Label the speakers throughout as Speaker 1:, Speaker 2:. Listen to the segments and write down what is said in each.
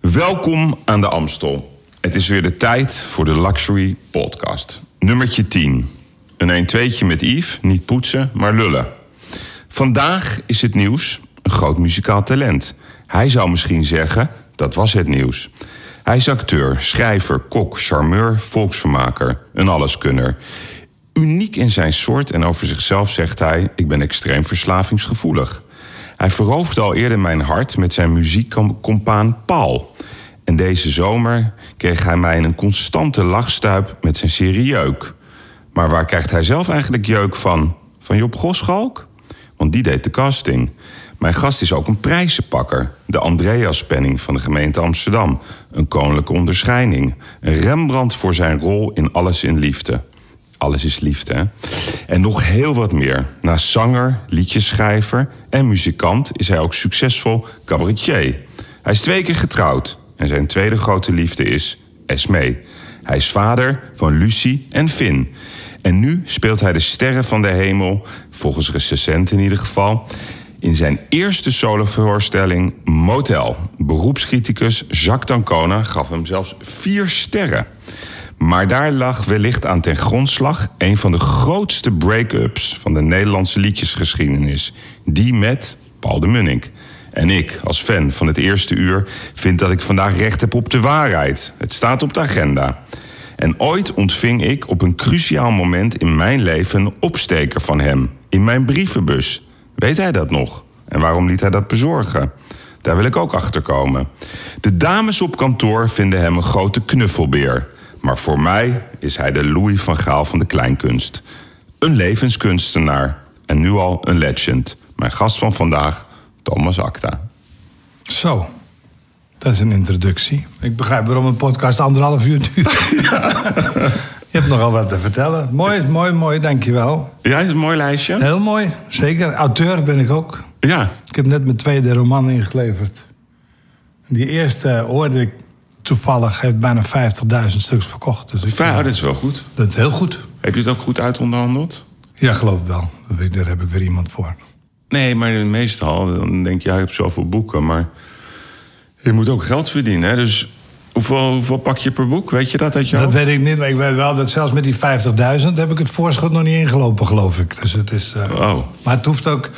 Speaker 1: Welkom aan de Amstel. Het is weer de tijd voor de Luxury Podcast. Nummertje 10. Een 1-2'tje met Yves, niet poetsen, maar lullen. Vandaag is het nieuws een groot muzikaal talent. Hij zou misschien zeggen, dat was het nieuws. Hij is acteur, schrijver, kok, charmeur, volksvermaker. Een alleskunner. Uniek in zijn soort en over zichzelf zegt hij... ik ben extreem verslavingsgevoelig. Hij veroverde al eerder mijn hart met zijn muziekcompaan Paul. En deze zomer kreeg hij mij in een constante lachstuip met zijn serie Jeuk. Maar waar krijgt hij zelf eigenlijk jeuk van? Van Job Goschalk? Want die deed de casting. Mijn gast is ook een prijzenpakker. De Andreaspenning van de gemeente Amsterdam. Een koninklijke onderscheiding. Een Rembrandt voor zijn rol in Alles in Liefde. Alles is liefde, hè? En nog heel wat meer. Naast zanger, liedjeschrijver en muzikant is hij ook succesvol cabaretier. Hij is twee keer getrouwd en zijn tweede grote liefde is Esmee. Hij is vader van Lucie en Finn. En nu speelt hij de sterren van de hemel, volgens recensenten in ieder geval... in zijn eerste solovoorstelling Motel. Beroepscriticus Jacques D'Ancona gaf hem zelfs vier sterren. Maar daar lag wellicht aan ten grondslag een van de grootste break-ups van de Nederlandse liedjesgeschiedenis. Die met Paul de Munnik. En ik, als fan van het eerste uur, vind dat ik vandaag recht heb op de waarheid. Het staat op de agenda. En ooit ontving ik op een cruciaal moment in mijn leven een opsteker van hem. In mijn brievenbus. Weet hij dat nog? En waarom liet hij dat bezorgen? Daar wil ik ook achter komen. De dames op kantoor vinden hem een grote knuffelbeer. Maar voor mij is hij de Louis van Gaal van de kleinkunst. Een levenskunstenaar en nu al een legend. Mijn gast van vandaag, Thomas Acta.
Speaker 2: Zo. Dat is een introductie. Ik begrijp waarom een podcast anderhalf uur duurt. Je hebt nogal wat te vertellen. Mooi, mooi, mooi, dankjewel.
Speaker 1: Ja, is het een mooi lijstje?
Speaker 2: Heel mooi, zeker. Auteur ben ik ook.
Speaker 1: Ja.
Speaker 2: Ik heb net mijn tweede roman ingeleverd. Die eerste hoorde ik toevallig, heeft bijna 50.000 stuks verkocht. Dus ik,
Speaker 1: Vrij, oh, dat is wel goed.
Speaker 2: dat is heel goed.
Speaker 1: Heb je het ook goed uitonderhandeld?
Speaker 2: Ja, geloof ik wel. Dat weet- Daar heb ik weer iemand voor.
Speaker 1: Nee, maar meestal dan denk je, ja, je hebt zoveel boeken, maar je moet ook geld verdienen. Hè? Dus hoeveel, hoeveel pak je per boek? Weet je dat uit je
Speaker 2: Dat
Speaker 1: hoofd?
Speaker 2: weet ik niet, maar ik weet wel dat zelfs met die 50.000 heb ik het voorschot nog niet ingelopen, geloof ik. Dus het is. eh,
Speaker 1: Oh.
Speaker 2: Maar het hoeft ook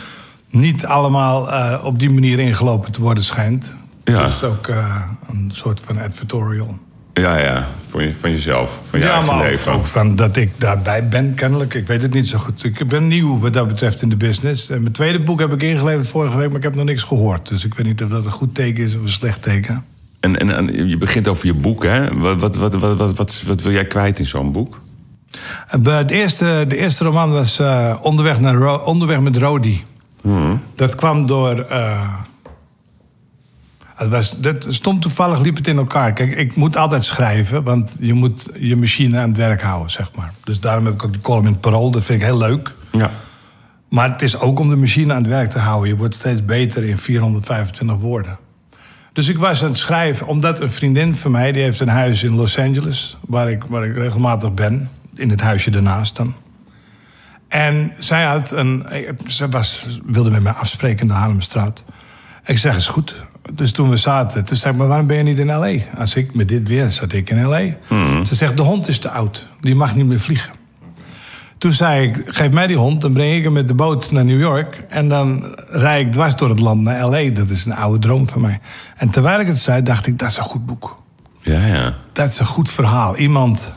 Speaker 2: niet allemaal eh, op die manier ingelopen te worden, schijnt.
Speaker 1: Ja.
Speaker 2: Het is ook eh, een soort van advertorial.
Speaker 1: Ja, ja, van, je, van jezelf, van je
Speaker 2: ja,
Speaker 1: eigen
Speaker 2: maar ook,
Speaker 1: leven.
Speaker 2: ook van dat ik daarbij ben, kennelijk. Ik weet het niet zo goed. Ik ben nieuw wat dat betreft in de business. En mijn tweede boek heb ik ingeleverd vorige week, maar ik heb nog niks gehoord. Dus ik weet niet of dat een goed teken is of een slecht teken.
Speaker 1: En, en, en je begint over je boek, hè? Wat, wat, wat, wat, wat, wat, wat wil jij kwijt in zo'n boek?
Speaker 2: Eh, Het eerste, de eerste roman was eh, onderweg, naar Ro- onderweg met Rodi. Dat kwam door. eh, het was, dat, stom toevallig liep het in elkaar. Kijk, ik moet altijd schrijven, want je moet je machine aan het werk houden, zeg maar. Dus daarom heb ik ook die column in het Parool. Dat vind ik heel leuk.
Speaker 1: Ja.
Speaker 2: Maar het is ook om de machine aan het werk te houden. Je wordt steeds beter in 425 woorden. Dus ik was aan het schrijven, omdat een vriendin van mij... die heeft een huis in Los Angeles, waar ik, waar ik regelmatig ben. In het huisje daarnaast dan. En zij had een... Ze was, wilde met mij afspreken in de Haarlemstraat. Ik zeg, is goed. Dus toen we zaten, toen zei ik, maar waarom ben je niet in L.A.? Als ik met dit weer zat ik in L.A. Ze zegt, de hond is te oud. Die mag niet meer vliegen. Toen zei ik, geef mij die hond, dan breng ik hem met de boot naar New York. En dan rijd ik dwars door het land naar L.A. Dat is een oude droom van mij. En terwijl ik het zei, dacht ik, dat is een goed boek.
Speaker 1: Ja, ja.
Speaker 2: Dat is een goed verhaal. Iemand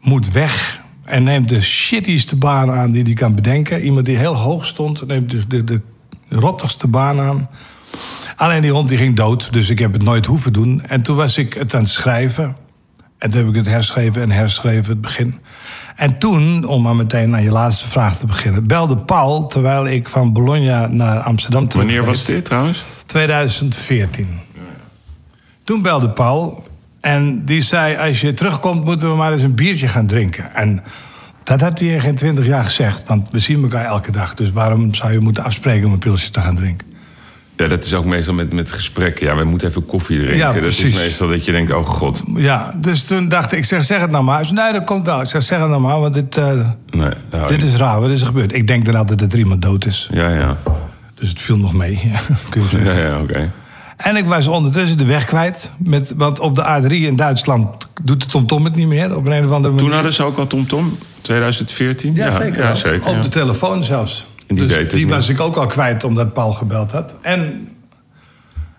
Speaker 2: moet weg en neemt de shittieste baan aan die hij kan bedenken. Iemand die heel hoog stond, neemt de, de, de rottigste baan aan. Alleen die hond die ging dood, dus ik heb het nooit hoeven doen. En toen was ik het aan het schrijven. En toen heb ik het herschreven en herschreven het begin. En toen, om maar meteen naar je laatste vraag te beginnen... belde Paul, terwijl ik van Bologna naar Amsterdam terug
Speaker 1: Wanneer was dit trouwens?
Speaker 2: 2014. Toen belde Paul en die zei: Als je terugkomt, moeten we maar eens een biertje gaan drinken. En dat had hij in geen twintig jaar gezegd, want we zien elkaar elke dag. Dus waarom zou je moeten afspreken om een pilsje te gaan drinken?
Speaker 1: Ja, dat is ook meestal met, met gesprekken. Ja, we moeten even koffie drinken.
Speaker 2: Ja,
Speaker 1: dat is
Speaker 2: precies.
Speaker 1: meestal dat je denkt, oh god.
Speaker 2: Ja, dus toen dacht ik: ik zeg, zeg het nou maar. Hij zei, nee, dat komt wel. Ik zeg: Zeg het nou maar, want dit, eh,
Speaker 1: Nee, daar hou je
Speaker 2: dit
Speaker 1: niet.
Speaker 2: is raar. Wat is er gebeurd? Ik denk dan altijd dat er iemand dood is.
Speaker 1: Ja, ja.
Speaker 2: Dus het viel nog mee. kun je zeggen.
Speaker 1: Ja, ja, oké.
Speaker 2: En En ik was ondertussen de weg kwijt. Met, want op de A3 in Duitsland doet de TomTom het niet meer. Op een of andere manier.
Speaker 1: Toen hadden ze ook al TomTom, 2014.
Speaker 2: Ja, zeker.
Speaker 1: Ja, zeker
Speaker 2: op
Speaker 1: ja.
Speaker 2: de telefoon zelfs.
Speaker 1: En die
Speaker 2: dus
Speaker 1: deed het
Speaker 2: die
Speaker 1: niet.
Speaker 2: was ik ook al kwijt omdat Paul gebeld had. En,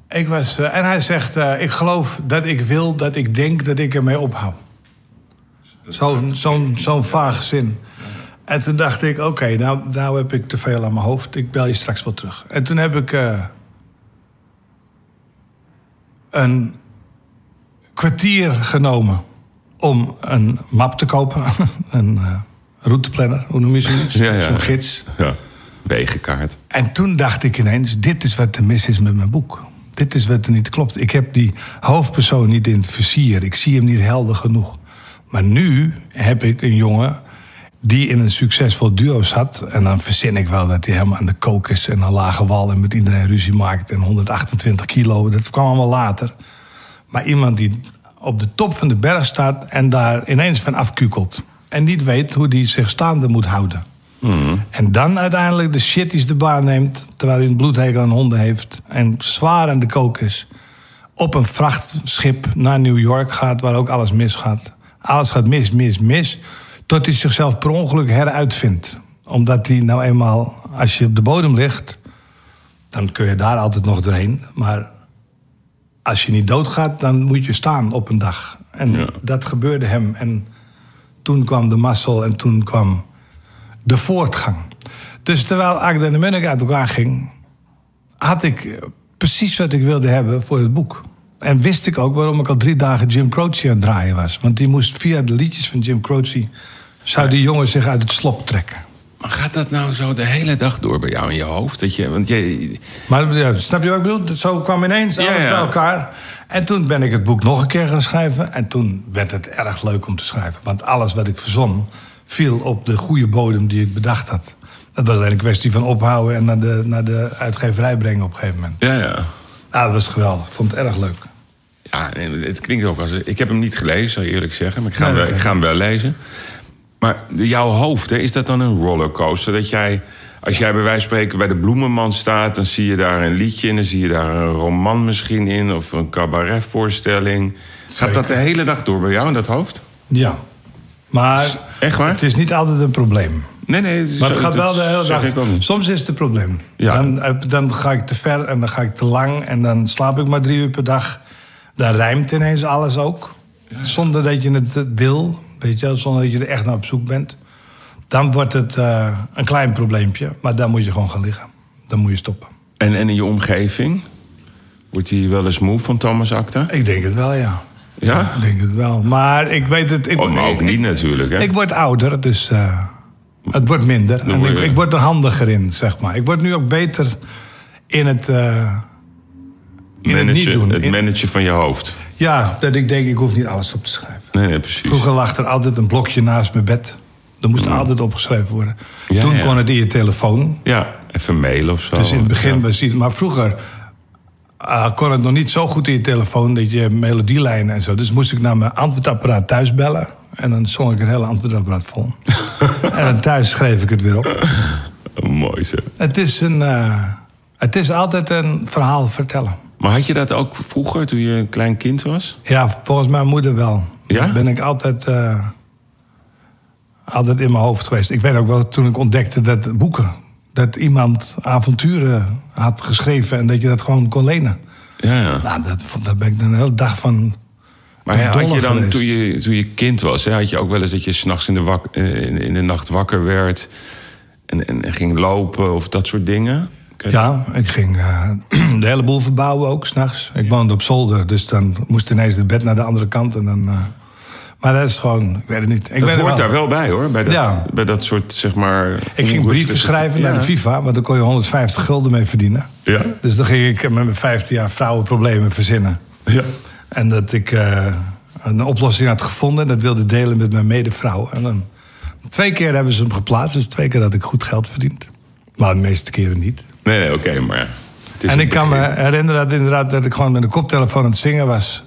Speaker 2: ik was, eh, en hij zegt, eh, ik geloof dat ik wil, dat ik denk dat ik ermee ophoud. Zo'n zo'n zo'n vaag zin. En toen dacht ik, oké, nou, nou heb ik te veel aan mijn hoofd. Ik bel je straks wel terug. En toen heb ik eh, een kwartier genomen om een map te kopen. een eh, routeplanner, hoe noem je zoiets?
Speaker 1: Ja, ja.
Speaker 2: Zo'n gids.
Speaker 1: Ja, wegenkaart.
Speaker 2: En toen dacht ik ineens, dit is wat er mis is met mijn boek. Dit is wat er niet klopt. Ik heb die hoofdpersoon niet in het versier. Ik zie hem niet helder genoeg. Maar nu heb ik een jongen die in een succesvol duo zat. En dan verzin ik wel dat hij helemaal aan de kook is... en aan lage wal en met iedereen ruzie maakt en 128 kilo. Dat kwam allemaal later. Maar iemand die op de top van de berg staat en daar ineens van afkukelt. En niet weet hoe die zich staande moet houden. En dan uiteindelijk de shit die ze de baan neemt... terwijl hij een bloedhekel aan honden heeft en zwaar aan de kook is... op een vrachtschip naar New York gaat waar ook alles misgaat. Alles gaat mis, mis, mis... tot hij zichzelf per ongeluk heruitvindt. Omdat hij nou eenmaal, als je op de bodem ligt... dan kun je daar altijd nog doorheen, maar... Als je niet doodgaat, dan moet je staan op een dag. En
Speaker 1: Ja.
Speaker 2: dat gebeurde hem. En toen kwam de mazzel en toen kwam de voortgang. Dus terwijl Agda en de Munnik uit elkaar ging, had ik eh, precies wat ik wilde hebben voor het boek. En wist ik ook waarom ik al drie dagen Jim Croce aan het draaien was. Want die moest via de liedjes van Jim Croce... zou die jongen zich uit het slop trekken.
Speaker 1: Maar gaat dat nou zo de hele dag door bij jou in je hoofd? Dat je, want je,
Speaker 2: Maar ja, snap je wat ik bedoel? Dat- Zo kwam ineens alles
Speaker 1: Ja, ja.
Speaker 2: bij elkaar. En toen ben ik het boek nog een keer gaan schrijven. En toen werd het erg leuk om te schrijven. Want alles wat ik verzon viel op de goede bodem die ik bedacht had. Dat was alleen een kwestie van ophouden en naar de, naar de uitgeverij brengen op een gegeven moment.
Speaker 1: ja, ja.
Speaker 2: Ah, dat was geweldig. Ik vond het erg leuk.
Speaker 1: Ja, en het klinkt ook als... Ik heb hem niet gelezen, zal ik eerlijk zeggen. Maar ik ga,
Speaker 2: Nee,
Speaker 1: hem, wel-
Speaker 2: oké.
Speaker 1: ik ga hem wel lezen. Maar de- jouw hoofd, hè, is dat dan een rollercoaster? Dat jij, als jij bij wijze van spreken bij de bloemenman staat... dan zie je daar een liedje in, dan zie je daar een roman misschien in... of een cabaretvoorstelling. Gaat dat de hele dag door bij jou in dat hoofd?
Speaker 2: Ja. Maar
Speaker 1: Echt waar?
Speaker 2: het is niet altijd een probleem.
Speaker 1: Nee, nee.
Speaker 2: Maar het
Speaker 1: zo-
Speaker 2: gaat wel
Speaker 1: dat
Speaker 2: de hele
Speaker 1: zeg ik ook
Speaker 2: dag.
Speaker 1: niet.
Speaker 2: Soms is het een probleem.
Speaker 1: Ja.
Speaker 2: Dan, eh, dan ga ik te ver en dan ga ik te lang en dan slaap ik maar drie uur per dag. Dan rijmt ineens alles ook. Zonder dat je het eh, wil, weet je, wel, zonder dat je er echt naar op zoek bent. Dan wordt het eh, een klein probleempje, maar dan moet je gewoon gaan liggen. Dan moet je stoppen.
Speaker 1: En, en in je omgeving? Wordt hij wel eens moe van Thomas Acta?
Speaker 2: Ik denk het wel, ja.
Speaker 1: Ja?
Speaker 2: Ik denk het wel. Maar ik weet het. Ik,
Speaker 1: Oh, maar ook
Speaker 2: ik-
Speaker 1: niet natuurlijk, hè?
Speaker 2: Ik word ouder, dus eh, het wordt minder.
Speaker 1: Dan
Speaker 2: en
Speaker 1: word
Speaker 2: ik,
Speaker 1: je-
Speaker 2: ik word er handiger in, zeg maar. Ik word nu ook beter in het, eh, in het niet
Speaker 1: Managen-
Speaker 2: doen.
Speaker 1: het
Speaker 2: In-
Speaker 1: managen van je hoofd.
Speaker 2: ja, dat ik denk, ik hoef niet alles op te schrijven.
Speaker 1: Nee, nee, precies.
Speaker 2: Vroeger lag er altijd een blokje naast mijn bed. Dat moest altijd opgeschreven worden.
Speaker 1: Mm. Ja,
Speaker 2: Toen
Speaker 1: ja.
Speaker 2: kon het in je telefoon.
Speaker 1: Ja, even mailen of zo.
Speaker 2: Dus in het begin
Speaker 1: Oh, Ja.
Speaker 2: was het... Maar vroeger eh, kon het nog niet zo goed in je telefoon... dat je melodielijnen en zo. Dus moest ik naar mijn antwoordapparaat thuis bellen. En dan zong ik het hele antwoordapparaat vol. en dan thuis schreef ik het weer op.
Speaker 1: Oh, mooi zo.
Speaker 2: Het is, een, eh, het is altijd een verhaal vertellen.
Speaker 1: Maar had je dat ook vroeger, toen je een klein kind was?
Speaker 2: Ja, volgens mijn moeder wel.
Speaker 1: Ja?
Speaker 2: Ben ik altijd, eh, altijd in mijn hoofd geweest. Ik weet ook wel toen ik ontdekte dat boeken... dat iemand avonturen had geschreven... en dat je dat gewoon kon lenen.
Speaker 1: Ja, ja.
Speaker 2: Nou, dat, vond- daar ben ik een hele dag van...
Speaker 1: Maar hè, had
Speaker 2: dollar
Speaker 1: je dan,
Speaker 2: geweest.
Speaker 1: toen je, toen je kind was, hè, had je ook wel eens dat je s'nachts in, de wak- eh, in, in de nacht wakker werd... En, en, en ging lopen of dat soort dingen? Ken-
Speaker 2: Ja, ik ging eh, de hele boel verbouwen ook s'nachts. Ik woonde op zolder, dus dan moest ineens het bed naar de andere kant. En dan, eh, maar dat is gewoon, ik weet het niet.
Speaker 1: Dat
Speaker 2: Ik weet het
Speaker 1: hoort
Speaker 2: wel.
Speaker 1: daar wel bij, hoor. Bij dat,
Speaker 2: Ja.
Speaker 1: bij dat soort, zeg maar...
Speaker 2: Ik ging brieven schrijven naar de FIFA, want daar kon je 150 gulden mee verdienen.
Speaker 1: Ja.
Speaker 2: Dus dan ging ik met mijn 15 jaar vrouwenproblemen verzinnen.
Speaker 1: Ja.
Speaker 2: En dat ik eh, een oplossing had gevonden en dat wilde delen met mijn medevrouw. En dan, twee keer hebben ze hem geplaatst, dus twee keer had ik goed geld verdiend. Maar de meeste keren niet.
Speaker 1: Nee, nee, oké, maar... ja, het is
Speaker 2: En
Speaker 1: een
Speaker 2: ik kan me
Speaker 1: begin.
Speaker 2: herinneren dat, inderdaad, dat ik gewoon met een koptelefoon aan het zingen was.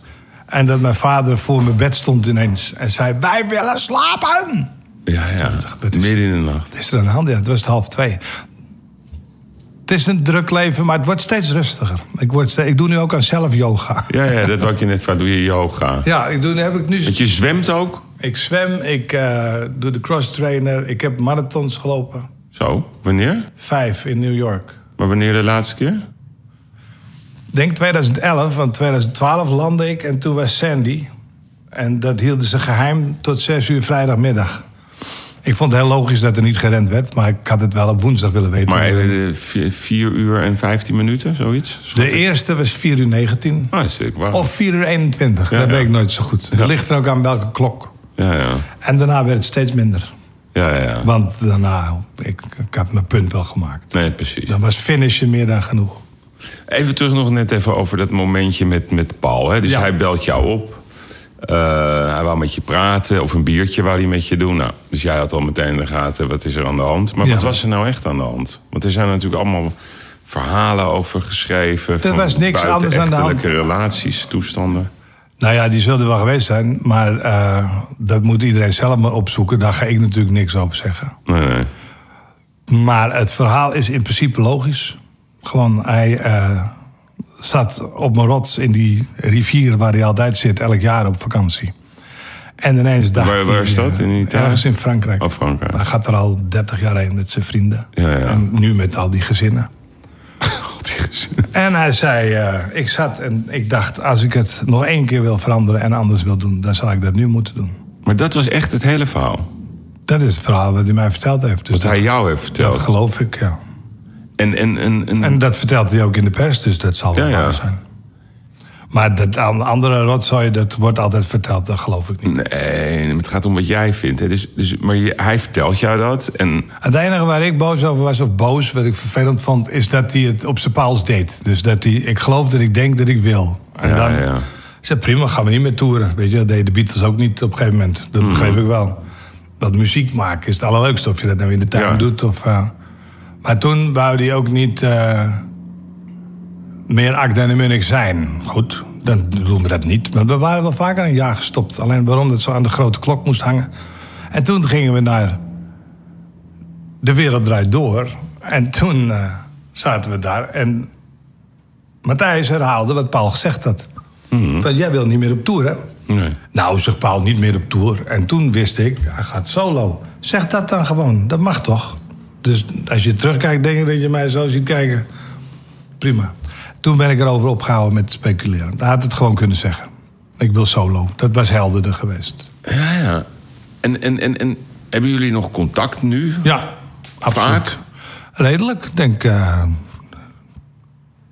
Speaker 2: En dat mijn vader voor mijn bed stond ineens. En zei, wij willen slapen!
Speaker 1: Ja, ja.
Speaker 2: gebeurd is.
Speaker 1: Midden in de nacht.
Speaker 2: Wat is er aan de hand? Ja, het was half twee. Het is een druk leven, maar het wordt steeds rustiger. Ik, word, ste- ik doe nu ook aan zelf-yoga.
Speaker 1: Ja, ja, dat wou ik je net vragen. Doe je yoga?
Speaker 2: Ja, ik doe, heb ik nu
Speaker 1: Want je zwemt ook?
Speaker 2: Ik zwem, ik eh, doe de cross trainer, ik heb marathons gelopen.
Speaker 1: Zo, wanneer?
Speaker 2: Vijf in New York.
Speaker 1: Maar wanneer de laatste keer?
Speaker 2: Denk 2011, want 2012 landde ik en toen was Sandy. En dat hielden ze geheim tot zes uur vrijdagmiddag. Ik vond het heel logisch dat er niet gerend werd, maar ik had het wel op woensdag willen weten.
Speaker 1: Maar eh, even 4 uur en 15 minuten, zoiets? Schat
Speaker 2: de
Speaker 1: ik.
Speaker 2: eerste was 4 uur 19
Speaker 1: Ah, is ik waar.
Speaker 2: of 4 uur 21.
Speaker 1: Ja,
Speaker 2: dat
Speaker 1: ja.
Speaker 2: weet ik nooit zo goed. Het ligt er ook aan welke klok.
Speaker 1: Ja, ja.
Speaker 2: En daarna werd het steeds minder.
Speaker 1: Ja, ja, ja.
Speaker 2: Want daarna, ik, ik had mijn punt wel gemaakt.
Speaker 1: Nee, precies.
Speaker 2: Dan was finishen meer dan genoeg.
Speaker 1: Even terug nog net even over dat momentje met, met Paul. Hè? Dus
Speaker 2: Ja.
Speaker 1: hij belt jou op. Eh, hij wou met je praten. Of een biertje wou hij met je doen. Nou, dus jij had al meteen in de gaten. Wat is er aan de hand? Maar
Speaker 2: Ja.
Speaker 1: wat was er nou echt aan de hand? Want er zijn natuurlijk allemaal verhalen over geschreven.
Speaker 2: Er was niks anders aan de hand.
Speaker 1: buitenechtelijke relaties, toestanden.
Speaker 2: Nou ja, die zullen er wel geweest zijn. Maar eh, dat moet iedereen zelf maar opzoeken. Daar ga ik natuurlijk niks over zeggen.
Speaker 1: Nee, nee.
Speaker 2: Maar het verhaal is in principe logisch. Gewoon, hij eh, zat op een rots in die rivier waar hij altijd zit, elk jaar op vakantie. En ineens dacht
Speaker 1: Waar- waar
Speaker 2: hij,
Speaker 1: is dat?
Speaker 2: eh,
Speaker 1: In Italië?
Speaker 2: Ergens in Frankrijk.
Speaker 1: Oh, Frankrijk.
Speaker 2: Hij gaat er al 30 jaar heen met zijn vrienden.
Speaker 1: Ja, ja.
Speaker 2: En nu met al die gezinnen. En hij zei, eh, ik zat en ik dacht, als ik het nog één keer wil veranderen en anders wil doen, dan zal ik dat nu moeten doen.
Speaker 1: Maar dat was echt het hele verhaal.
Speaker 2: Dat is het verhaal wat hij mij verteld heeft. Dus
Speaker 1: Wat
Speaker 2: dat,
Speaker 1: hij Mm. jou heeft
Speaker 2: dat
Speaker 1: verteld.
Speaker 2: geloof ik, ja.
Speaker 1: En, en, en, en,
Speaker 2: En dat vertelt hij ook in de pers, dus dat zal wel
Speaker 1: Ja, ja.
Speaker 2: waar zijn. Maar dat aan andere rotzooi, dat wordt altijd verteld, dat geloof
Speaker 1: Mm.
Speaker 2: ik niet.
Speaker 1: Nee, het gaat om wat jij vindt. Hè? Dus, dus, maar je- hij vertelt jou dat. En
Speaker 2: Het enige waar ik boos over was, of boos, wat ik vervelend vond, is dat hij het op zijn paals deed. Dus dat hij, ik geloof dat ik denk dat ik wil. En
Speaker 1: Ja,
Speaker 2: dan
Speaker 1: ja.
Speaker 2: ik zei prima, gaan we niet meer toeren. Weet je, dat deden de Beatles ook niet op een gegeven moment. Dat begreep ik wel. Dat muziek maken is het allerleukste, of je dat nou in de tuin
Speaker 1: Ja.
Speaker 2: doet. Of, eh, maar toen wou hij ook niet eh, meer Akda en de Munich zijn. Goed, dan doen we dat niet. Maar we waren wel vaker een jaar gestopt. Alleen waarom dat zo aan de grote klok moest hangen. En toen gingen we naar de wereld draait door. En toen eh, zaten we daar en Matthijs herhaalde wat Paul gezegd had. Van, jij wil niet meer op tour, hè?
Speaker 1: nee.
Speaker 2: Nou, zegt Paul, niet meer op tour. En toen wist ik, hij gaat solo. Zeg dat dan gewoon, dat mag toch? Dus als je terugkijkt, denk ik dat je mij zo ziet kijken. Prima. Toen ben ik erover opgehouden met speculeren. Hij had het gewoon kunnen zeggen. Ik wil solo. Dat was helderder geweest.
Speaker 1: Ja, ja. En, en, en, en hebben jullie nog contact nu?
Speaker 2: Ja, absoluut.
Speaker 1: Vaak?
Speaker 2: Redelijk, ik denk eh,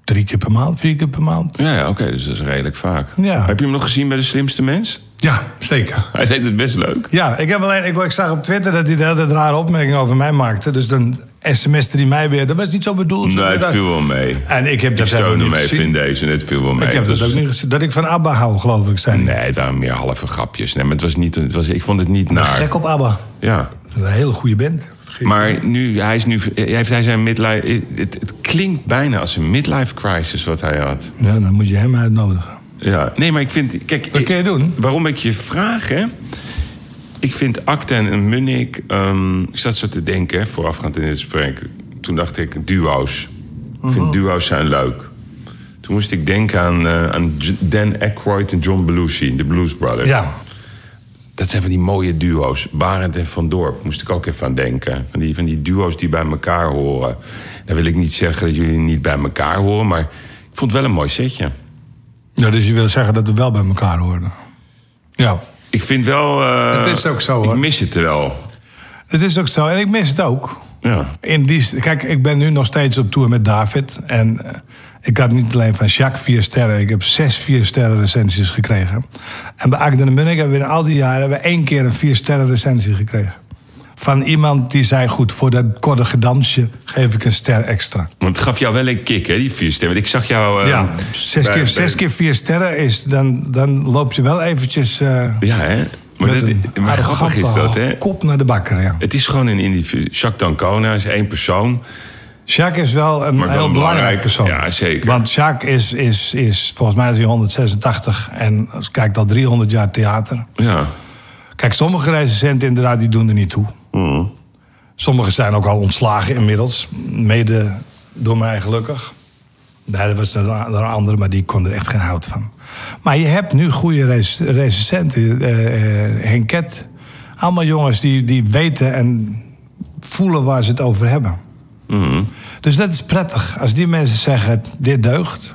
Speaker 2: drie keer per maand, vier keer per maand.
Speaker 1: Ja, ja oké, dus dat is redelijk vaak.
Speaker 2: Ja.
Speaker 1: Heb je hem nog gezien bij de slimste mens?
Speaker 2: Ja, zeker.
Speaker 1: Hij deed het best leuk.
Speaker 2: Ja, ik, heb alleen, ik, ik zag op Twitter dat hij de hele tijd rare opmerkingen over mij maakte. Dus dan sms'te hij mij weer. Dat was niet zo bedoeld.
Speaker 1: Nee, het viel wel mee.
Speaker 2: En ik heb
Speaker 1: Ik
Speaker 2: dat helemaal
Speaker 1: steun
Speaker 2: niet
Speaker 1: hem even in
Speaker 2: gezien.
Speaker 1: deze, het viel wel mee.
Speaker 2: Ik heb dat
Speaker 1: Het was-
Speaker 2: ook niet gezien. Dat ik van ABBA hou, geloof ik, zei hij.
Speaker 1: Nee, daar meer halve grapjes. Nee, maar het was niet, het was, ik vond het niet naar.
Speaker 2: Gek op ABBA.
Speaker 1: Ja.
Speaker 2: Dat is Een hele goede band. Vergeet-
Speaker 1: Maar nu, hij is nu, heeft hij zijn midlife... Het, het klinkt bijna als een midlife crisis wat hij had.
Speaker 2: Ja, dan moet je hem uitnodigen.
Speaker 1: Ja, nee, maar ik vind... Kijk,
Speaker 2: Dat kun je doen.
Speaker 1: Waarom ik je vraag, hè? Ik vind Acten en Munnik... ehm, ik zat zo te denken, hè, voorafgaand in dit gesprek. Toen dacht ik, duo's. Ik
Speaker 2: Mhm.
Speaker 1: vind duo's zijn leuk. Toen moest ik denken aan, eh, aan J- Dan Aykroyd en John Belushi, de Blues Brothers.
Speaker 2: Ja,
Speaker 1: Dat zijn van die mooie duo's. Barend en Van Dorp moest ik ook even aan denken. Van die, van die duo's die bij elkaar horen. Dan wil ik niet zeggen dat jullie niet bij elkaar horen, maar ik vond het wel een mooi setje.
Speaker 2: ja dus je wil zeggen dat we wel bij elkaar horen. Ja.
Speaker 1: Ik vind wel. eh,
Speaker 2: Het is ook zo,
Speaker 1: Ik
Speaker 2: hoor.
Speaker 1: mis het wel.
Speaker 2: Het is ook zo. En ik mis het ook.
Speaker 1: Ja.
Speaker 2: In die, kijk, ik ben nu nog steeds op tour met David. En eh, ik had niet alleen van Jacques vier sterren. Ik heb zes vier sterren recensies gekregen. En bij Akden en Munnik hebben we in al die jaren hebben we één keer een vier sterren recensie gekregen. Van iemand die zei, goed, voor dat koddige dansje geef ik een ster extra.
Speaker 1: Want het gaf jou wel een kick, hè, die vier stemmen. Want ik zag jou. eh,
Speaker 2: ja, zes,
Speaker 1: bij-
Speaker 2: keer,
Speaker 1: bij-
Speaker 2: zes keer vier sterren is, dan, dan loop je wel eventjes... eh
Speaker 1: Ja, hè? Maar,
Speaker 2: met
Speaker 1: dit-
Speaker 2: een
Speaker 1: maar grappig is dat,
Speaker 2: arrogante
Speaker 1: hè?
Speaker 2: kop naar de bakker, ja.
Speaker 1: Het is gewoon een individu. Jacques Dancona is één persoon.
Speaker 2: Jacques is wel een
Speaker 1: Maar wel
Speaker 2: heel
Speaker 1: belangrijk.
Speaker 2: belangrijk persoon.
Speaker 1: Ja, zeker.
Speaker 2: Want Jacques is, is, is volgens mij is hij 186 en als ik kijk al 300 jaar theater.
Speaker 1: Ja.
Speaker 2: Kijk, sommige recensenten inderdaad, die doen er niet toe. Sommigen zijn ook al ontslagen inmiddels. Mede Door mij gelukkig. Nee, dat was dan een andere, maar die kon er echt geen hout van. Maar je hebt nu goede rec- recensenten. eh, eh, Henket. Allemaal jongens die, die weten en voelen waar ze het over hebben. Dus dat is prettig. Als die mensen zeggen, dit deugt...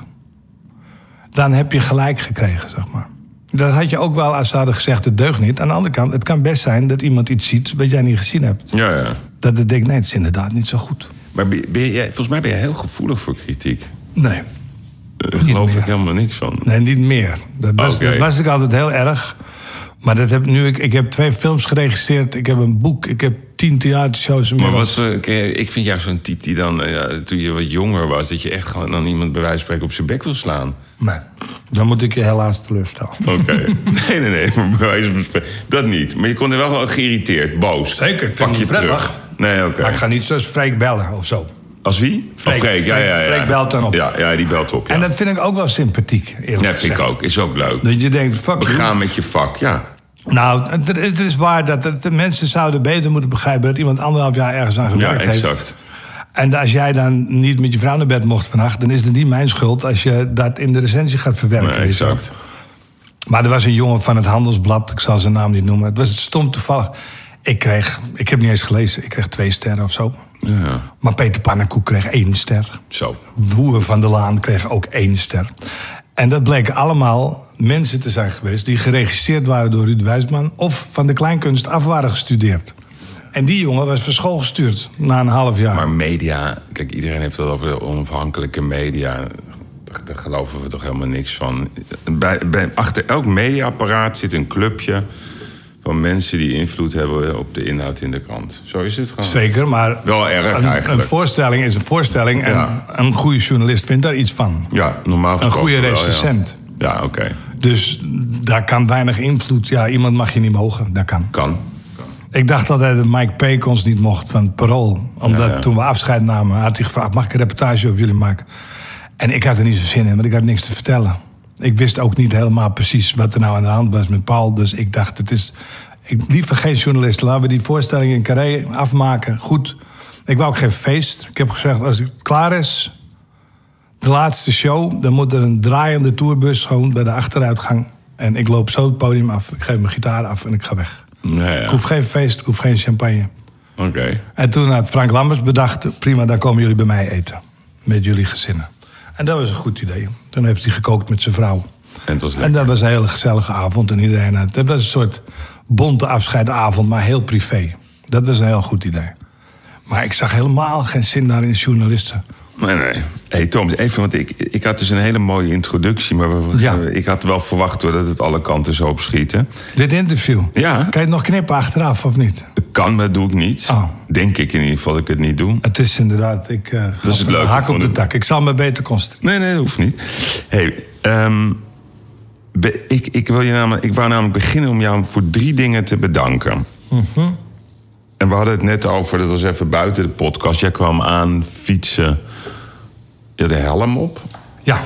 Speaker 2: dan heb je gelijk gekregen, zeg maar. Dat had je ook wel als ze hadden gezegd, het deugt niet. Aan de andere kant, het kan best zijn dat iemand iets ziet... wat jij niet gezien hebt.
Speaker 1: Ja, ja.
Speaker 2: Dat het denkt, nee, het is inderdaad niet zo goed.
Speaker 1: Maar ben, ben jij, volgens mij ben je heel gevoelig voor kritiek.
Speaker 2: Nee,
Speaker 1: Daar geloof
Speaker 2: meer.
Speaker 1: ik helemaal niks van.
Speaker 2: nee niet meer. Dat was,
Speaker 1: Oké.
Speaker 2: dat was ik altijd heel erg. Maar dat heb, nu, ik, ik heb twee films geregisseerd. Ik heb een boek. Ik heb tien theatershows.
Speaker 1: Maar
Speaker 2: inmiddels.
Speaker 1: wat, eh, ken je- ik vind jou zo'n type die dan, eh, ja, toen je wat jonger was... dat je echt gewoon dan iemand bij wijze van spreken op zijn bek wil slaan.
Speaker 2: Nee, dan moet ik je helaas teleurstellen.
Speaker 1: Oké. nee, nee, nee. Maar bij wijze van spreken, dat niet. Maar je kon er wel gewoon geïrriteerd, boos.
Speaker 2: Zeker, ik vind
Speaker 1: Pak
Speaker 2: het
Speaker 1: je
Speaker 2: prettig.
Speaker 1: terug. Nee, oké.
Speaker 2: Maar ik ga niet zoals Freek bellen of zo.
Speaker 1: Als wie? Of
Speaker 2: Freek.
Speaker 1: ja, ja, ja.
Speaker 2: Freek belt dan op.
Speaker 1: Ja, ja die belt op, ja.
Speaker 2: En dat vind ik ook wel sympathiek, eerlijk
Speaker 1: Ja, vind
Speaker 2: gezegd.
Speaker 1: ik ook. Is ook leuk.
Speaker 2: Dat je denkt, fuck
Speaker 1: We
Speaker 2: you.
Speaker 1: gaan met je vak, ja.
Speaker 2: Nou, het is, het is waar dat het- de mensen zouden beter moeten begrijpen... dat iemand anderhalf jaar ergens aan gewerkt
Speaker 1: Ja, exact.
Speaker 2: heeft. En als jij dan niet met je vrouw naar bed mocht vannacht... dan is het niet mijn schuld als je dat in de recensie gaat verwerken.
Speaker 1: Nee,
Speaker 2: weet je wel.
Speaker 1: exact.
Speaker 2: Maar er was een jongen van het Handelsblad, ik zal zijn naam niet noemen. Het was stom toevallig. Ik kreeg, ik heb niet eens gelezen, ik kreeg twee sterren of zo.
Speaker 1: Ja.
Speaker 2: Maar Peter Pannenkoek kreeg één ster.
Speaker 1: Zo.
Speaker 2: Woer van der Laan kreeg ook één ster. En dat bleken allemaal mensen te zijn geweest... die geregisseerd waren door Ruud Wijsman... of van de kleinkunst af waren gestudeerd. En die jongen was van school gestuurd na een half jaar.
Speaker 1: Maar media, kijk, iedereen heeft het over onafhankelijke media. Daar- Daar geloven we toch helemaal niks van. Bij, bij, achter elk mediaapparaat zit een clubje van mensen die invloed hebben op de inhoud in de krant. Zo is het gewoon.
Speaker 2: Zeker, maar
Speaker 1: Wel erg
Speaker 2: een, een
Speaker 1: eigenlijk.
Speaker 2: voorstelling is een voorstelling... en
Speaker 1: Ja.
Speaker 2: een goede journalist vindt daar iets van.
Speaker 1: Ja, normaal
Speaker 2: Een
Speaker 1: gesproken
Speaker 2: goede
Speaker 1: wel, ja.
Speaker 2: recensent.
Speaker 1: Ja, oké.
Speaker 2: Dus daar kan weinig invloed... Ja, iemand mag je niet mogen, dat kan.
Speaker 1: Kan.
Speaker 2: Ik dacht altijd dat Mike Peek ons niet mocht van het parool. Omdat
Speaker 1: Ja, ja.
Speaker 2: toen we afscheid namen, had hij gevraagd... mag ik een reportage over jullie maken? En ik had er niet zo zin in, want ik had niks te vertellen. Ik wist ook niet helemaal precies wat er nou aan de hand was met Paul. Dus ik dacht, het is... Ik, liever geen journalist. Laten we die voorstelling in Carré afmaken. Goed. Ik wou ook geen feest. Ik heb gezegd, als het klaar is... de laatste show, dan moet er een draaiende tourbus... gewoon bij de achteruitgang. En ik loop zo het podium af. Ik geef mijn gitaar af en ik ga weg.
Speaker 1: Ja, ja.
Speaker 2: Ik
Speaker 1: Oké.
Speaker 2: hoef geen feest, ik hoef geen champagne. En toen had Frank Lammers bedacht... prima, dan komen jullie bij mij eten. Met jullie gezinnen. En dat was een goed idee. Toen heeft hij gekookt met zijn vrouw.
Speaker 1: En het was
Speaker 2: En
Speaker 1: leuk.
Speaker 2: dat was een hele gezellige avond. En iedereen had... Het was een soort bonte afscheidavond, maar heel privé. Dat was een heel goed idee. Maar ik zag helemaal geen zin daar in journalisten.
Speaker 1: Nee, nee. hey, Tom, even, want ik, ik had dus een hele mooie introductie... maar we-
Speaker 2: Ja.
Speaker 1: ik had wel verwacht hoor, dat het alle kanten zou opschieten.
Speaker 2: Dit interview.
Speaker 1: Ja.
Speaker 2: Kan je het nog knippen achteraf, of niet?
Speaker 1: Kan, maar doe ik niet.
Speaker 2: Oh.
Speaker 1: Denk ik in ieder geval dat ik het niet doe.
Speaker 2: Het is inderdaad... Ik, eh,
Speaker 1: is het leuke
Speaker 2: Haak
Speaker 1: van
Speaker 2: op de
Speaker 1: het-
Speaker 2: tak. Ik zal me beter concentreren.
Speaker 1: Nee, nee, dat hoeft niet. Hey, ehm, be- ik, ik, wil je namelijk, ik wou namelijk beginnen om jou voor drie dingen te bedanken.
Speaker 2: Mhm.
Speaker 1: En we hadden het net over, dat was even buiten de podcast. Jij kwam aan fietsen. Je had een helm op,
Speaker 2: Ja.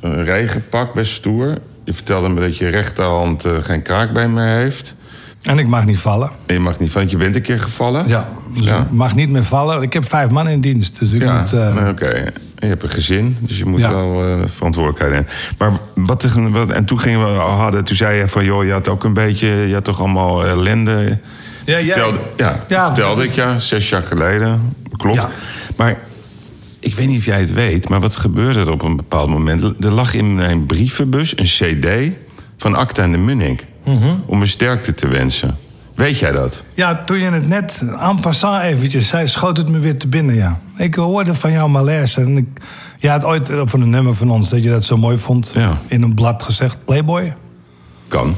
Speaker 1: een regenpak, best stoer. Je vertelde me dat je rechterhand eh, geen kraakbeen meer heeft.
Speaker 2: En ik mag niet vallen.
Speaker 1: En je mag niet van, want je bent een keer gevallen.
Speaker 2: Ja, dus
Speaker 1: Ja.
Speaker 2: het mag niet meer vallen. Ik heb vijf man in dienst, dus ik
Speaker 1: Ja,
Speaker 2: moet... eh,
Speaker 1: nee, oké. Je hebt een gezin, dus je moet
Speaker 2: Ja.
Speaker 1: wel eh, verantwoordelijkheid hebben. Maar wat, is een- wat- en toen gingen we al hadden, toen zei je van joh, je had ook een beetje, je had toch allemaal ellende.
Speaker 2: Ja, jij-
Speaker 1: vertelde, ja,
Speaker 2: Ja,
Speaker 1: vertelde
Speaker 2: dat
Speaker 1: ik ja, zes jaar geleden. Klopt.
Speaker 2: Ja.
Speaker 1: Maar ik weet niet of jij het weet, maar wat gebeurde er op een bepaald moment? Er lag in mijn brievenbus een CD van Acta en de Munnik
Speaker 2: Mhm.
Speaker 1: om me sterkte te wensen. Weet jij dat?
Speaker 2: ja, toen je het net en passant eventjes zei, schoot het me weer te binnen, ja. Ik hoorde van jou malaise en ik... Je had ooit eh, van een nummer van ons dat je dat zo mooi vond.
Speaker 1: Ja.
Speaker 2: In een blad gezegd, Playboy.
Speaker 1: Kan.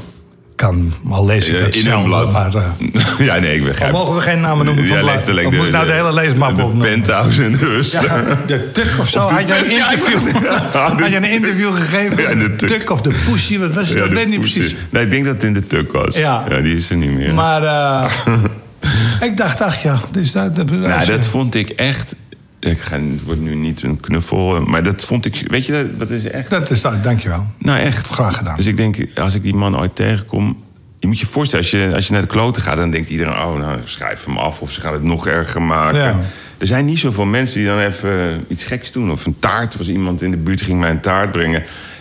Speaker 2: Kan, al lees ik
Speaker 1: Eh,
Speaker 2: dat
Speaker 1: in
Speaker 2: zelden,
Speaker 1: een blad.
Speaker 2: Maar, eh,
Speaker 1: ja, nee, ik begrijp.
Speaker 2: mogen we geen namen noemen van
Speaker 1: Ja,
Speaker 2: blad?
Speaker 1: letterlijk
Speaker 2: Of moet ik nou de hele leesmap
Speaker 1: de
Speaker 2: opnoemen?
Speaker 1: penthouse en de rust.
Speaker 2: ja, de tuk of zo. Had je een interview, had je een interview gegeven?
Speaker 1: Ja, de tuk.
Speaker 2: Tuk of de pushy, wat was het? dat weet ik niet precies.
Speaker 1: Nee, ik denk dat het in de tuk was.
Speaker 2: Ja.
Speaker 1: die is er niet meer.
Speaker 2: Maar eh, ik dacht, ach ja. Dus dat, dat,
Speaker 1: nou, dat vond ik echt... Ik ga, het wordt nu niet een knuffel, maar dat vond ik... Weet je, dat, dat is echt...
Speaker 2: dat is dat, dankjewel.
Speaker 1: Nou, echt.
Speaker 2: Graag gedaan.
Speaker 1: Dus ik denk, als ik die man ooit tegenkom... Je moet je voorstellen, als je, als je naar de kloten gaat... dan denkt iedereen, oh, nou, schrijf hem af of ze gaan het nog erger maken.
Speaker 2: Ja.
Speaker 1: Er zijn niet zoveel mensen die dan even iets geks doen. Of een taart, er was iemand in de buurt die ging mij een taart brengen.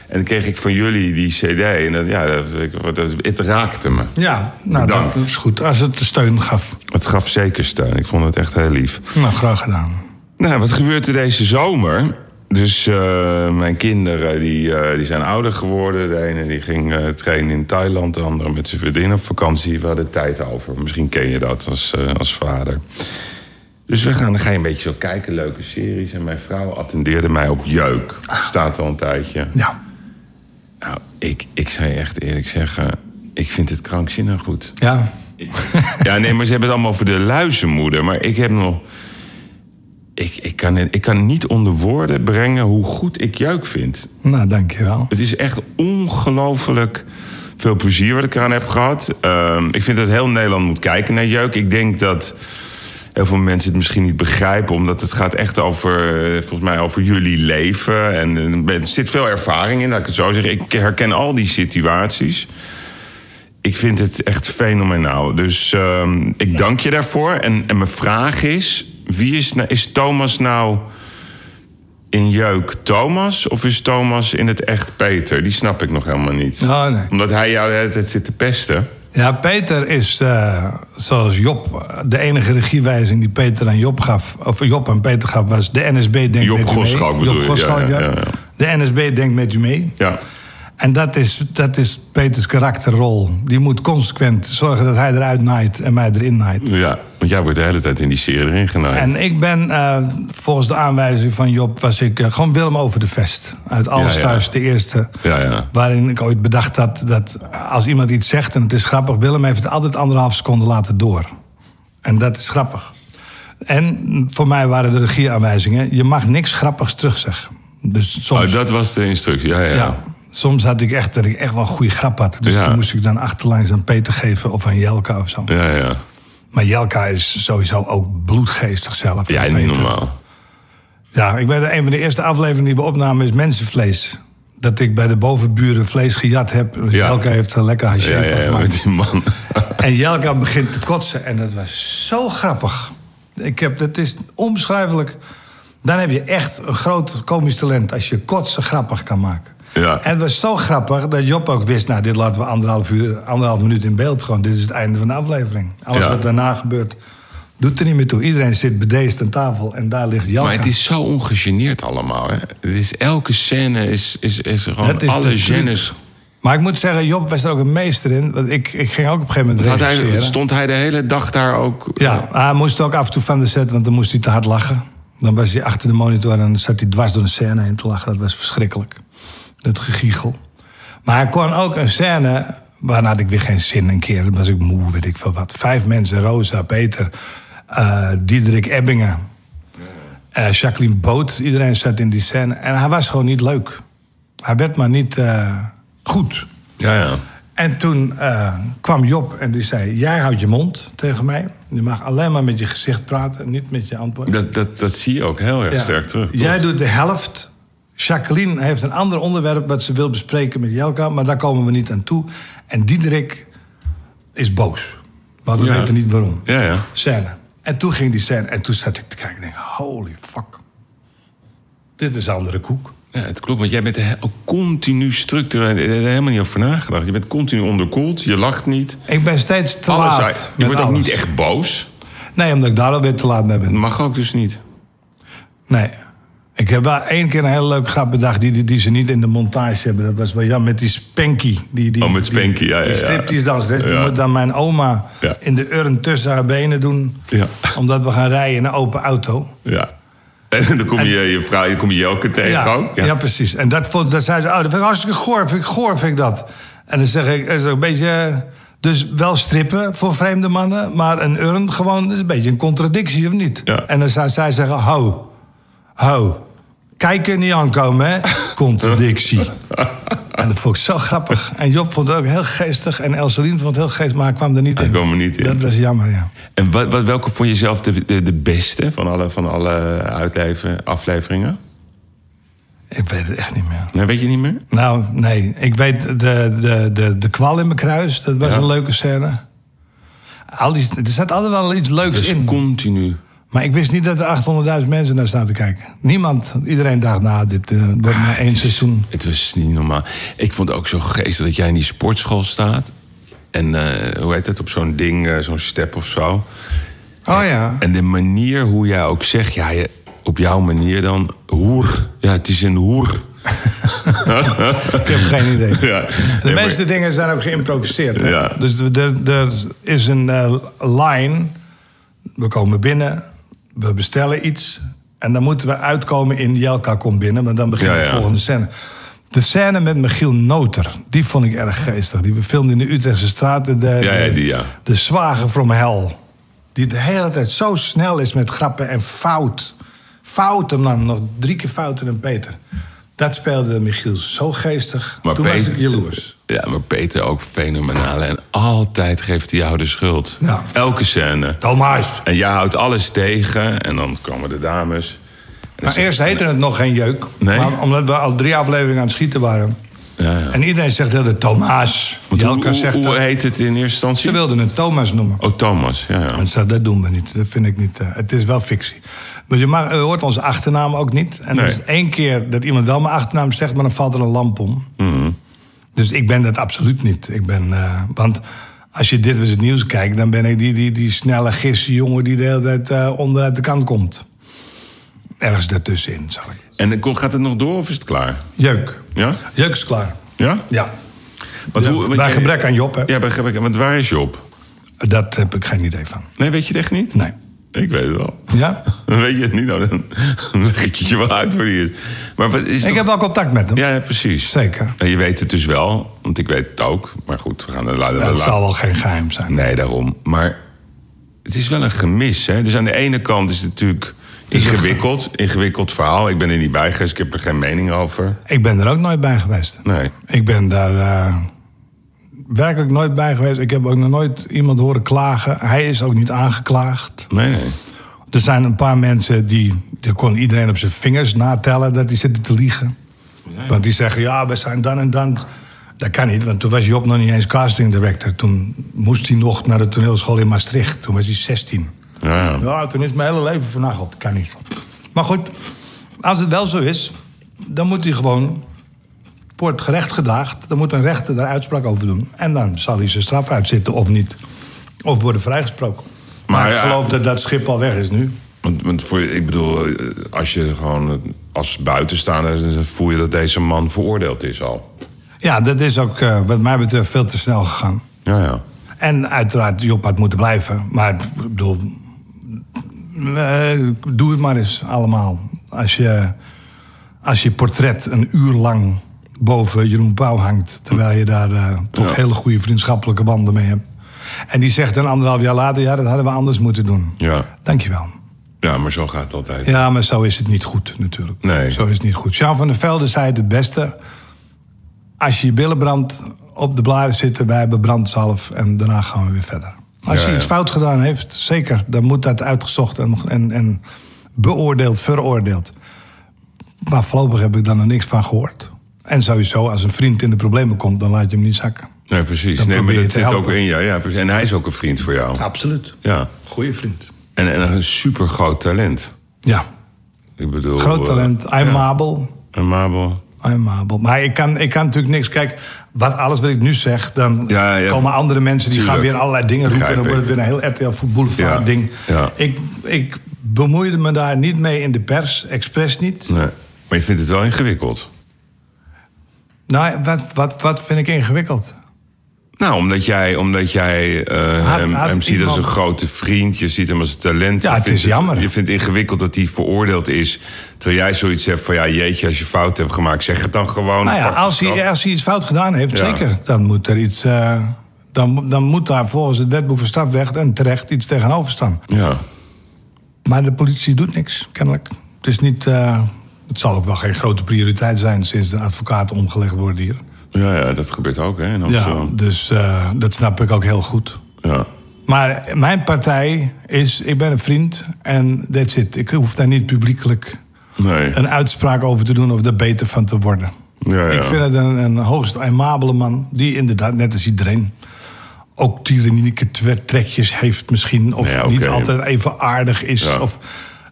Speaker 1: En dan kreeg ik van jullie die cd. En dat, ja, dat, dat- het raakte me.
Speaker 2: Ja, nou,
Speaker 1: Bedankt.
Speaker 2: dat is goed. Als het de steun gaf.
Speaker 1: Het gaf zeker steun. Ik vond het echt heel lief.
Speaker 2: Nou, graag gedaan.
Speaker 1: Nou, wat gebeurt er deze zomer? Dus eh, mijn kinderen die, eh, die zijn ouder geworden. De ene die ging eh, trainen in Thailand, de andere met zijn vriendin op vakantie. We hadden tijd over. Misschien ken je dat als, eh, als vader. Dus we gaan, dan ga je een beetje zo kijken, leuke series. En mijn vrouw attendeerde mij op Jeuk. Staat al een tijdje.
Speaker 2: Ja,
Speaker 1: Nou, ik, ik zei echt eerlijk zeggen, ik vind het krankzinnig goed.
Speaker 2: ja.
Speaker 1: Ja, nee, maar ze hebben het allemaal over de luizenmoeder. Maar ik heb nog. Ik, ik, kan, ik kan niet onder woorden brengen hoe goed ik Juik vind.
Speaker 2: nou dankjewel.
Speaker 1: Het is echt ongelooflijk veel plezier wat ik eraan heb gehad. Ehm, ik vind dat heel Nederland moet kijken naar Jeuk. Ik denk dat heel veel mensen het misschien niet begrijpen... omdat het gaat echt over, eh, volgens mij, over jullie leven. En eh, er zit veel ervaring in, laat ik het zo zeggen. Ik herken al die situaties. Ik vind het echt fenomenaal. Dus ehm, ik dank je daarvoor. En, en mijn vraag is, wie is, nou- is Thomas nou in jeuk Thomas of is Thomas in het echt Peter? Die snap ik nog helemaal niet.
Speaker 2: Oh, nee.
Speaker 1: Omdat hij jou de hele tijd zit te pesten.
Speaker 2: Ja, Peter is, eh, zoals Job, de enige regiewijzing die Peter aan Job gaf... of Job aan Peter gaf, was de NSB denkt
Speaker 1: Job
Speaker 2: met u mee.
Speaker 1: Goschalk bedoel
Speaker 2: Job
Speaker 1: je, ja,
Speaker 2: Goschalk,
Speaker 1: ja,
Speaker 2: ja.
Speaker 1: ja, ja.
Speaker 2: De NSB denkt met u mee.
Speaker 1: Ja.
Speaker 2: En dat is, dat is Peters karakterrol. Die moet consequent zorgen dat hij eruit naait en mij erin naait.
Speaker 1: ja, want jij wordt de hele tijd in die serie erin genaaid.
Speaker 2: En ik ben, eh, volgens de aanwijzing van Job, was ik eh, gewoon Willem over de vest. Uit Alles
Speaker 1: Ja, ja.
Speaker 2: Thuis, de eerste.
Speaker 1: Ja, ja.
Speaker 2: Waarin ik ooit bedacht had dat als iemand iets zegt en het is grappig, Willem heeft het altijd anderhalf seconde laten door. En dat is grappig. En voor mij waren de regieaanwijzingen: je mag niks grappigs terugzeggen. Dus soms,
Speaker 1: Oh, dat was de instructie. Ja, ja.
Speaker 2: ja.
Speaker 1: ja.
Speaker 2: soms had ik echt dat ik echt wel een goede grap had. Dus
Speaker 1: Ja.
Speaker 2: die moest ik dan achterlangs aan Peter geven of aan Jelka of zo.
Speaker 1: Ja, ja.
Speaker 2: Maar Jelka is sowieso ook bloedgeestig zelf.
Speaker 1: Ja,
Speaker 2: En
Speaker 1: niet
Speaker 2: Peter.
Speaker 1: normaal.
Speaker 2: Ja, ik ben een van de eerste afleveringen die we opnamen is mensenvlees. Dat ik bij de bovenburen vlees gejat heb.
Speaker 1: Ja.
Speaker 2: Jelka heeft er lekker haché
Speaker 1: Ja, ja,
Speaker 2: van
Speaker 1: ja,
Speaker 2: gemaakt.
Speaker 1: met die man.
Speaker 2: En Jelka begint te kotsen. En dat was zo grappig. Ik heb, dat is onbeschrijfelijk. Dan heb je echt een groot komisch talent. Als je kotsen grappig kan maken.
Speaker 1: Ja.
Speaker 2: En het was zo grappig dat Job ook wist... nou, dit laten we anderhalf, uur, anderhalf minuut in beeld gewoon. Dit is het einde van de aflevering. Alles
Speaker 1: Ja.
Speaker 2: wat daarna gebeurt, doet er niet meer toe. Iedereen zit bedeesd aan tafel en daar ligt Jelka.
Speaker 1: Maar het is zo ongegeneerd allemaal. Hè? Het is, elke scène is, is, is gewoon
Speaker 2: Dat is
Speaker 1: alle
Speaker 2: de truc.
Speaker 1: genres.
Speaker 2: Maar ik moet zeggen, Job was er ook een meester in. Want ik, ik ging ook op een gegeven moment
Speaker 1: Had hij,
Speaker 2: regisseren.
Speaker 1: stond hij de hele dag daar ook...
Speaker 2: Ja, hij moest ook af en toe van de set, want dan moest hij te hard lachen. Dan was hij achter de monitor en dan zat hij dwars door de scène heen te lachen. Dat was verschrikkelijk. Dat gegiegel. Maar hij kon ook een scène, waarna had ik weer geen zin een keer. Dan was ik moe, weet ik veel wat. Vijf mensen, Rosa, Peter, eh, Diederik Ebbingen, eh, Jacqueline Boot. Iedereen zat in die scène. En hij was gewoon niet leuk. Hij werd maar niet eh, goed.
Speaker 1: Ja, ja.
Speaker 2: En toen eh, kwam Job en die zei: Jij houdt je mond tegen mij. Je mag alleen maar met je gezicht praten, niet met je antwoord.
Speaker 1: Dat, dat, dat zie je ook heel erg
Speaker 2: Ja.
Speaker 1: sterk terug.
Speaker 2: Jij doet de helft. Jacqueline heeft een ander onderwerp wat ze wil bespreken met Jelka, maar daar komen we niet aan toe. En Diederik is boos. Maar we
Speaker 1: Ja.
Speaker 2: weten niet waarom.
Speaker 1: Ja, ja.
Speaker 2: Scène. En toen ging die scène en toen zat ik te kijken en denk: Holy fuck. Dit is andere koek.
Speaker 1: Ja, het klopt, want jij bent he- ook continu structureel... Je hebt er helemaal niet over nagedacht. Je bent continu onderkoeld, je lacht niet.
Speaker 2: Ik ben steeds te
Speaker 1: Alles,
Speaker 2: laat.
Speaker 1: je
Speaker 2: met
Speaker 1: wordt ook
Speaker 2: alles.
Speaker 1: niet echt boos.
Speaker 2: Nee, omdat ik daar alweer te laat mee ben.
Speaker 1: Dat mag ook dus niet.
Speaker 2: Nee. Ik heb wel één keer een hele leuke grap bedacht die, die, die ze niet in de montage hebben. Dat was wel jammer met die Spanky. Die, die,
Speaker 1: Oh, met
Speaker 2: die-
Speaker 1: Spanky, ja, ja,
Speaker 2: Die
Speaker 1: ja.
Speaker 2: striptease danseres. Die
Speaker 1: Ja.
Speaker 2: moet dan mijn oma
Speaker 1: Ja.
Speaker 2: in de urn tussen haar benen doen.
Speaker 1: Ja.
Speaker 2: Omdat we gaan rijden in een open auto.
Speaker 1: Ja. En dan kom je je, vrouw, dan kom je Jelke tegen ook.
Speaker 2: ja. precies. En dat, vond, dat zei ze, oh, dat vind ik hartstikke goor, vind ik goor, vind ik dat. En dan zeg ik, is ook een beetje... eh, Dus wel strippen voor vreemde mannen, maar een urn gewoon is een beetje een contradictie, of niet?
Speaker 1: Ja.
Speaker 2: En dan zou zij zeggen, ho, ho, kijk er niet aankomen, hè? Contradictie. en dat vond ik zo grappig. En Job vond het ook heel geestig en Elselien vond het heel geestig, maar hij kwam er niet in.
Speaker 1: kwam er niet in.
Speaker 2: Dat was jammer, ja.
Speaker 1: En wat, wat, welke vond je zelf de, de, de beste van alle, van alle uitleven, afleveringen?
Speaker 2: Ik Ik weet het echt niet meer.
Speaker 1: Nee, weet je niet meer?
Speaker 2: Nou, nee. Ik weet de, de, de, de kwal in mijn kruis. Dat was
Speaker 1: Ja.
Speaker 2: een leuke scène. Al die, er zat altijd wel iets leuks
Speaker 1: Dus
Speaker 2: in.
Speaker 1: continu.
Speaker 2: Maar ik wist niet dat er 800.000 mensen naar staan te kijken. Niemand. Iedereen dacht, nou, dit eh, wordt maar
Speaker 1: Ah,
Speaker 2: één
Speaker 1: het is-
Speaker 2: seizoen.
Speaker 1: Het was niet normaal. Ik vond het ook zo geestig dat jij in die sportschool staat. En eh, hoe heet dat? Op zo'n ding, eh, zo'n step of zo.
Speaker 2: Oh ja.
Speaker 1: En de manier hoe jij ook zegt, ja, je- op jouw manier dan, hoer. Ja, het is een hoer.
Speaker 2: Ik heb geen idee.
Speaker 1: Ja.
Speaker 2: De meeste dingen zijn ook geïmproviseerd. hè?
Speaker 1: Ja.
Speaker 2: Dus er- er er is een eh, line. We komen binnen, we bestellen iets. En dan moeten we uitkomen in Jelka komt binnen, maar dan begint
Speaker 1: Ja,
Speaker 2: de
Speaker 1: ja.
Speaker 2: volgende scène. De scène met Michiel Noter, die vond ik erg geestig. Die we filmden in de Utrechtse straten. De,
Speaker 1: Ja, ja,
Speaker 2: de-
Speaker 1: die, ja.
Speaker 2: de zwager from hell. Die de hele tijd zo snel is met grappen en fout. Fout en dan nog drie keer fout en een Peter. Dat speelde Michiel zo geestig.
Speaker 1: Maar
Speaker 2: Toen was
Speaker 1: Peter-
Speaker 2: ik jaloers.
Speaker 1: Ja, maar Peter ook fenomenaal. En altijd geeft hij jou de schuld.
Speaker 2: Ja.
Speaker 1: Elke scène.
Speaker 2: Thomas.
Speaker 1: En jij houdt alles tegen. En dan komen de dames.
Speaker 2: Maar eerst heette het nog geen jeuk.
Speaker 1: Nee.
Speaker 2: Maar omdat we al drie afleveringen aan het schieten waren.
Speaker 1: Ja, ja.
Speaker 2: En iedereen zegt dat het Thomas.
Speaker 1: Want hoe,
Speaker 2: Jelka
Speaker 1: hoe-
Speaker 2: zegt
Speaker 1: hoe
Speaker 2: dat.
Speaker 1: heet het in eerste
Speaker 2: Ze
Speaker 1: instantie?
Speaker 2: wilden het Thomas noemen.
Speaker 1: Oh, Thomas. Ja, ja.
Speaker 2: En ze zei, dat doen we niet. Dat vind ik niet. eh, het is wel fictie. Maar je, mag, je hoort onze achternaam ook niet. En
Speaker 1: Nee.
Speaker 2: er is één keer dat iemand wel mijn achternaam zegt, maar dan valt er een lamp om.
Speaker 1: Mhm.
Speaker 2: Dus ik ben dat absoluut niet. Ik ben, eh, want als je dit was het nieuws kijkt, dan ben ik die, die, die snelle gisse jongen die de hele tijd eh, onderuit de kant komt. Ergens daartussenin, zal ik.
Speaker 1: En eh, gaat het nog door of is het klaar?
Speaker 2: Jeuk.
Speaker 1: Ja?
Speaker 2: Jeuk is klaar.
Speaker 1: Ja?
Speaker 2: Ja.
Speaker 1: Want
Speaker 2: Ja,
Speaker 1: hoe- want
Speaker 2: bij
Speaker 1: jij-
Speaker 2: gebrek aan Job, hè?
Speaker 1: Ja, bij gebrek aan... Want waar is Job?
Speaker 2: Dat heb ik geen idee van.
Speaker 1: Nee, weet je het echt niet?
Speaker 2: Nee.
Speaker 1: Ik weet het wel.
Speaker 2: Ja?
Speaker 1: Dan weet je het niet, nou, dan leg ik het je wel uit waar die is. Maar wat is
Speaker 2: Ik
Speaker 1: toch-
Speaker 2: heb wel contact met hem.
Speaker 1: ja, ja, precies.
Speaker 2: Zeker.
Speaker 1: En je weet het dus wel, want ik weet het ook. Maar goed, we gaan er later...
Speaker 2: Dat
Speaker 1: later-
Speaker 2: zal wel geen geheim zijn.
Speaker 1: Nee, daarom. Maar het is wel een gemis, hè? Dus aan de ene kant is het natuurlijk ingewikkeld. Ingewikkeld verhaal. Ik ben er niet bij geweest, ik heb er geen mening over.
Speaker 2: Ik ben er ook nooit bij geweest.
Speaker 1: Nee.
Speaker 2: Ik ben daar eh, werkelijk nooit bij geweest. Ik heb ook nog nooit iemand horen klagen. Hij is ook niet aangeklaagd.
Speaker 1: Nee, nee.
Speaker 2: Er zijn een paar mensen die... die kon iedereen op zijn vingers natellen dat die zitten te liegen. Want die zeggen, ja, we zijn dan en dan... Dat kan niet, want toen was Job nog niet eens casting director. Toen moest hij nog naar de toneelschool in Maastricht. Toen was hij 16.
Speaker 1: Ja, ja.
Speaker 2: Ja, toen is mijn hele leven vernageld. Kan niet. Maar goed, als het wel zo is, dan moet hij gewoon voor het gerecht gedaagd. Dan moet een rechter daar uitspraak over doen. En dan zal hij zijn straf uitzitten of niet. Of worden vrijgesproken. Maar,
Speaker 1: Maar
Speaker 2: ik
Speaker 1: ja,
Speaker 2: geloof dat dat schip al weg is nu.
Speaker 1: Want, want voor, ik bedoel, eh, als je gewoon eh, als buitenstaander... dan voel je dat deze man veroordeeld is al.
Speaker 2: Ja, dat is ook eh, wat mij betreft veel te snel gegaan.
Speaker 1: Ja, ja.
Speaker 2: En uiteraard, Job had moeten blijven. Maar ik bedoel, eh, doe het maar eens allemaal. Als je, als je portret een uur lang boven Jeroen Pauw hangt... terwijl je daar eh, toch
Speaker 1: Ja.
Speaker 2: hele goede vriendschappelijke banden mee hebt. En die zegt dan anderhalf jaar later... ja, dat hadden we anders moeten doen.
Speaker 1: Ja,
Speaker 2: Dankjewel.
Speaker 1: ja maar zo gaat het altijd.
Speaker 2: Ja, maar zo is het niet goed natuurlijk.
Speaker 1: Nee.
Speaker 2: Zo is het niet goed. Jean van der Velde zei het het beste. Als je je billen brandt, op de blaren zitten, wij hebben brandzalf en daarna gaan we weer verder. Als
Speaker 1: Ja,
Speaker 2: je
Speaker 1: ja.
Speaker 2: iets fout gedaan heeft, zeker, dan moet dat uitgezocht en, en, en beoordeeld, veroordeeld. Maar voorlopig heb ik dan er niks van gehoord. En sowieso, als een vriend in de problemen komt, dan laat je hem niet zakken.
Speaker 1: Nee, precies.
Speaker 2: Dan
Speaker 1: Nee, maar
Speaker 2: probeer je
Speaker 1: dat
Speaker 2: te
Speaker 1: zit ook
Speaker 2: helpen. Nou.
Speaker 1: in jou. Ja, precies. En hij is ook een vriend voor jou.
Speaker 2: Absoluut.
Speaker 1: Ja.
Speaker 2: Goeie vriend.
Speaker 1: En, en een super groot talent.
Speaker 2: Ja,
Speaker 1: Ik bedoel,
Speaker 2: groot
Speaker 1: eh,
Speaker 2: talent, aimabel.
Speaker 1: En Mabel.
Speaker 2: Aimabel. Maar ik kan, ik kan natuurlijk niks. Kijk, wat alles wat ik nu zeg, dan
Speaker 1: Ja, ja.
Speaker 2: komen andere mensen die
Speaker 1: Tuurlijk.
Speaker 2: gaan weer allerlei dingen roepen.
Speaker 1: Begrijp
Speaker 2: dan wordt het
Speaker 1: ik.
Speaker 2: weer een heel RTL Boulevard
Speaker 1: Ja,
Speaker 2: ding.
Speaker 1: ja.
Speaker 2: Ik, ik bemoeide me daar niet mee in de pers, expres niet.
Speaker 1: Nee. Maar je vindt het wel ingewikkeld.
Speaker 2: Nou, wat, wat, wat vind ik ingewikkeld?
Speaker 1: Nou, omdat jij, omdat jij eh,
Speaker 2: Had-
Speaker 1: hem,
Speaker 2: had
Speaker 1: hem ziet als een
Speaker 2: iemand-
Speaker 1: grote vriend. Je ziet hem als een talent.
Speaker 2: Ja,
Speaker 1: Je
Speaker 2: het
Speaker 1: vindt
Speaker 2: is jammer.
Speaker 1: Je vindt het ingewikkeld dat hij veroordeeld is. Terwijl jij zoiets hebt van, ja jeetje, als je fout hebt gemaakt... zeg het dan gewoon.
Speaker 2: Nou ja,
Speaker 1: Pak de
Speaker 2: als
Speaker 1: straf.
Speaker 2: hij, als hij iets fout gedaan heeft,
Speaker 1: Oh, Ja.
Speaker 2: zeker. Dan moet er iets. eh, dan, mo- dan moet daar volgens het wetboek van strafrecht en terecht iets tegenover staan.
Speaker 1: Ja.
Speaker 2: Maar de politie doet niks, kennelijk. Het is niet. eh, het zal ook wel geen grote prioriteit zijn sinds de advocaten omgelegd worden hier.
Speaker 1: Ja, ja, dat gebeurt ook, hè, in
Speaker 2: Ja,
Speaker 1: Amsterdam.
Speaker 2: dus eh, dat snap ik ook heel goed.
Speaker 1: Ja.
Speaker 2: Maar mijn partij is, ik ben een vriend en that's it. Ik hoef daar niet publiekelijk
Speaker 1: Nee.
Speaker 2: een uitspraak over te doen of er beter van te worden.
Speaker 1: Ja, ja.
Speaker 2: Ik vind het een, een hoogst aimabele man die inderdaad, net als iedereen, ook tyrannieke twe- trekjes heeft misschien. Of
Speaker 1: Ja, oké.
Speaker 2: niet altijd even aardig is.
Speaker 1: Ja.
Speaker 2: Of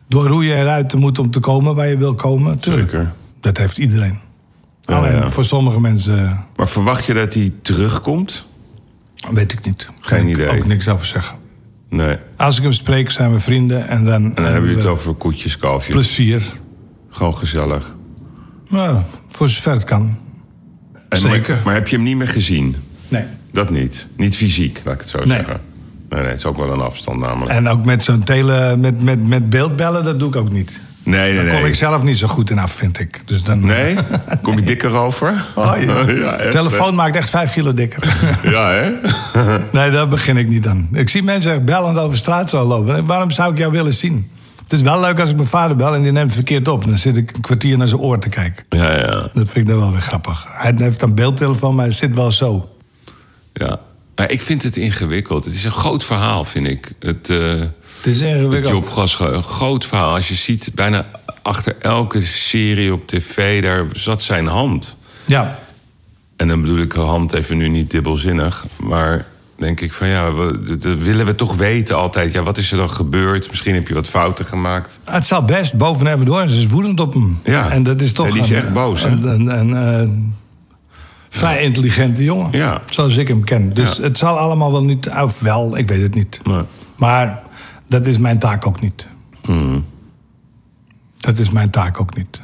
Speaker 2: door hoe je eruit moet om te komen waar je wil komen. Tuurlijk,
Speaker 1: Zeker.
Speaker 2: dat heeft iedereen.
Speaker 1: Ja,
Speaker 2: Alleen
Speaker 1: ja.
Speaker 2: voor sommige mensen eh,
Speaker 1: Maar verwacht je dat hij terugkomt?
Speaker 2: weet ik niet.
Speaker 1: Geen
Speaker 2: Kan ik
Speaker 1: idee.
Speaker 2: ook niks over zeggen.
Speaker 1: Nee.
Speaker 2: Als ik hem spreek, zijn we vrienden en dan,
Speaker 1: En dan hebben we het
Speaker 2: we
Speaker 1: over koetjes, kalfjes.
Speaker 2: plezier.
Speaker 1: Gewoon gezellig.
Speaker 2: Nou, voor zover het kan.
Speaker 1: En
Speaker 2: Zeker.
Speaker 1: Maar, maar heb je hem niet meer gezien?
Speaker 2: Nee.
Speaker 1: Dat niet. Niet fysiek, laat ik het zo
Speaker 2: Nee.
Speaker 1: zeggen. Nee, nee, het is ook wel een afstand namelijk.
Speaker 2: En ook met zo'n tele, met, met, met beeldbellen, dat doe ik ook niet.
Speaker 1: nee, nee,
Speaker 2: Daar kom
Speaker 1: nee.
Speaker 2: ik zelf niet zo goed in af, vind ik. Dus dan,
Speaker 1: Nee? Kom je dikker over?
Speaker 2: Oh, ja.
Speaker 1: echt,
Speaker 2: Telefoon maakt echt vijf kilo dikker.
Speaker 1: hè? Ja, hè?
Speaker 2: nee, daar begin ik niet aan. Ik zie mensen echt bellend over straat zo lopen. En Waarom zou ik jou willen zien? Het is wel leuk als ik mijn vader bel en die neemt verkeerd op. Dan zit ik een kwartier naar zijn oor te kijken.
Speaker 1: Ja, ja.
Speaker 2: Dat vind ik dan wel weer grappig. Hij heeft een beeldtelefoon, maar hij zit wel zo.
Speaker 1: ja. Maar ik vind het ingewikkeld. Het is een groot verhaal, vind ik. Het, eh
Speaker 2: Het is
Speaker 1: het
Speaker 2: ingewikkeld.
Speaker 1: jobgas, een groot verhaal. Als je ziet, bijna achter elke serie op tv, daar zat zijn hand.
Speaker 2: Ja,
Speaker 1: En dan bedoel ik hand even nu niet dubbelzinnig. Maar denk ik van ja, we, dat- dat willen we toch weten altijd. Ja, wat is er dan gebeurd? Misschien heb je wat fouten gemaakt.
Speaker 2: het zal best. Boven hebben door. Ze is woedend op hem.
Speaker 1: Ja.
Speaker 2: En dat is toch
Speaker 1: Ja, die is
Speaker 2: een-
Speaker 1: echt boos, hè?
Speaker 2: Een, een, een, eh, vrij intelligente jongen.
Speaker 1: Ja.
Speaker 2: Zoals ik hem ken. Dus
Speaker 1: Ja.
Speaker 2: het zal allemaal wel niet. Of wel, ik weet het niet.
Speaker 1: Nee.
Speaker 2: Maar dat is mijn taak ook niet.
Speaker 1: Hmm.
Speaker 2: Dat is mijn taak ook niet.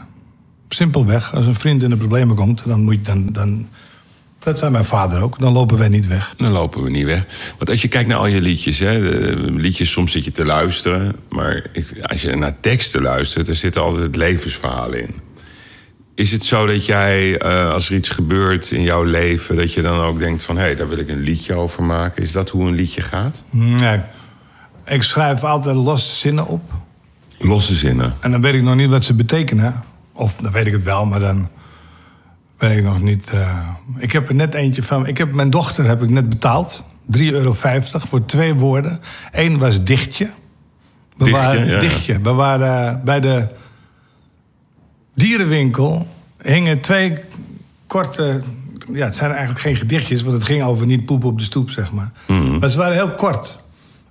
Speaker 2: Simpelweg, als een vriend in de problemen komt, dan moet je dan. dan dat zijn mijn vader ook. Dan lopen wij niet weg.
Speaker 1: Dan lopen we niet weg. Want als je kijkt naar al je liedjes, hè, de liedjes, soms zit je te luisteren. Maar ik- als je naar teksten luistert, er zitten altijd levensverhalen in. Is het zo dat jij, eh, als er iets gebeurt in jouw leven, dat je dan ook denkt van hé, hey, daar wil ik een liedje over maken? Is dat hoe een liedje gaat?
Speaker 2: Nee. Ik schrijf altijd losse zinnen op.
Speaker 1: Losse zinnen.
Speaker 2: En dan weet ik nog niet wat ze betekenen. Of dan weet ik het wel, maar dan weet ik nog niet. eh. ik heb er net eentje van. Ik heb, mijn dochter heb ik net betaald. 3,50 euro voor twee woorden. Eén was dichtje. We
Speaker 1: Dichtje,
Speaker 2: waren,
Speaker 1: ja, ja.
Speaker 2: dichtje. We waren eh, bij de dierenwinkel. Hingen twee korte. Ja, het zijn eigenlijk geen gedichtjes, want het ging over niet poepen op de stoep, zeg maar.
Speaker 1: Mhm.
Speaker 2: Maar ze waren heel kort.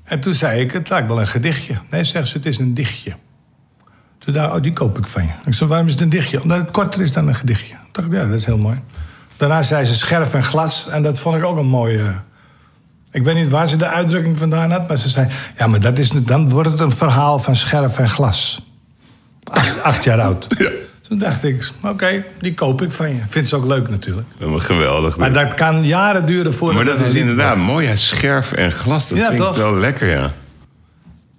Speaker 2: En toen zei ik, het lijkt wel een gedichtje. Nee, zegt ze, het is een dichtje. Toen dacht ik, oh, die koop ik van je. Ik zei, waarom is het een dichtje? Omdat het korter is dan een gedichtje. Ik dacht, ja, dat is heel mooi. Daarna zei ze scherf en glas. En dat vond ik ook een mooie... eh, Ik weet niet waar ze de uitdrukking vandaan had, maar ze zei... Ja, maar dat is, dan wordt het een verhaal van scherf en glas. Acht, acht jaar oud. Toen dacht ik, oké, die koop ik van je. Vindt ze ook leuk natuurlijk.
Speaker 1: Geweldig.
Speaker 2: Maar dat kan jaren duren voordat...
Speaker 1: Maar dat
Speaker 2: het
Speaker 1: is
Speaker 2: een lied
Speaker 1: inderdaad mooi. Ja, scherp en glas. Dat
Speaker 2: Ja,
Speaker 1: klinkt
Speaker 2: toch?
Speaker 1: wel lekker, ja.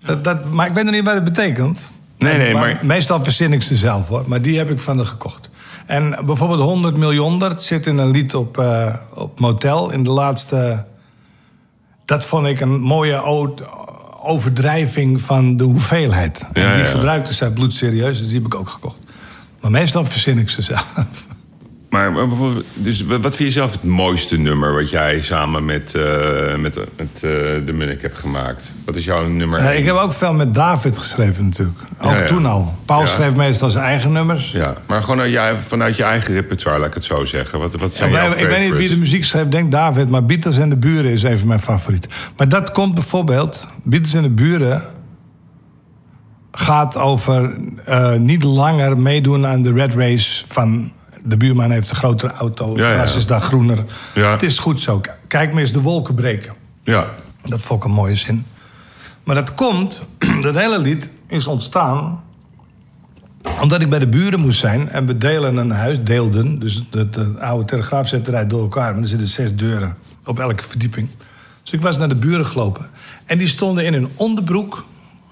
Speaker 2: Dat, dat, maar ik weet nog niet wat het betekent.
Speaker 1: Nee, nee, maar-
Speaker 2: Meestal verzin ik ze zelf, hoor. Maar die heb ik van haar gekocht. En bijvoorbeeld 100 miljoen, dat zit in een lied op, eh, op Motel. In de laatste... Dat vond ik een mooie o- overdrijving van de hoeveelheid.
Speaker 1: Ja,
Speaker 2: en die
Speaker 1: ja.
Speaker 2: gebruikte zij bloedserieus, dus die heb ik ook gekocht. Maar meestal verzin ik ze zelf.
Speaker 1: Maar, maar bijvoorbeeld, dus wa- wat vind je zelf het mooiste nummer wat jij samen met, eh, met, met eh, de Munnik hebt gemaakt? Wat is jouw nummer?
Speaker 2: Ja,
Speaker 1: één?
Speaker 2: ik heb ook veel met David geschreven natuurlijk. Ook
Speaker 1: Ja, ja.
Speaker 2: toen al. Paul
Speaker 1: Ja.
Speaker 2: schreef meestal zijn eigen nummers.
Speaker 1: Ja, maar gewoon uit je- vanuit je eigen repertoire, laat ik het zo zeggen. Wat, wat zijn
Speaker 2: Ja, wij-
Speaker 1: jouw
Speaker 2: ik weet niet wie de
Speaker 1: favorites?
Speaker 2: muziek schrijft, denk David, maar Beatles en de Buren is even mijn favoriet. Maar dat komt bijvoorbeeld, Beatles en de Buren gaat over eh, niet langer meedoen aan de red race van de buurman heeft een grotere auto,
Speaker 1: Ja,
Speaker 2: ja,
Speaker 1: ja.
Speaker 2: is daar groener.
Speaker 1: Ja.
Speaker 2: Het is goed zo. Kijk me eens de wolken breken.
Speaker 1: Ja,
Speaker 2: Dat vond ik een mooie zin. Maar dat komt, dat hele lied is ontstaan. omdat ik bij de buren moest zijn. en we delen een huis, deelden. Dus de, de oude telegraafzetterij door elkaar. maar er zitten zes deuren op elke verdieping. Dus ik was naar de buren gelopen. En die stonden in hun onderbroek.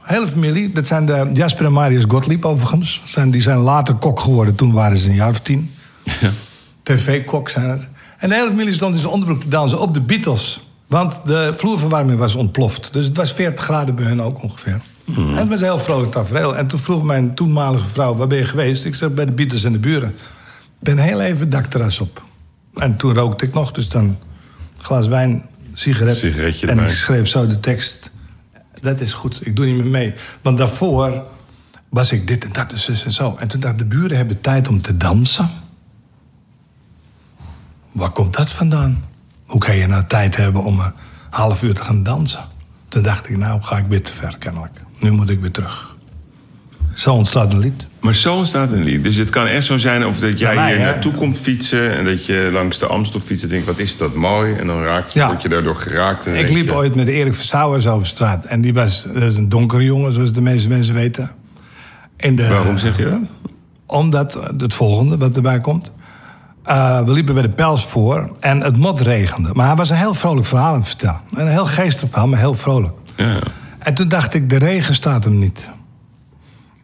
Speaker 2: Hele familie, dat zijn de Jasper en Marius Gottlieb overigens. Zijn, die zijn later kok geworden, toen waren ze een jaar of tien. TV-kok zijn het. En de hele familie stond in zijn onderbroek te dansen op de Beatles. Want de vloerverwarming was ontploft. Dus het was 40 graden bij hun ook ongeveer.
Speaker 1: Hmm.
Speaker 2: En het was een heel vrolijk tafereel. En toen vroeg mijn toenmalige vrouw, waar ben je geweest? Ik zei, bij de Beatles en de buren. Ik ben heel even het dakterras op. En toen rookte ik nog, dus dan een glas wijn, sigaret.
Speaker 1: Sigaretje
Speaker 2: en
Speaker 1: erbij.
Speaker 2: ik schreef zo de tekst. Dat is goed, ik doe niet meer mee. Want daarvoor was ik dit en dat en zus en zo. En toen dacht ik, de buren hebben tijd om te dansen. Waar komt dat vandaan? Hoe kan je nou tijd hebben om een half uur te gaan dansen? Toen dacht ik, nou ga ik weer te ver kennelijk. Nu moet ik weer terug. Zo ontstaat een lied.
Speaker 1: Maar zo staat een lied. Dus het kan echt zo zijn of dat jij
Speaker 2: Ja, wij,
Speaker 1: hier
Speaker 2: hè?
Speaker 1: naartoe komt fietsen... en dat je langs de Amstel fietst en denkt, wat is dat mooi. En dan raak je,
Speaker 2: Ja.
Speaker 1: word je daardoor geraakt. en dan
Speaker 2: Ik
Speaker 1: denk
Speaker 2: liep
Speaker 1: je-
Speaker 2: ooit met Erik Versauwers over straat. En die was dat is een donkere jongen, zoals de meeste mensen weten. En de,
Speaker 1: Waarom zeg je dat?
Speaker 2: Omdat eh, het volgende wat erbij komt. Eh, we liepen bij de pels voor en het mot regende. Maar hij was een heel vrolijk verhaal aan het vertellen. Een heel geestig verhaal, maar heel vrolijk.
Speaker 1: Ja.
Speaker 2: En toen dacht ik, de regen staat hem niet.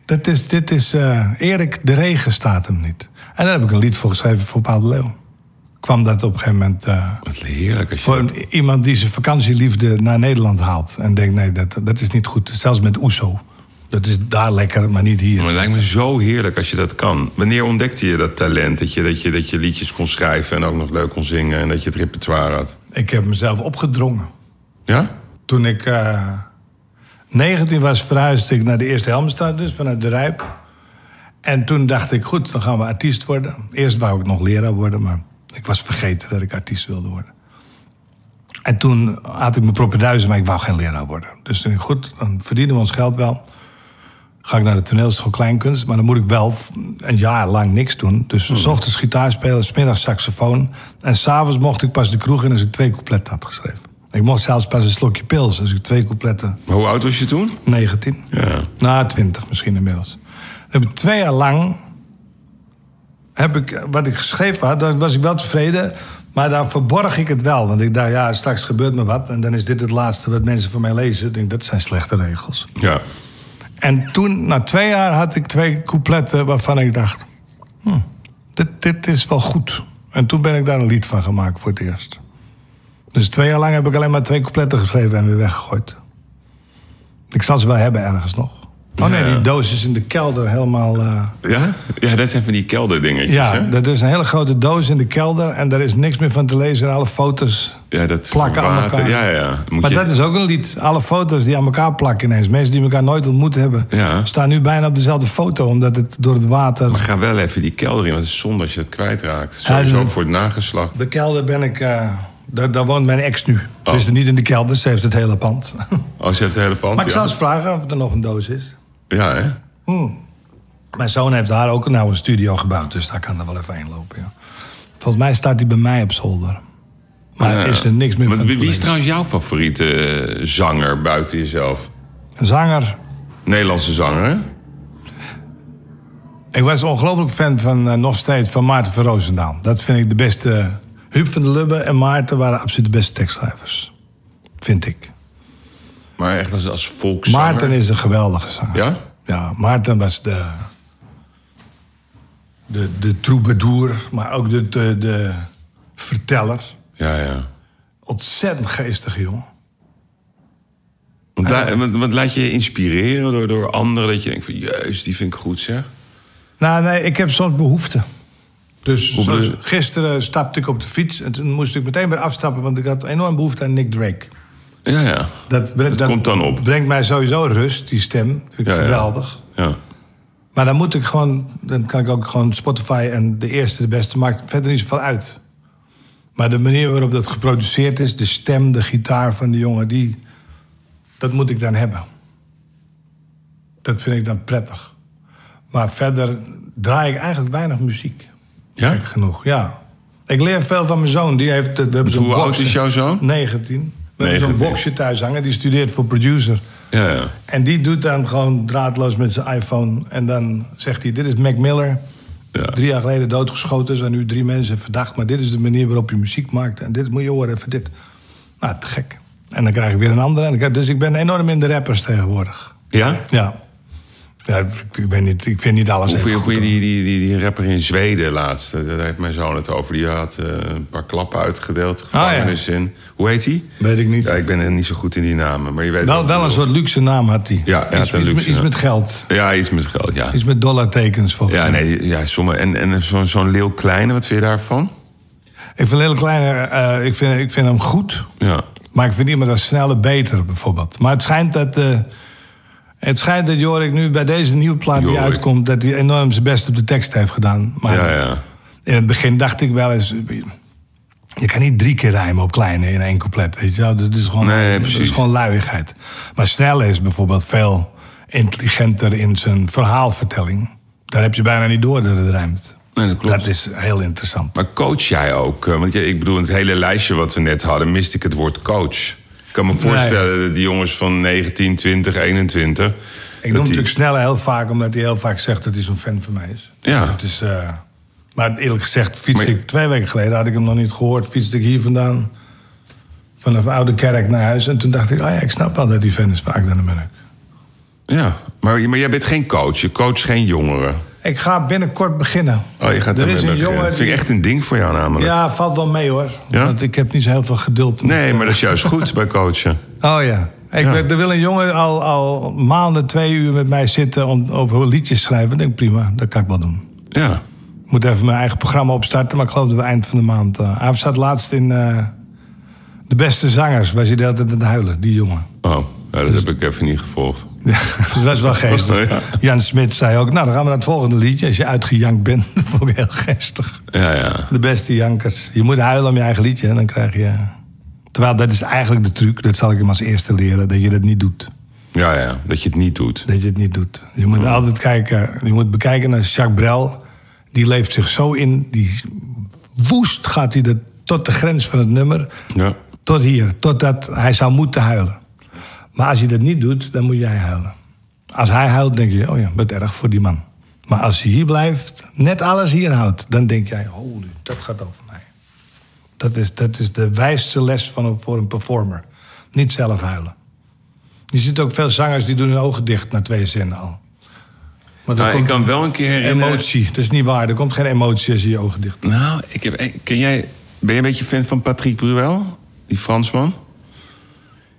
Speaker 2: Dat is, dit is eh, Erik, de regen staat hem niet. En daar heb ik een lied voor geschreven voor Paal de Leeuw. Kwam dat op een gegeven moment... eh,
Speaker 1: Wat heerlijk als je...
Speaker 2: voor een- iemand die zijn vakantieliefde naar Nederland haalt. En denkt, nee, dat, dat is niet goed. Zelfs met Oeso. Dat is daar lekker, maar niet hier.
Speaker 1: Maar het lijkt me zo heerlijk als je dat kan. Wanneer ontdekte je dat talent? Dat je, dat, je, dat je liedjes kon schrijven en ook nog leuk kon zingen... en dat je het repertoire had?
Speaker 2: Ik heb mezelf opgedrongen.
Speaker 1: Ja?
Speaker 2: Toen ik eh, 19 was, verhuisde ik naar de Eerste Helmstraat, dus vanuit de Rijp. En toen dacht ik, goed, dan gaan we artiest worden. Eerst wou ik nog leraar worden, maar ik was vergeten dat ik artiest wilde worden. En toen had ik mijn proppe duizend, maar ik wou geen leraar worden. Dus toen dacht ik, goed, dan verdienen we ons geld wel. Ga ik naar de toneelschool Kleinkunst, maar dan moet ik wel f- een jaar lang niks doen. Dus s ochtends gitaar spelen, smiddags saxofoon. En s'avonds mocht ik pas de kroeg in als ik twee coupletten had geschreven. Ik mocht zelfs pas een slokje pils als ik twee coupletten,
Speaker 1: Maar hoe oud was je toen?
Speaker 2: 19.
Speaker 1: Ja.
Speaker 2: Na 20 misschien inmiddels. Dan heb ik twee jaar lang. Heb ik, eh, wat ik geschreven had, daar was ik wel tevreden. Maar daar verborg ik het wel. Want ik dacht, ja, straks gebeurt me wat. En dan is dit het laatste wat mensen van mij lezen. Ik denk, dat zijn slechte regels.
Speaker 1: Ja.
Speaker 2: En toen, na twee jaar, had ik twee coupletten waarvan ik dacht... hm, dit, dit is wel goed. En toen ben ik daar een lied van gemaakt voor het eerst. Dus twee jaar lang heb ik alleen maar twee coupletten geschreven en weer weggegooid. Ik zal ze wel hebben ergens nog. Oh nee,
Speaker 1: Ja.
Speaker 2: die doos is in de kelder helemaal... eh,
Speaker 1: Ja? Ja, dat zijn van die kelderdingetjes,
Speaker 2: ja,
Speaker 1: hè?
Speaker 2: dat is een hele grote doos in de kelder... en daar is niks meer van te lezen en alle foto's
Speaker 1: ja, dat
Speaker 2: plakken aan
Speaker 1: water-
Speaker 2: elkaar.
Speaker 1: Ja, ja. Moet
Speaker 2: maar
Speaker 1: je-
Speaker 2: dat is ook een lied. Alle foto's die aan elkaar plakken ineens. Mensen die elkaar nooit ontmoet hebben...
Speaker 1: Ja.
Speaker 2: staan nu bijna op dezelfde foto... omdat het door het water...
Speaker 1: Maar ga wel even die kelder in, want het is zonde als je het kwijtraakt.
Speaker 2: Ja,
Speaker 1: Sowieso
Speaker 2: dat-
Speaker 1: voor het nageslacht.
Speaker 2: De kelder ben ik... eh, daar, daar woont mijn ex nu.
Speaker 1: Oh.
Speaker 2: Dus niet in de kelder, ze heeft het hele pand.
Speaker 1: Als je Oh, het hele pand...
Speaker 2: maar ik
Speaker 1: ja.
Speaker 2: zal eens vragen of er nog een doos is.
Speaker 1: Ja, hè?
Speaker 2: Mijn zoon heeft daar ook nou een studio gebouwd... dus daar kan er wel even heen lopen, ja. Volgens mij staat die bij mij op zolder. Maar
Speaker 1: Ja.
Speaker 2: is er niks meer
Speaker 1: Maar
Speaker 2: van
Speaker 1: wie,
Speaker 2: te
Speaker 1: wie is
Speaker 2: lezen.
Speaker 1: trouwens jouw favoriete eh, zanger buiten jezelf?
Speaker 2: Een zanger...
Speaker 1: Nederlandse zanger, hè?
Speaker 2: Ik was ongelooflijk fan van, eh, nog steeds van Maarten van Roosendaal. Dat vind ik de beste. Huub van der Lubbe en Maarten waren absoluut de beste tekstschrijvers. Vind ik.
Speaker 1: Maar echt als, als volkszanger.
Speaker 2: Maarten is een geweldige zanger.
Speaker 1: Ja?
Speaker 2: Ja, Maarten was de. de, de troubadour, maar ook de, de, de verteller.
Speaker 1: Ja, ja.
Speaker 2: Ontzettend geestig, jongen.
Speaker 1: Want, la- want- want laat je je inspireren door, door anderen... dat je denkt van, jeus, die vind ik goed, zeg.
Speaker 2: Nou, nee, ik heb soms behoefte. Dus
Speaker 1: Hoe
Speaker 2: zoals
Speaker 1: bedoel
Speaker 2: gisteren stapte ik op de fiets en toen moest ik meteen weer afstappen, want ik had enorm behoefte aan Nick Drake.
Speaker 1: Ja, ja.
Speaker 2: Dat, brengt-
Speaker 1: komt dan op.
Speaker 2: brengt mij sowieso rust, die stem. Vind ik
Speaker 1: Ja, ja.
Speaker 2: geweldig.
Speaker 1: Ja.
Speaker 2: Maar dan moet ik gewoon, dan kan ik ook gewoon Spotify en de eerste, de beste, maakt verder niet zoveel uit. Maar de manier waarop dat geproduceerd is, de stem, de gitaar van de jongen, die, dat moet ik dan hebben. Dat vind ik dan prettig. Maar verder draai ik eigenlijk weinig muziek.
Speaker 1: Ja?
Speaker 2: Gek genoeg, ja. Ik leer veel van mijn zoon. Die heeft, we hebben zo'n
Speaker 1: Hoe oud
Speaker 2: boxje.
Speaker 1: is jouw zoon?
Speaker 2: 19. We hebben zo'n
Speaker 1: 19.
Speaker 2: boxje thuis hangen. Die studeert voor producer.
Speaker 1: Ja, ja.
Speaker 2: En die doet dan gewoon draadloos met zijn iPhone. En dan zegt hij, dit is Mac Miller.
Speaker 1: Ja.
Speaker 2: Drie jaar geleden doodgeschoten. Er zijn nu drie mensen verdacht. Maar dit is de manier waarop je muziek maakt. En dit moet je horen, even dit. Nou, te gek. En dan krijg ik weer een andere. En dan krijg- Dus ik ben enorm in de rappers tegenwoordig.
Speaker 1: Ja?
Speaker 2: Ja. ja ik, ik ben niet, ik vind niet alles
Speaker 1: Hoe
Speaker 2: even
Speaker 1: vond je-
Speaker 2: goed,
Speaker 1: vond je
Speaker 2: hoor.
Speaker 1: die, die, die, die rapper in Zweden laatst? Eh, Daar heeft mijn zoon het over. Die had eh, een paar klappen uitgedeeld.
Speaker 2: Ah,
Speaker 1: Gevangenis in. Hoe heet hij?
Speaker 2: Weet ik niet.
Speaker 1: Ja, ik ben er niet zo goed in die namen. Maar je weet
Speaker 2: Wel,
Speaker 1: wat
Speaker 2: wel
Speaker 1: ik
Speaker 2: een soort luxe naam had hij.
Speaker 1: Ja, hij had
Speaker 2: iets,
Speaker 1: een
Speaker 2: iets
Speaker 1: luxe
Speaker 2: met- iets
Speaker 1: naam.
Speaker 2: met geld.
Speaker 1: bedoel. Ja, iets met geld, ja.
Speaker 2: Iets met dollartekens volgens
Speaker 1: Ja,
Speaker 2: mij.
Speaker 1: nee, ja, sommige, en, en zo'n zo'n Leeuw Kleine, wat vind je daarvan?
Speaker 2: Ik vind Lil Kleine, eh, ik, vind, ik vind hem goed.
Speaker 1: Ja.
Speaker 2: Maar ik vind iemand als snelle beter, bijvoorbeeld. Maar het schijnt dat... eh, Het schijnt dat Jorik nu bij deze nieuwe plaat die
Speaker 1: Jorik.
Speaker 2: uitkomt... dat hij enorm zijn best op de tekst heeft gedaan. Maar
Speaker 1: Ja, ja.
Speaker 2: in het begin dacht ik wel eens... Je kan niet drie keer rijmen op kleine in één couplet, weet je wel. Dat is gewoon,
Speaker 1: Nee,
Speaker 2: dat is
Speaker 1: precies.
Speaker 2: gewoon luiigheid. Maar Snelle is bijvoorbeeld veel intelligenter in zijn verhaalvertelling. Daar heb je bijna niet door dat het rijmt.
Speaker 1: Nee, dat klopt.
Speaker 2: Dat is heel interessant.
Speaker 1: Maar coach jij ook? Eh, Want je- ik bedoel, in het hele lijstje wat we net hadden, miste ik het woord coach. Ik kan me voorstellen dat die jongens van 19, 20, 21.
Speaker 2: Ik noem natuurlijk Snelle heel vaak, omdat hij heel vaak zegt dat hij zo'n fan van mij is.
Speaker 1: Ja.
Speaker 2: Dat is, eh, maar eerlijk gezegd, fiets
Speaker 1: Maar-
Speaker 2: ik twee weken geleden, had ik hem nog niet gehoord, fietste ik hier vandaan. Vanaf Oude Kerk naar huis. En toen dacht ik, oh ja, ik snap wel dat die fan is van Akda de Munnik.
Speaker 1: Ja, maar, maar jij bent geen coach. Je coach geen jongeren.
Speaker 2: Ik ga binnenkort beginnen.
Speaker 1: Oh, je gaat
Speaker 2: er
Speaker 1: daarmee
Speaker 2: is een
Speaker 1: beginnen.
Speaker 2: jongen.
Speaker 1: Dat vind ik echt een ding voor jou namelijk.
Speaker 2: Ja, valt wel mee hoor.
Speaker 1: Ja?
Speaker 2: Want ik heb niet zo heel veel geduld. met- eh,
Speaker 1: Nee, maar dat is juist goed bij coachen.
Speaker 2: Oh ja. Ik,
Speaker 1: Ja.
Speaker 2: weet- Er wil een jongen al, al maanden twee uur met mij zitten om, over liedjes schrijven. Ik denk prima, dat kan ik wel doen.
Speaker 1: Ja.
Speaker 2: Ik moet even mijn eigen programma opstarten, maar ik geloof dat we eind van de maand. eh hij staat laatst in eh, De Beste Zangers, waar ze de hele tijd aan het huilen, die jongen.
Speaker 1: Oh, ja,
Speaker 2: Dus-
Speaker 1: dat heb ik even niet gevolgd.
Speaker 2: Ja, dat is wel geestig.
Speaker 1: Ja.
Speaker 2: Jan Smit zei ook, nou dan gaan we naar het volgende liedje. Als je uitgejankt bent, dat vond ik heel geestig.
Speaker 1: Ja, ja.
Speaker 2: De beste jankers. Je moet huilen om je eigen liedje en dan krijg je... Terwijl dat is eigenlijk de truc, dat zal ik hem als eerste leren, dat je dat niet doet.
Speaker 1: Ja, ja. Dat je het niet doet.
Speaker 2: Dat je het niet doet. Je moet altijd kijken, je moet bekijken naar Jacques Brel. Die leeft zich zo in, die woest gaat hij dat tot de grens van het nummer.
Speaker 1: Ja.
Speaker 2: Tot hier, totdat hij zou moeten huilen. Maar als je dat niet doet, dan moet jij huilen. Als hij huilt, denk je, oh ja, wat erg voor die man. Maar als hij hier blijft, net alles hier houdt, dan denk jij, holy, dat gaat over mij. Dat is, dat is de wijste les van een, voor een performer. Niet zelf huilen. Je ziet ook veel zangers die doen hun ogen dicht na twee zinnen al. Maar er
Speaker 1: Nou, ik
Speaker 2: komt eh,
Speaker 1: kan wel een keer herinneren...
Speaker 2: emotie. Dat is niet waar. Er komt geen emotie als je je ogen dicht.
Speaker 1: Nou, ik heb, eh, ken jij, ben je een beetje fan van Patrick Bruel? Die Fransman?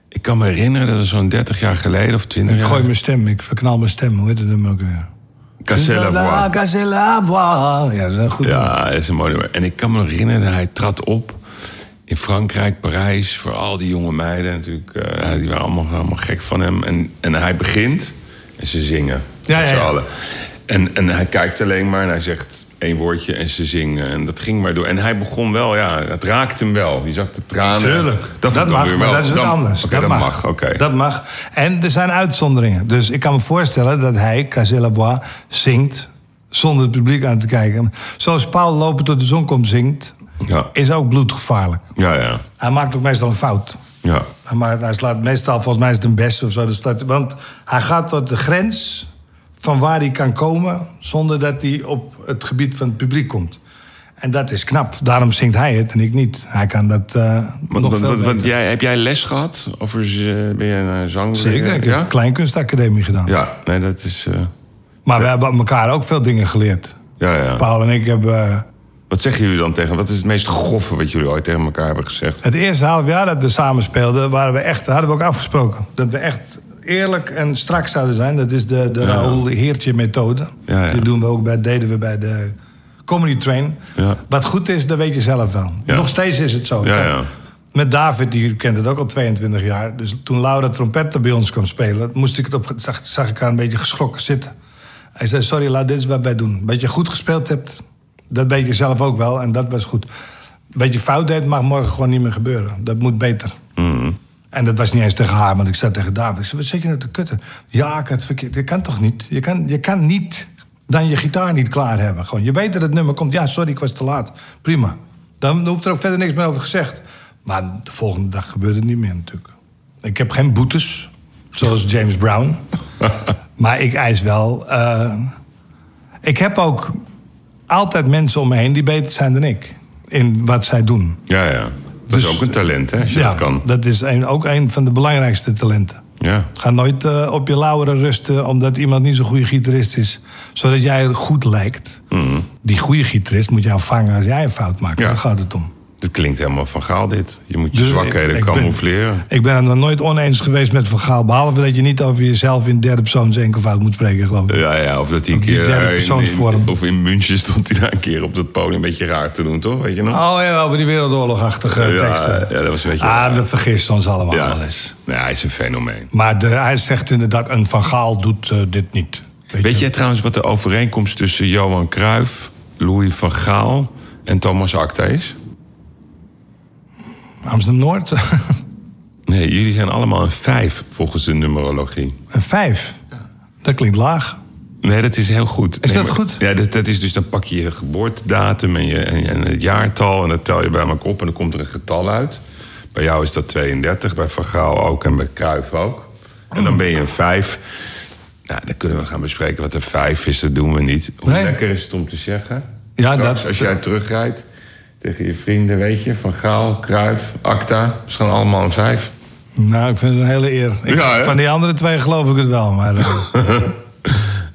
Speaker 1: Ik kan me herinneren dat er zo'n 30 jaar geleden of 20
Speaker 2: Ik
Speaker 1: jaar...
Speaker 2: gooi mijn stem, ik verknal mijn stem. Hoe heet het nummer ook weer?
Speaker 1: Casella Bois.
Speaker 2: Casella Bois. Ja, dat is een goed nummer.
Speaker 1: Ja, dat is een mooi nummer. En ik kan me herinneren dat hij trad op in Frankrijk, Parijs... voor al die jonge meiden natuurlijk. eh, ja, die waren allemaal, allemaal gek van hem. En, en hij begint en ze zingen.
Speaker 2: Ja,
Speaker 1: met
Speaker 2: ja,
Speaker 1: z'n
Speaker 2: ja.
Speaker 1: allen. En, en hij kijkt alleen maar en hij zegt één woordje en ze zingen. En dat ging maar door. En hij begon wel, ja, het raakte hem wel. Je zag de tranen.
Speaker 2: Tuurlijk. Dat,
Speaker 1: vond ik dan
Speaker 2: mag,
Speaker 1: weer
Speaker 2: maar
Speaker 1: wel.
Speaker 2: dat is wat
Speaker 1: Dan-
Speaker 2: anders.
Speaker 1: Oké, dat, mag. Oké.
Speaker 2: Dat mag. En er zijn uitzonderingen. Dus ik kan me voorstellen dat hij, Casella Bois, zingt... zonder het publiek aan te kijken. Zoals Paul Lopen tot de zon komt zingt...
Speaker 1: Ja.
Speaker 2: is ook bloedgevaarlijk.
Speaker 1: ja, ja,
Speaker 2: Hij maakt ook meestal een fout.
Speaker 1: ja.
Speaker 2: Hij maakt- hij slaat meestal, volgens mij is het een best of zo. Dus dat- want hij gaat tot de grens van waar hij kan komen... zonder dat hij op het gebied van het publiek komt. En dat is knap. Daarom zingt hij het en ik niet. Hij kan dat eh,
Speaker 1: Want,
Speaker 2: nog
Speaker 1: want-
Speaker 2: veel
Speaker 1: want- want
Speaker 2: beter.
Speaker 1: jij, heb jij les gehad? Of is, eh, ben je een zanger?
Speaker 2: Zeker, ik heb
Speaker 1: Ja?
Speaker 2: kleinkunstacademie gedaan.
Speaker 1: ja, nee, dat is... eh,
Speaker 2: Maar we hebben elkaar ook veel dingen geleerd.
Speaker 1: ja, ja.
Speaker 2: Paul en ik hebben... eh,
Speaker 1: Wat zeggen jullie dan tegen? Wat is het meest grove wat jullie ooit tegen elkaar hebben gezegd?
Speaker 2: Het eerste half jaar dat we samen speelden, waren we echt, hadden we ook afgesproken. Dat we echt eerlijk en strak zouden zijn. Dat is de, de Raoul Heertje methode.
Speaker 1: Ja, ja.
Speaker 2: Die doen we ook bij, deden we bij de Comedy Train.
Speaker 1: Ja.
Speaker 2: Wat goed is, dat weet je zelf wel.
Speaker 1: Ja.
Speaker 2: Nog steeds is het zo.
Speaker 1: Ja,
Speaker 2: Kijk,
Speaker 1: ja.
Speaker 2: Met David, die kent het ook al 22 jaar. Dus toen Laura trompette bij ons kwam spelen, moest ik het op, zag, zag ik haar een beetje geschrokken zitten. Hij zei, sorry, laat dit is wat wij doen. Wat je goed gespeeld hebt, dat weet je zelf ook wel. En dat was goed. Wat je fout deed, mag morgen gewoon niet meer gebeuren. Dat moet beter. En dat was niet eens tegen haar, want ik zat tegen David. Ik zei, wat zit je nou te kutten? Ja, ik had het verkeerd. Dat kan toch niet? Je kan, je kan niet dan je gitaar niet klaar hebben. Gewoon, je weet dat het nummer komt. Ja, sorry, ik was te laat. Prima. Dan hoeft er ook verder niks meer over gezegd. Maar de volgende dag gebeurde het niet meer natuurlijk. Ik heb geen boetes, zoals James Brown. maar ik eis wel... eh, ik heb ook altijd mensen om me heen die beter zijn dan ik. In wat zij doen.
Speaker 1: Ja, ja. Dat
Speaker 2: Dus-
Speaker 1: is ook een talent, hè, als je dat kan.
Speaker 2: dat is een, ook een van de belangrijkste talenten.
Speaker 1: Ja.
Speaker 2: Ga nooit eh, op je lauweren rusten omdat iemand niet zo'n goede gitarist is, zodat jij goed lijkt. Die goede gitarist moet jou vangen als jij een fout maakt.
Speaker 1: Mhm. Ja.
Speaker 2: Daar gaat het om.
Speaker 1: Dit klinkt helemaal van Gaal, dit. Je moet je
Speaker 2: Dus ik-
Speaker 1: zwakheden
Speaker 2: ik ben-
Speaker 1: camoufleren.
Speaker 2: Ik ben het nog nooit oneens geweest met Van Gaal. Behalve dat je niet over jezelf in derde persoons enkelvoud moet spreken, geloof ik.
Speaker 1: Ja, ja, of dat hij een
Speaker 2: Op die
Speaker 1: keer...
Speaker 2: derde
Speaker 1: eh, in- in-
Speaker 2: persoonsvorm.
Speaker 1: of in München stond hij daar een keer op dat podium een beetje raar te doen, toch? Weet je nog?
Speaker 2: Oh ja, over die wereldoorlogachtige eh,
Speaker 1: ja,
Speaker 2: teksten.
Speaker 1: ja, dat was een beetje...
Speaker 2: Ah, we vergisten ons allemaal
Speaker 1: ja.
Speaker 2: wel eens.
Speaker 1: Nee, hij is een fenomeen.
Speaker 2: Maar de, hij zegt inderdaad, een Van Gaal doet eh, dit niet. Weet,
Speaker 1: Weet
Speaker 2: je?
Speaker 1: jij trouwens wat de overeenkomst tussen Johan Cruijff, Louis van Gaal en Thomas Acta is?
Speaker 2: Amsterdam-Noord,
Speaker 1: Nee, jullie zijn allemaal een vijf volgens de numerologie.
Speaker 2: een vijf. Dat klinkt laag.
Speaker 1: Nee, dat is heel goed.
Speaker 2: Is
Speaker 1: Nee,
Speaker 2: dat goed?
Speaker 1: Ja, dat, dat is dus dan pak je je geboortedatum en, je, en, en het jaartal... en dat tel je bij elkaar op en dan komt er een getal uit. Bij jou is dat 32, bij Van Gaal ook en bij Cruijff ook. En dan ben je een vijf. Nou, dan kunnen we gaan bespreken wat een vijf is. Dat doen we niet. Hoe
Speaker 2: Nee.
Speaker 1: lekker is het om te zeggen?
Speaker 2: Ja,
Speaker 1: Straks,
Speaker 2: dat-
Speaker 1: Als jij terugrijdt tegen je vrienden, weet je... Van Gaal, Cruijff, Acta, is gewoon allemaal een vijf.
Speaker 2: Nou, ik vind het een hele eer. Ik-
Speaker 1: Ja, hè?
Speaker 2: van die andere twee geloof ik het wel. Maar, eh,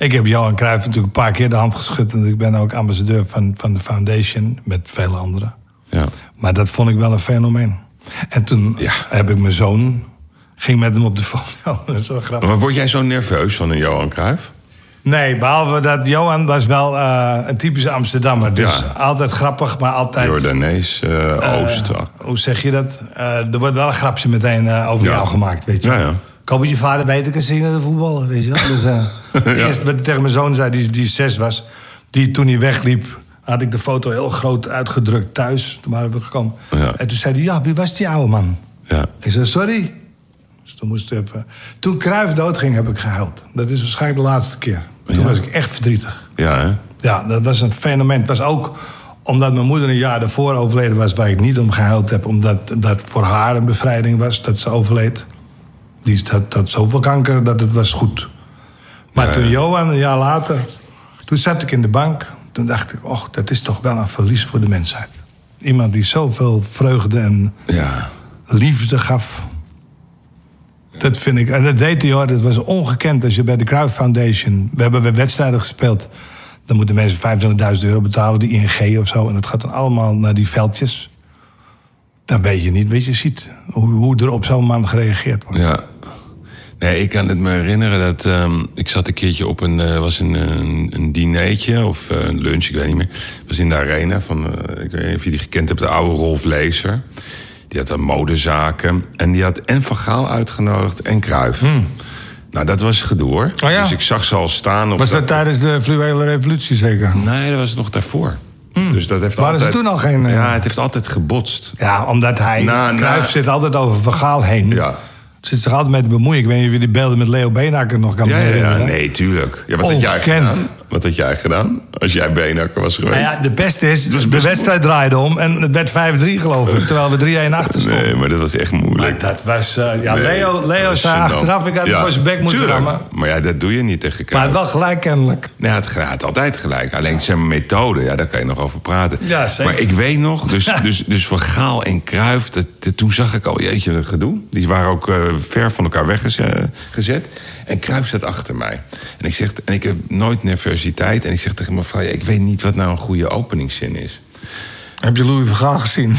Speaker 2: ik heb Johan Cruijff natuurlijk een paar keer de hand geschud. En ik ben ook ambassadeur van, van de Foundation met vele anderen.
Speaker 1: Ja.
Speaker 2: Maar dat vond ik wel een fenomeen. En toen
Speaker 1: Ja.
Speaker 2: heb ik mijn zoon, ging met hem op de foto. dat is wel grappig.
Speaker 1: Maar word jij zo nerveus van een Johan Cruijff?
Speaker 2: Nee, behalve dat Johan was wel eh, een typische Amsterdammer. Dus
Speaker 1: Ja.
Speaker 2: altijd grappig, maar altijd...
Speaker 1: Jordanees, eh, Oost.
Speaker 2: Hoe zeg je dat? Eh, er wordt wel een grapje meteen eh, over
Speaker 1: Ja.
Speaker 2: jou gemaakt, weet je.
Speaker 1: Ja, ja.
Speaker 2: Ik hoop dat je vader beter kan zingen dan voetballen, weet je wel. Dus, eh,
Speaker 1: Ja.
Speaker 2: Eerst wat ik tegen mijn zoon zei, die, die zes was... die toen hij wegliep, had ik de foto heel groot uitgedrukt thuis. Toen waren we gekomen.
Speaker 1: Ja.
Speaker 2: En toen zei hij, ja, wie was die oude man?
Speaker 1: Ja.
Speaker 2: Ik zei, sorry. Dus toen moest ik even... Toen Cruijff doodging, heb ik gehuild. Dat is waarschijnlijk de laatste keer. Toen
Speaker 1: Ja.
Speaker 2: was ik echt verdrietig.
Speaker 1: Ja, hè?
Speaker 2: Ja, dat was een fenomeen. Het was ook omdat mijn moeder een jaar daarvoor overleden was... waar ik niet om gehuild heb, omdat dat voor haar een bevrijding was... dat ze overleed. Die had, had zoveel kanker dat het was goed. Maar
Speaker 1: Ja, ja.
Speaker 2: toen Johan, een jaar later... toen zat ik in de bank. Toen dacht ik, och, dat is toch wel een verlies voor de mensheid. Iemand die zoveel vreugde en
Speaker 1: Ja.
Speaker 2: liefde gaf. Dat vind ik, en dat deed hij hoor, dat was ongekend. Als je bij de Cruyff Foundation, we hebben weer wedstrijden gespeeld. Dan moeten mensen 25.000 euro betalen, die ING of zo. En dat gaat dan allemaal naar die veldjes. Dan weet je niet wat je ziet. Hoe, hoe er op zo'n man gereageerd wordt.
Speaker 1: Ja. Nee, ik kan het me herinneren dat ehm, ik zat een keertje op een, eh, was een, een, een dinertje of eh, een lunch, ik weet niet meer. Het was in de arena van, eh, ik weet niet of je die gekend hebt, de oude Rolf Lezer. Die had dan modezaken en die had en Van Gaal uitgenodigd en Kruif. Nou, dat was gedoe hoor.
Speaker 2: Hmm. Oh ja.
Speaker 1: Dus ik zag ze al staan op
Speaker 2: Was dat tijdens de fluwele revolutie zeker?
Speaker 1: Nee, dat was nog daarvoor. Dus dat heeft
Speaker 2: Hmm. Waren ze
Speaker 1: altijd...
Speaker 2: toen al geen, eh,
Speaker 1: Ja, het heeft altijd gebotst.
Speaker 2: Ja, omdat hij...
Speaker 1: Nou, nou.
Speaker 2: Cruijff zit altijd over vergaal heen.
Speaker 1: Ja.
Speaker 2: Zit zich altijd mee te bemoeien. Ik weet niet of je die beelden met Leo Beenhakker nog kan
Speaker 1: Ja, ja, ja,
Speaker 2: herinneren. Oh,
Speaker 1: nee, tuurlijk. Ja, wat had jij
Speaker 2: Ongekend.
Speaker 1: gedaan? Wat had jij gedaan als jij beenhakker was geweest?
Speaker 2: Nou ja, de beste is,
Speaker 1: Dus
Speaker 2: de
Speaker 1: best-
Speaker 2: wedstrijd draaide om en het werd 5-3 geloof ik. Terwijl we 3-1 achter stonden.
Speaker 1: Nee, maar dat was echt moeilijk.
Speaker 2: Maar dat was... eh, ja,
Speaker 1: Nee,
Speaker 2: Leo,
Speaker 1: dat
Speaker 2: Leo
Speaker 1: was
Speaker 2: zei
Speaker 1: gênant.
Speaker 2: achteraf, ik had hem voor zijn bek moeten
Speaker 1: tuurlijk.
Speaker 2: rammen.
Speaker 1: Maar ja, dat doe je niet tegen Cruijff.
Speaker 2: Maar wel gelijk kennelijk.
Speaker 1: Nee, het gaat altijd gelijk. Alleen zijn methode, ja, daar kan je nog over praten.
Speaker 2: Ja, zeker.
Speaker 1: Maar ik weet nog, dus, dus, dus van Gaal en Kruif, dat, dat- toen zag ik al, jeetje, een gedoe. Die waren ook eh, ver van elkaar weggezet. En Kruif zat achter mij. En ik, zeg, en ik heb nooit nervositeit. En ik zeg tegen mijn vrouw, ja, ik weet niet wat nou een goede openingszin is.
Speaker 2: Heb je Louis van Gaal gezien?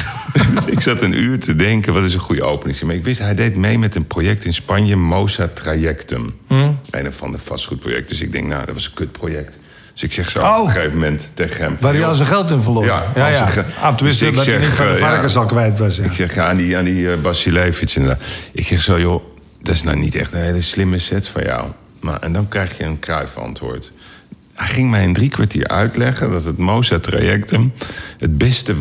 Speaker 1: Dus ik zat een uur te denken, wat is een goede openingszin? Maar ik wist, hij deed mee met een project in Spanje, Mosa Trajectum.
Speaker 2: Hm?
Speaker 1: Een of ander vastgoedproject. Dus ik denk, nou, dat was een kutproject. Dus ik zeg zo
Speaker 2: Oh.
Speaker 1: op een gegeven moment tegen hem...
Speaker 2: Waar hij
Speaker 1: joh,
Speaker 2: al zijn geld in verloor.
Speaker 1: Ja,
Speaker 2: ja.
Speaker 1: al zijn
Speaker 2: ja.
Speaker 1: ge-
Speaker 2: Ah, tenminste,
Speaker 1: Dus ik
Speaker 2: dat hij
Speaker 1: zeg,
Speaker 2: niet van de
Speaker 1: eh, ja.
Speaker 2: varkens al kwijt was. ja.
Speaker 1: Ik zeg ja, aan die, aan die eh, Basilevich inderdaad. Ik zeg zo, joh, dat is nou niet echt een hele slimme set van jou. Maar, en dan krijg je een kruifantwoord. Hij ging mij in drie kwartier uitleggen dat het MOSA-trajectum... het beste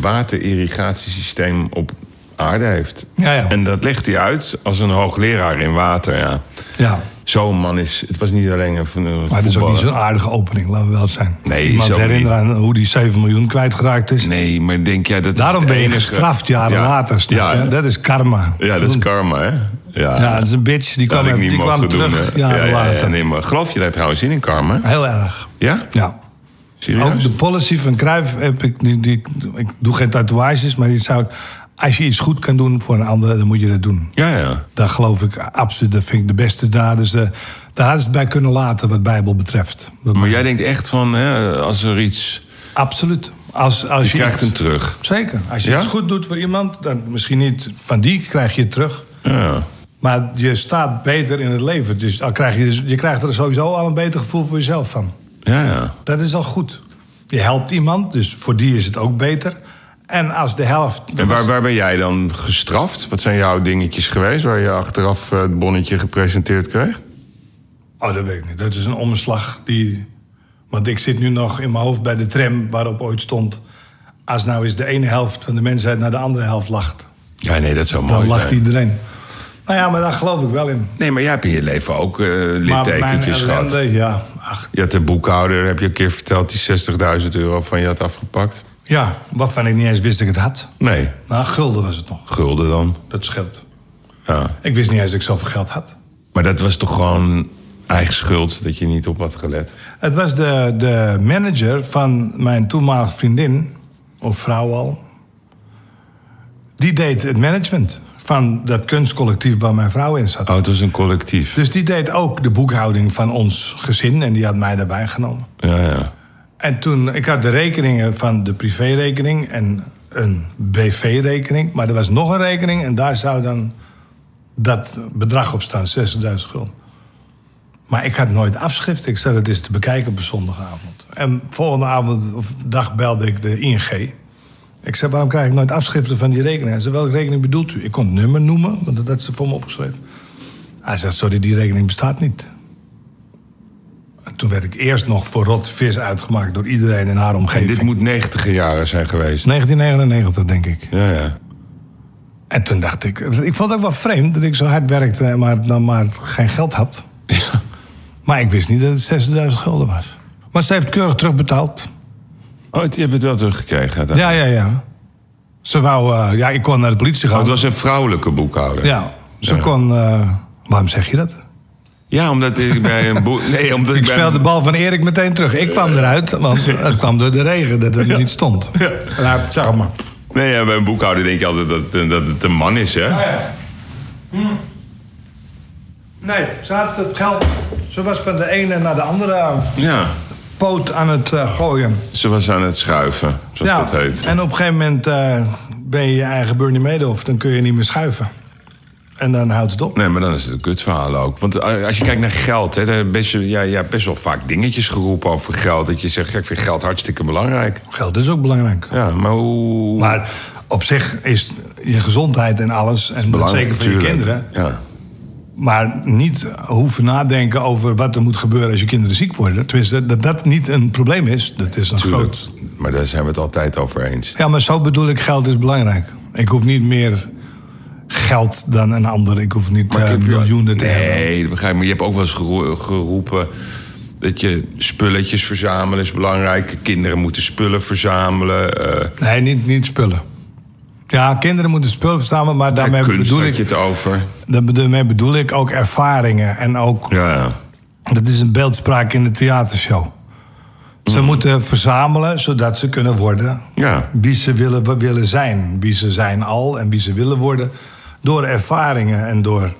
Speaker 1: waterirrigatiesysteem op aarde heeft.
Speaker 2: Ja, ja.
Speaker 1: En dat legt hij uit als een hoogleraar in water, ja.
Speaker 2: Ja,
Speaker 1: Zo'n man is... Het was niet alleen een, een
Speaker 2: maar het is ook
Speaker 1: voetballer.
Speaker 2: niet zo'n aardige opening, laten we wel zijn.
Speaker 1: Nee,
Speaker 2: Iemand
Speaker 1: is ook
Speaker 2: herinneren aan hoe die 7 miljoen kwijtgeraakt is.
Speaker 1: Nee, maar denk jij dat... is
Speaker 2: Daarom
Speaker 1: het
Speaker 2: ben je
Speaker 1: enige-
Speaker 2: gestraft jaren
Speaker 1: Ja,
Speaker 2: later. snap
Speaker 1: ja,
Speaker 2: je? Dat is karma.
Speaker 1: Ja, dat is karma, hè?
Speaker 2: Ja, dat is een bitch. Die
Speaker 1: Dat
Speaker 2: kwam,
Speaker 1: had ik niet
Speaker 2: die kwam
Speaker 1: mogen doen.
Speaker 2: terug
Speaker 1: hè.
Speaker 2: jaren later.
Speaker 1: nee, maar geloof je daar trouwens in, in karma?
Speaker 2: Heel erg.
Speaker 1: Ja?
Speaker 2: Ja. Ook
Speaker 1: Serieus?
Speaker 2: de policy van Cruijff heb ik... Die, die, ik doe geen tatoeages, maar die zou ik... Als je iets goed kan doen voor een ander, dan moet je dat doen.
Speaker 1: Ja, ja.
Speaker 2: Daar geloof ik absoluut. Dat vind ik de beste daad. Dus eh, daar hadden ze het bij kunnen laten wat Bijbel betreft. Dat-
Speaker 1: Maar jij denkt echt van, hè, als er iets...
Speaker 2: Absoluut. Als, als
Speaker 1: Je krijgt
Speaker 2: iets-
Speaker 1: hem terug.
Speaker 2: Zeker. Als je
Speaker 1: Ja?
Speaker 2: iets goed doet voor iemand, dan misschien niet van die krijg je het terug.
Speaker 1: Ja.
Speaker 2: Maar je staat beter in het leven. Dus al krijg je, je krijgt er sowieso al een beter gevoel voor jezelf van.
Speaker 1: Ja, ja.
Speaker 2: Dat is al goed. Je helpt iemand, dus voor die is het ook beter. En als de helft.
Speaker 1: En waar, waar ben jij dan gestraft? Wat zijn jouw dingetjes geweest waar je achteraf eh, het bonnetje gepresenteerd kreeg?
Speaker 2: Oh, dat weet ik niet. Dat is een omslag die. Want ik zit nu nog in mijn hoofd bij de tram waarop ooit stond. Als nou eens de ene helft van de mensheid naar de andere helft lacht,
Speaker 1: Ja, nee, dat zou mooi
Speaker 2: dan lacht
Speaker 1: zijn.
Speaker 2: iedereen. Nou ja, maar daar geloof ik wel in.
Speaker 1: Nee, maar jij hebt in je leven ook eh
Speaker 2: Maar mijn
Speaker 1: littekentjes gehad.
Speaker 2: ellende, ja. Ach,
Speaker 1: Je had de boekhouder, heb je een keer verteld, die 60.000 euro van je had afgepakt.
Speaker 2: ja, waarvan ik niet eens wist dat ik het had.
Speaker 1: Nee,
Speaker 2: Nou, gulden was het nog.
Speaker 1: gulden dan.
Speaker 2: Dat scheelt.
Speaker 1: Ja.
Speaker 2: Ik wist niet eens dat ik zoveel geld had.
Speaker 1: Maar dat was toch gewoon eigen schuld dat je niet op had gelet?
Speaker 2: Het was de, de manager van mijn toenmalige vriendin, of vrouw al. Die deed het management van dat kunstcollectief waar mijn vrouw in zat.
Speaker 1: Oh, het was een collectief.
Speaker 2: Dus die deed ook de boekhouding van ons gezin en die had mij daarbij genomen.
Speaker 1: Ja, ja.
Speaker 2: En toen, ik had de rekeningen van de privérekening en een BV-rekening. Maar er was nog een rekening en daar zou dan dat bedrag op staan, 60.000 gulden. Maar ik had nooit afschrift. Ik zat het eens te bekijken op een zondagavond. En volgende avond of dag belde ik de ING. Ik zei, waarom krijg ik nooit afschriften van die rekening? Hij zei, welke rekening bedoelt u? Ik kon het nummer noemen, want dat had ze voor me opgeschreven. Hij zei, sorry, die rekening bestaat niet. En toen werd ik eerst nog voor rot vis uitgemaakt door iedereen in haar
Speaker 1: En
Speaker 2: omgeving.
Speaker 1: dit moet 90 jaren zijn geweest.
Speaker 2: 1999, denk ik.
Speaker 1: Ja, ja.
Speaker 2: En toen dacht ik, ik vond het ook wel vreemd dat ik zo hard werkte, maar, dan maar geen geld had.
Speaker 1: Ja.
Speaker 2: Maar ik wist niet dat het 60.000 gulden was. Maar ze heeft keurig terugbetaald.
Speaker 1: Oh, het- je hebt het wel teruggekregen. uiteindelijk.
Speaker 2: Ja, ja, ja. Ze wou, eh, ja, ik kon naar de politie
Speaker 1: Oh,
Speaker 2: gaan.
Speaker 1: het was een vrouwelijke boekhouder.
Speaker 2: Ja, ze
Speaker 1: Ja.
Speaker 2: kon, eh, waarom zeg je dat?
Speaker 1: Ja, omdat ik bij een boek. Nee, omdat ik,
Speaker 2: Ik
Speaker 1: bij
Speaker 2: speelde de
Speaker 1: een-
Speaker 2: bal van Erik meteen terug. Ik kwam eruit, want het kwam door de regen dat het niet stond.
Speaker 1: Ja.
Speaker 2: Nou, zeg maar.
Speaker 1: Nee, ja, bij een boekhouder denk je altijd dat, eh, dat het een man is, hè?
Speaker 2: Hm. Nee, ze had het geld. Ze was van de ene naar de andere
Speaker 1: Ja.
Speaker 2: poot aan het eh, gooien.
Speaker 1: Ze was aan het schuiven, zoals dat heet.
Speaker 2: en op een gegeven moment eh, ben je je eigen Bernie Madoff. Dan kun je niet meer schuiven. En dan houdt het op.
Speaker 1: Nee, maar dan is het een kutverhaal ook. Want eh, als je kijkt naar geld, hè, daar heb je best, ja, ja, best wel vaak dingetjes geroepen over geld. Dat je zegt, ja, ik vind geld hartstikke belangrijk.
Speaker 2: Geld is ook belangrijk.
Speaker 1: Ja, maar hoe...
Speaker 2: Maar op zich is je gezondheid en alles... en dat
Speaker 1: Belangrijk,
Speaker 2: zeker voor je
Speaker 1: natuurlijk.
Speaker 2: kinderen...
Speaker 1: Ja.
Speaker 2: maar niet hoeven nadenken over wat er moet gebeuren... als je kinderen ziek worden. Tenminste, dat dat niet een probleem is, dat is een
Speaker 1: Tuurlijk.
Speaker 2: groot...
Speaker 1: Maar daar zijn we het altijd over eens.
Speaker 2: Ja, maar zo bedoel ik, geld is belangrijk. Ik hoef niet meer geld dan een ander. Ik hoef niet eh, miljoenen te hebben.
Speaker 1: Nee, dat begrijp ik. Maar je hebt ook wel eens gero- geroepen dat je spulletjes verzamelen is belangrijk. Kinderen moeten spullen verzamelen. eh,
Speaker 2: Nee, niet, niet spullen. Ja, kinderen moeten spullen verzamelen, maar daarmee
Speaker 1: kunst
Speaker 2: bedoel,
Speaker 1: had je
Speaker 2: ik,
Speaker 1: het over.
Speaker 2: daar- daarmee bedoel ik ook ervaringen. En ook,
Speaker 1: Ja,
Speaker 2: dat is een beeldspraak in de theatershow. Ze
Speaker 1: Mm.
Speaker 2: moeten verzamelen zodat ze kunnen worden
Speaker 1: ja.
Speaker 2: wie ze willen, willen zijn. Wie ze zijn al en wie ze willen worden. Door ervaringen en door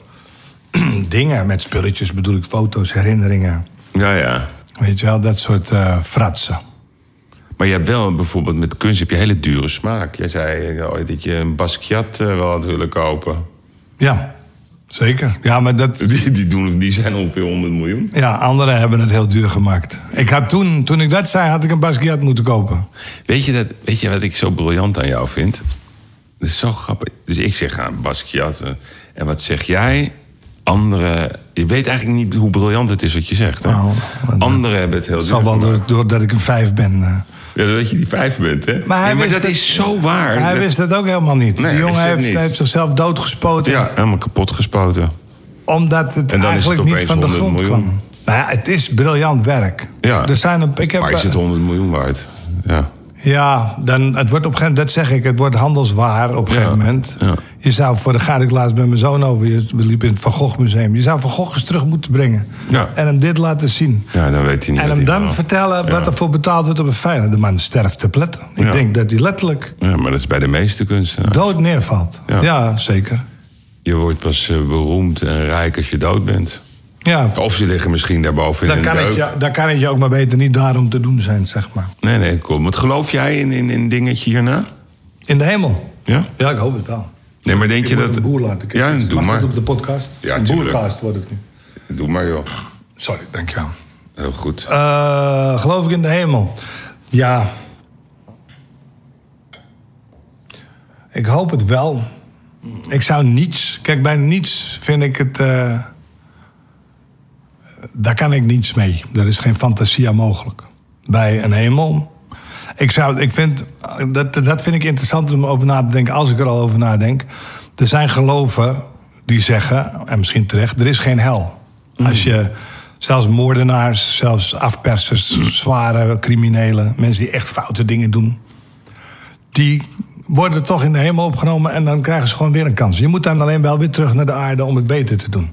Speaker 2: dingen met spulletjes bedoel ik foto's, herinneringen.
Speaker 1: ja, ja.
Speaker 2: Weet je wel, dat soort eh, fratsen.
Speaker 1: Maar je hebt wel bijvoorbeeld met kunst heb je hele dure smaak. Jij zei eh, ooit dat je een Basquiat eh, wel had willen kopen.
Speaker 2: Ja, zeker. Ja, maar dat,
Speaker 1: Die, die, doen, die zijn ongeveer 100 miljoen.
Speaker 2: Ja, anderen hebben het heel duur gemaakt. Ik had toen, toen ik dat zei, had ik een Basquiat moeten kopen.
Speaker 1: Weet je, dat, weet je wat ik zo briljant aan jou vind? Dat is zo grappig. Dus ik zeg aan Basquiat. eh, En wat zeg jij? Anderen. Je weet eigenlijk niet hoe briljant het is wat je zegt. Hè?
Speaker 2: Nou, maar dat
Speaker 1: Anderen hebben het heel
Speaker 2: Het zal
Speaker 1: duur
Speaker 2: wel
Speaker 1: gemaakt.
Speaker 2: door- doordat ik een vijf ben. eh.
Speaker 1: Ja, dat je die vijf bent, hè?
Speaker 2: Maar hij
Speaker 1: Nee,
Speaker 2: wist
Speaker 1: dat
Speaker 2: het-
Speaker 1: is zo waar.
Speaker 2: Hij
Speaker 1: Dat-
Speaker 2: wist dat ook helemaal
Speaker 1: Nee,
Speaker 2: niet. die
Speaker 1: hij
Speaker 2: jongen
Speaker 1: wist het
Speaker 2: heeft,
Speaker 1: niet.
Speaker 2: heeft zichzelf doodgespoten.
Speaker 1: Ja, helemaal kapot gespoten.
Speaker 2: Omdat het
Speaker 1: dan is het
Speaker 2: eigenlijk niet
Speaker 1: opeens
Speaker 2: van de
Speaker 1: 100
Speaker 2: grond
Speaker 1: miljoen.
Speaker 2: kwam. Nou ja, het is briljant werk.
Speaker 1: Ja.
Speaker 2: Er zijn een, ik heb, eh,
Speaker 1: Maar is het 100 miljoen waard? Ja.
Speaker 2: Ja, dan, het wordt op een gegeven moment, dat zeg ik, het wordt handelswaar op een
Speaker 1: Ja,
Speaker 2: gegeven moment.
Speaker 1: ja.
Speaker 2: Je zou, voor de ga ik laatst met mijn zoon over, je- we liepen in het Van Gogh Museum. Je zou Van Gogh eens terug moeten brengen.
Speaker 1: Ja.
Speaker 2: En hem dit laten zien.
Speaker 1: Ja, dan weet hij niet.
Speaker 2: En
Speaker 1: wat hij
Speaker 2: hem dan
Speaker 1: wil.
Speaker 2: vertellen wat
Speaker 1: Ja.
Speaker 2: er voor betaald wordt op een fijne. De man sterft te pletten. Ik
Speaker 1: Ja.
Speaker 2: denk dat hij letterlijk
Speaker 1: Ja, maar dat is bij de meeste kunsten.
Speaker 2: dood neervalt.
Speaker 1: Ja.
Speaker 2: Ja, zeker.
Speaker 1: Je wordt pas eh, beroemd en rijk als je dood bent.
Speaker 2: Ja,
Speaker 1: Of ze liggen misschien daarboven in
Speaker 2: daar
Speaker 1: een
Speaker 2: kan,
Speaker 1: deuk.
Speaker 2: het je, daar kan het je ook maar beter niet daarom te doen zijn, zeg maar.
Speaker 1: Nee, nee, kom. Wat geloof jij in, in, in dingetje hierna?
Speaker 2: In de hemel.
Speaker 1: Ja?
Speaker 2: Ja, ik hoop het wel.
Speaker 1: Nee, maar denk je,
Speaker 2: moet
Speaker 1: dat...
Speaker 2: een boer laten kijken.
Speaker 1: Ja,
Speaker 2: Dus
Speaker 1: doe
Speaker 2: mag
Speaker 1: maar.
Speaker 2: dat op de podcast?
Speaker 1: Ja,
Speaker 2: een
Speaker 1: tuurlijk.
Speaker 2: boercast wordt het nu.
Speaker 1: Doe maar, joh.
Speaker 2: Sorry, dankjewel.
Speaker 1: Heel goed.
Speaker 2: Eh geloof ik in de hemel? Ja. Ik hoop het wel. Ik zou niets... Kijk, bij niets vind ik het... eh, daar kan ik niets mee. Er is geen fantasie aan mogelijk. Bij een hemel... Ik zou, ik vind, dat, dat vind ik interessant om over na te denken, als ik er al over nadenk. Er zijn geloven die zeggen, en misschien terecht, er is geen hel. Als je zelfs moordenaars, zelfs afpersers, zware criminelen, mensen die echt foute dingen doen, die worden toch in de hemel opgenomen en dan krijgen ze gewoon weer een kans. Je moet dan alleen wel weer terug naar de aarde om het beter te doen.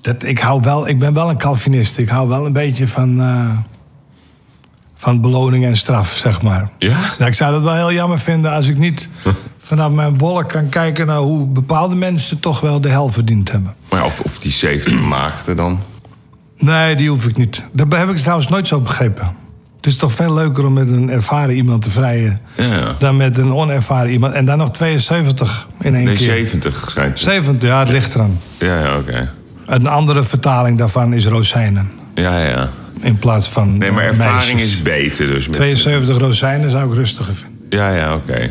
Speaker 2: Dat, ik, hou wel, ik ben wel een Calvinist. Ik hou wel een beetje van, eh, van beloning en straf, zeg maar.
Speaker 1: Ja?
Speaker 2: Nou, ik zou dat wel heel jammer vinden als ik niet vanaf mijn wolk kan kijken naar hoe bepaalde mensen toch wel de hel verdiend hebben.
Speaker 1: Maar ja, of, of die 17 maagden dan?
Speaker 2: Nee, die hoef ik niet. Dat heb ik trouwens nooit zo begrepen. Het is toch veel leuker om met een ervaren iemand te vrijen
Speaker 1: Ja.
Speaker 2: dan met een onervaren iemand. En dan nog 72 in één
Speaker 1: Nee,
Speaker 2: keer.
Speaker 1: 70 schijnt.
Speaker 2: 70, ja, het ligt eraan.
Speaker 1: Ja, ja, oké.
Speaker 2: Een andere vertaling daarvan is rozijnen.
Speaker 1: Ja, ja.
Speaker 2: In plaats van.
Speaker 1: Nee, maar
Speaker 2: eh,
Speaker 1: ervaring
Speaker 2: meisjes.
Speaker 1: is beter. Dus met-
Speaker 2: 72 rozijnen zou ik rustiger vinden.
Speaker 1: Ja, ja, oké.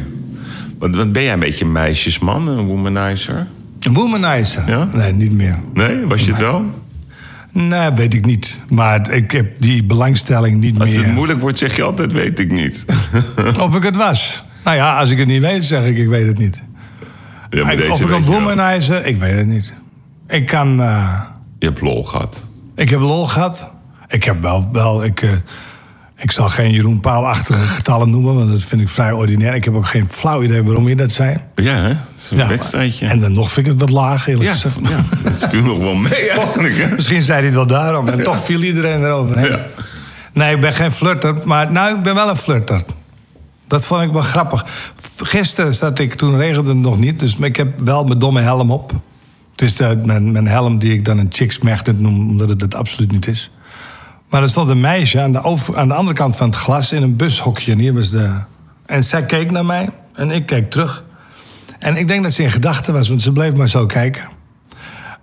Speaker 1: Want, want ben jij een beetje een meisjesman, een womanizer?
Speaker 2: Een womanizer?
Speaker 1: Ja?
Speaker 2: Nee, niet meer.
Speaker 1: Nee, was je het wel?
Speaker 2: Nee, weet ik niet. Maar ik heb die belangstelling niet
Speaker 1: Als
Speaker 2: meer.
Speaker 1: het moeilijk wordt, zeg je altijd weet ik niet.
Speaker 2: Of ik het was. Nou ja, als ik het niet weet, zeg ik ik weet het niet.
Speaker 1: Ja, maar deze
Speaker 2: of ik
Speaker 1: weet
Speaker 2: een
Speaker 1: je wel.
Speaker 2: womanizer, ik weet het niet. Ik kan... eh,
Speaker 1: Je hebt lol gehad.
Speaker 2: ik heb lol gehad. Ik heb wel... wel ik, eh, ik zal geen Jeroen Pauw-achtige getallen noemen, want dat vind ik vrij ordinair. Ik heb ook geen flauw idee waarom je dat zei.
Speaker 1: Ja, hè? Zo'n
Speaker 2: Ja,
Speaker 1: wedstrijdje.
Speaker 2: En dan nog vind ik het wat laag, eerlijk
Speaker 1: ja,
Speaker 2: gezegd.
Speaker 1: ja, dat viel nog wel mee eigenlijk, hè?
Speaker 2: Misschien zei hij het wel daarom. En toch viel iedereen eroverheen.
Speaker 1: Ja.
Speaker 2: Nee, ik ben geen flirter. Maar nou, ik ben wel een flirter. Dat vond ik wel grappig. Gisteren zat ik, toen regende het nog niet. Dus ik heb wel mijn domme helm op. Het is de- mijn, mijn helm die ik dan een chicksmechtend noem. Omdat het dat absoluut niet is. Maar er stond een meisje aan de, over- aan de andere kant van het glas in een bushokje. En hier was de... En zij keek naar mij. En ik keek terug. En ik denk dat ze in gedachten was. Want ze bleef maar zo kijken.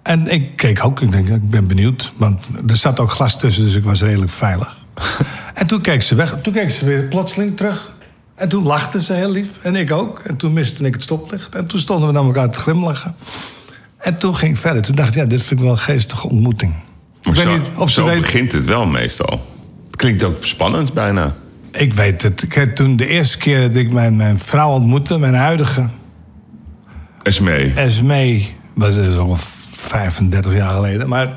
Speaker 2: En ik keek ook, ik denk, ik ben benieuwd. Want er zat ook glas tussen, dus ik was redelijk veilig. en toen keek ze weg, toen keek ze weer plotseling terug. En toen lachte ze heel lief, en ik ook. En toen miste ik het stoplicht. En toen stonden we naar elkaar te glimlachen. En toen ging ik verder. Toen dacht ik, ja, dit vind ik wel een geestige ontmoeting. Ik
Speaker 1: Maar
Speaker 2: weet
Speaker 1: zo,
Speaker 2: niet of ze
Speaker 1: zo
Speaker 2: weet...
Speaker 1: begint het wel meestal. Het klinkt ook spannend bijna.
Speaker 2: Ik weet het. Ik heb toen de eerste keer dat ik mijn, mijn vrouw ontmoette, mijn huidige...
Speaker 1: Esmee.
Speaker 2: Esmee was dus al 35 jaar geleden. Maar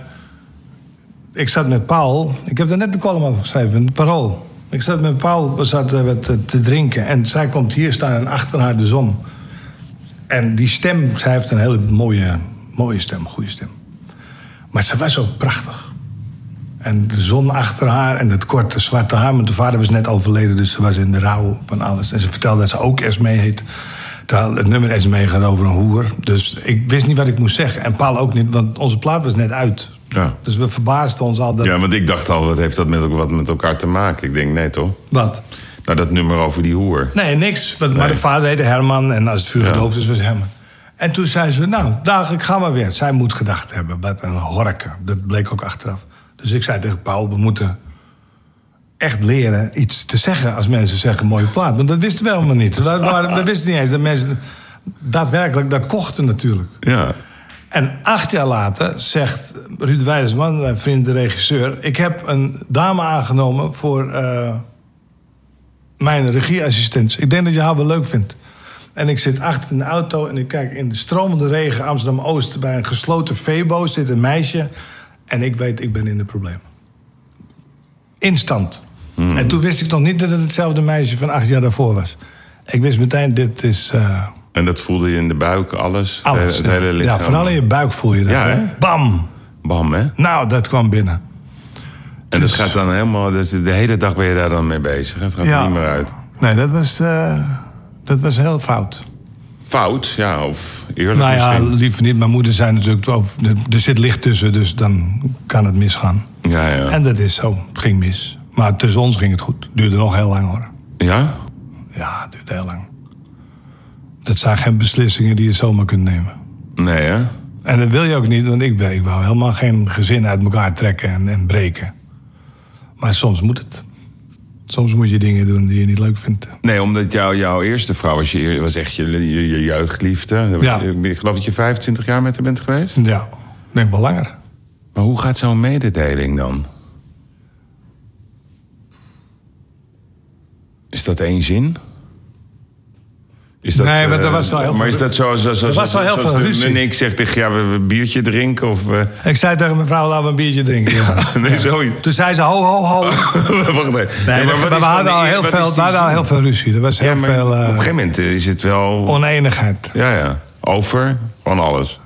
Speaker 2: ik zat met Paul. Ik heb daar net de column over geschreven, in het parool. Ik zat met Paul, we zaten wat te, te drinken. En zij komt hier staan en achter haar de zon. En die stem, zij heeft een hele mooie, mooie stem, goede stem. Maar ze was ook prachtig. En de zon achter haar en het korte zwarte haar. Want de vader was net overleden, dus ze was in de rouw van alles. En ze vertelde dat ze ook Esme heet. Terwijl het nummer Esme gaat over een hoer. Dus ik wist niet wat ik moest zeggen. En Paul ook niet, want onze plaat was net uit.
Speaker 1: Ja.
Speaker 2: Dus we verbaasden ons al dat...
Speaker 1: Ja, want ik dacht al, wat heeft dat met, wat met elkaar te maken? Ik denk, nee toch?
Speaker 2: Wat?
Speaker 1: Nou, dat nummer over die hoer.
Speaker 2: Nee, niks. Want- Maar
Speaker 1: Nee.
Speaker 2: de vader heette Herman en als het vuur
Speaker 1: Ja.
Speaker 2: gedoofd is, was het Herman. En toen zei ze, nou, dag, ik ga maar weer. Zij moet gedacht hebben, wat een horken. Dat bleek ook achteraf. Dus ik zei tegen Paul, we moeten echt leren iets te zeggen als mensen zeggen mooie plaat. Want dat wisten we helemaal niet. We waren- Dat wisten niet eens. Dat mensen daadwerkelijk dat kochten natuurlijk.
Speaker 1: Ja.
Speaker 2: En acht jaar later zegt Ruud Wijsman, mijn vriend de regisseur... ik heb een dame aangenomen voor eh, mijn regieassistent. Ik denk dat je haar wel leuk vindt. En ik zit achter in de auto en ik kijk in de stromende regen Amsterdam-Oost... bij een gesloten febo zit een meisje en ik weet, ik ben in de problemen. Instant.
Speaker 1: Hmm.
Speaker 2: En toen wist ik nog niet dat het hetzelfde meisje van acht jaar daarvoor was. Ik wist meteen, dit is... eh,
Speaker 1: En dat voelde je in de buik, alles? Eh,
Speaker 2: alles.
Speaker 1: Het hele lichaam?
Speaker 2: ja, vooral in je buik voel je dat.
Speaker 1: Ja,
Speaker 2: hè?
Speaker 1: hè?
Speaker 2: Bam!
Speaker 1: Bam, hè?
Speaker 2: Nou, dat kwam binnen.
Speaker 1: En
Speaker 2: Dus-
Speaker 1: dat gaat dan helemaal... dat is- de hele dag ben je daar dan mee bezig. Het gaat er niet meer uit.
Speaker 2: Nee, dat was, eh, dat was heel fout.
Speaker 1: fout, ja, of eerlijk
Speaker 2: Nou ja,
Speaker 1: misschien.
Speaker 2: liever niet. Mijn moeder zei natuurlijk, wel, er zit licht tussen, dus dan kan het misgaan.
Speaker 1: Ja, ja.
Speaker 2: En dat is zo. Het ging mis. Maar tussen ons ging het goed. Duurde nog heel lang hoor.
Speaker 1: ja?
Speaker 2: Ja, het duurde heel lang. Dat zijn geen beslissingen die je zomaar kunt nemen.
Speaker 1: Nee, hè?
Speaker 2: En dat wil je ook niet, want ik, ben- ik wou helemaal geen gezin uit elkaar trekken en, en breken. Maar soms moet het. Soms moet je dingen doen die je niet leuk vindt.
Speaker 1: Nee, omdat jou, jouw eerste vrouw was, je, was echt je, je, je jeugdliefde.
Speaker 2: Ja.
Speaker 1: Ik geloof dat je 25 jaar met haar bent geweest.
Speaker 2: Ja, ik denk wel langer.
Speaker 1: Maar hoe gaat zo'n mededeling dan? Is dat één zin? Is
Speaker 2: Nee, want er
Speaker 1: eh,
Speaker 2: was al heel
Speaker 1: Maar
Speaker 2: veel-
Speaker 1: is dat zo... zo, zo
Speaker 2: Er was
Speaker 1: zo-
Speaker 2: al heel
Speaker 1: zoals
Speaker 2: veel
Speaker 1: de-
Speaker 2: ruzie.
Speaker 1: Nee, ik zeg tegen ja, we, we biertje drinken of... eh,
Speaker 2: Ik zei tegen mijn vrouw, laten we een biertje drinken. Ja.
Speaker 1: nee, zoiets.
Speaker 2: Toen zei ze, ho, ho, ho.
Speaker 1: Wacht even.
Speaker 2: Nee,
Speaker 1: Ja,
Speaker 2: maar
Speaker 1: wat is
Speaker 2: we
Speaker 1: dan
Speaker 2: hadden
Speaker 1: die-
Speaker 2: al heel
Speaker 1: wat
Speaker 2: veel,
Speaker 1: is
Speaker 2: we
Speaker 1: die
Speaker 2: hadden al
Speaker 1: zin?
Speaker 2: heel veel ruzie. Er was heel
Speaker 1: Ja, maar
Speaker 2: veel
Speaker 1: op een
Speaker 2: eh,
Speaker 1: gegeven moment is het wel...
Speaker 2: oneenigheid.
Speaker 1: Ja, ja. Over van alles.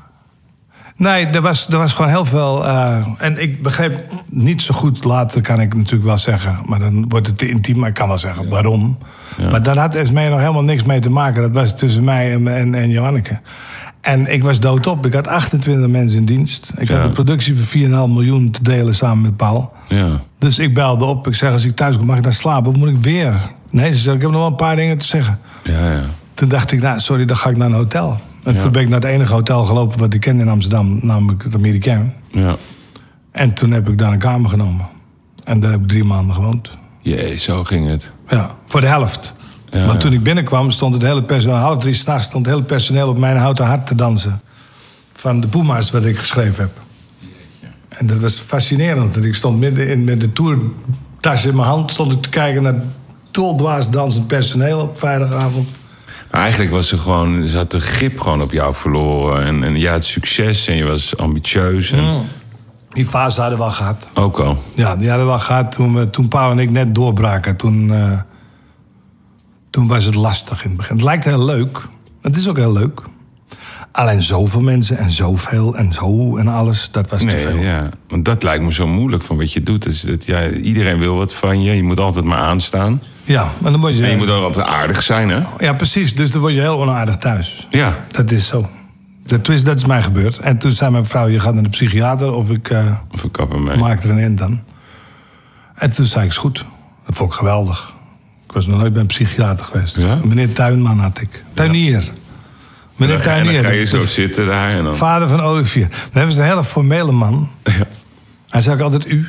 Speaker 2: Nee, er was, er was gewoon heel veel. eh, en ik begreep niet zo goed, later kan ik natuurlijk wel zeggen. Maar dan wordt het te intiem, maar ik kan wel zeggen waarom. Maar daar had Esmee nog helemaal niks mee te maken. Dat was tussen mij en, en, en Johanneke. En ik was doodop. Ik had 28 mensen in dienst. Ik
Speaker 1: Ja.
Speaker 2: had een productie van 4,5 miljoen te delen samen met Paul.
Speaker 1: Ja.
Speaker 2: Dus ik belde op. Ik zeg, als ik thuis kom, mag ik dan slapen? Of moet ik weer? Nee, ze zei, ik heb nog wel een paar dingen te zeggen.
Speaker 1: Ja, ja.
Speaker 2: Toen dacht ik, nou, sorry, dan ga ik naar een hotel. En
Speaker 1: Ja.
Speaker 2: toen ben ik naar het enige hotel gelopen wat ik kende in Amsterdam, namelijk het Amerikaan.
Speaker 1: Ja.
Speaker 2: En toen heb ik daar een kamer genomen. En daar heb ik drie maanden gewoond.
Speaker 1: Jee, zo ging het.
Speaker 2: Ja, voor de helft.
Speaker 1: Ja,
Speaker 2: Want
Speaker 1: ja.
Speaker 2: toen ik binnenkwam, stond het hele personeel, half drie s'nachts, stond het hele personeel op mijn houten hart te dansen. Van de Puma's wat ik geschreven heb. En dat was fascinerend. Want ik stond midden in met de tourtas in mijn hand, stond ik te kijken naar doldwaas dansend personeel op vrijdagavond.
Speaker 1: Maar eigenlijk was ze gewoon, ze had de grip gewoon op jou verloren. En, en je had succes en je was ambitieus. En,
Speaker 2: Die fase hadden we al gehad.
Speaker 1: Ook al.
Speaker 2: Ja, die hadden we al gehad toen, we, toen Paul en ik net doorbraken. Toen, eh, toen was het lastig in het begin. Het lijkt heel leuk. Het is ook heel leuk. Alleen zoveel mensen en zoveel en zo en alles, dat was te
Speaker 1: Nee,
Speaker 2: veel.
Speaker 1: ja. Want dat lijkt me zo moeilijk van wat je doet. Is dat, ja, iedereen wil wat van je. Je moet altijd maar aanstaan.
Speaker 2: Ja, maar dan word je,
Speaker 1: En je moet ook altijd aardig zijn, hè?
Speaker 2: ja, precies. Dus dan word je heel onaardig thuis.
Speaker 1: Ja.
Speaker 2: Dat is zo. Dat is, dat is mij gebeurd. En toen zei mijn vrouw, je gaat naar de psychiater of ik eh,
Speaker 1: Of ik kap ermee.
Speaker 2: maak er een end aan. En toen zei ik, is goed. Dat vond ik geweldig. Ik was nog nooit bij een psychiater geweest.
Speaker 1: Ja?
Speaker 2: Meneer Tuinman had ik. Tuinier. Meneer
Speaker 1: En dan
Speaker 2: Tuinier.
Speaker 1: ga je
Speaker 2: de-
Speaker 1: zo
Speaker 2: de
Speaker 1: zitten daar. En dan...
Speaker 2: Vader van Olivier. Dan hebben ze een hele formele man.
Speaker 1: Ja.
Speaker 2: Hij zei ook altijd u.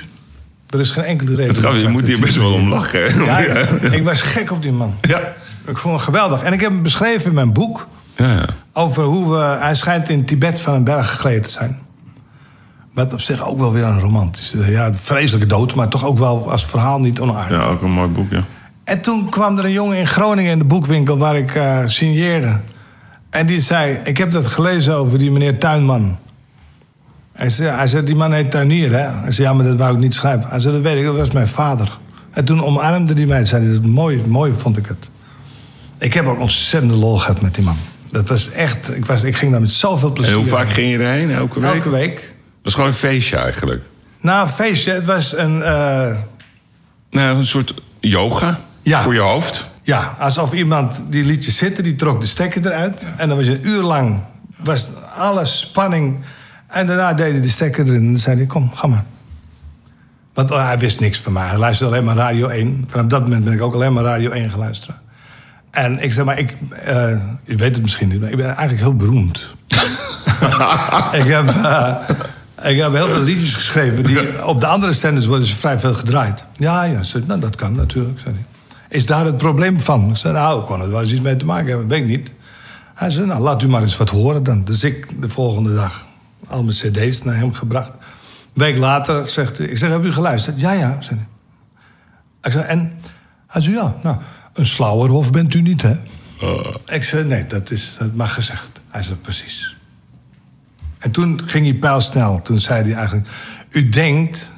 Speaker 2: Er is geen enkele reden.
Speaker 1: Het grappige, je moet hier best wel om lachen. hè?
Speaker 2: Ja,
Speaker 1: ja.
Speaker 2: ik, ik was gek op die man.
Speaker 1: Ja.
Speaker 2: Ik vond hem geweldig. En ik heb hem beschreven in mijn boek.
Speaker 1: ja.
Speaker 2: Over hoe we... Hij schijnt in Tibet van een berg gegleden te zijn. Wat op zich ook wel weer een romantische... Ja, vreselijke dood. Maar toch ook wel als verhaal niet onaardig.
Speaker 1: Ja, ook een mooi boek, ja.
Speaker 2: En toen kwam er een jongen in Groningen in de boekwinkel waar ik eh, signeerde. En die zei: Ik heb dat gelezen over die meneer Tuinman. Hij zei, hij zei Die man heet Tuinier, hè? Hij zei: Ja, maar dat wou ik niet schrijven. Hij zei: Dat weet ik, dat was mijn vader. En toen omarmde die mij en zei: hij, Dat is mooi, mooi vond ik het. Ik heb ook ontzettende lol gehad met die man. Dat was echt, ik, was, ik ging daar met zoveel
Speaker 1: En
Speaker 2: plezier.
Speaker 1: hoe vaak ging je erheen? Elke week?
Speaker 2: Elke week.
Speaker 1: Dat is gewoon een feestje eigenlijk.
Speaker 2: Na een feestje, het was een. eh,
Speaker 1: Nou, een soort yoga
Speaker 2: Ja.
Speaker 1: voor je hoofd.
Speaker 2: Ja, alsof iemand die liet je zitten, die trok de stekker eruit. En dan was je een uur lang, was alle spanning. En daarna deed hij de stekker erin en dan zei hij, kom, ga maar. Want oh, hij wist niks van mij. Hij luisterde alleen maar Radio 1. Vanaf dat moment ben ik ook alleen maar Radio 1 gaan luisteren. En ik zeg maar, ik, eh, je weet het misschien niet, maar ik ben eigenlijk heel beroemd. ik, heb, eh, ik heb heel veel liedjes geschreven. Die, op de andere standards worden ze vrij veel gedraaid. Ja, ja, zei, nou, dat kan natuurlijk. Zei hij. Is daar het probleem van? Ik zei, nou, kon het wel eens iets mee te maken hebben, weet ik niet. Hij zei, nou, laat u maar eens wat horen dan. Dus ik de volgende dag al mijn cd's naar hem gebracht. Een week later zegt hij, ik zeg, heb u geluisterd? Ja, ja, zei hij. Ik zei, en? Hij zei, ja, nou, een slauwerhof bent u niet, hè?
Speaker 1: Oh,
Speaker 2: Ik zei, nee, dat, is, dat mag gezegd. Hij zei, precies. En toen ging hij pijlsnel. Toen zei hij eigenlijk, u denkt...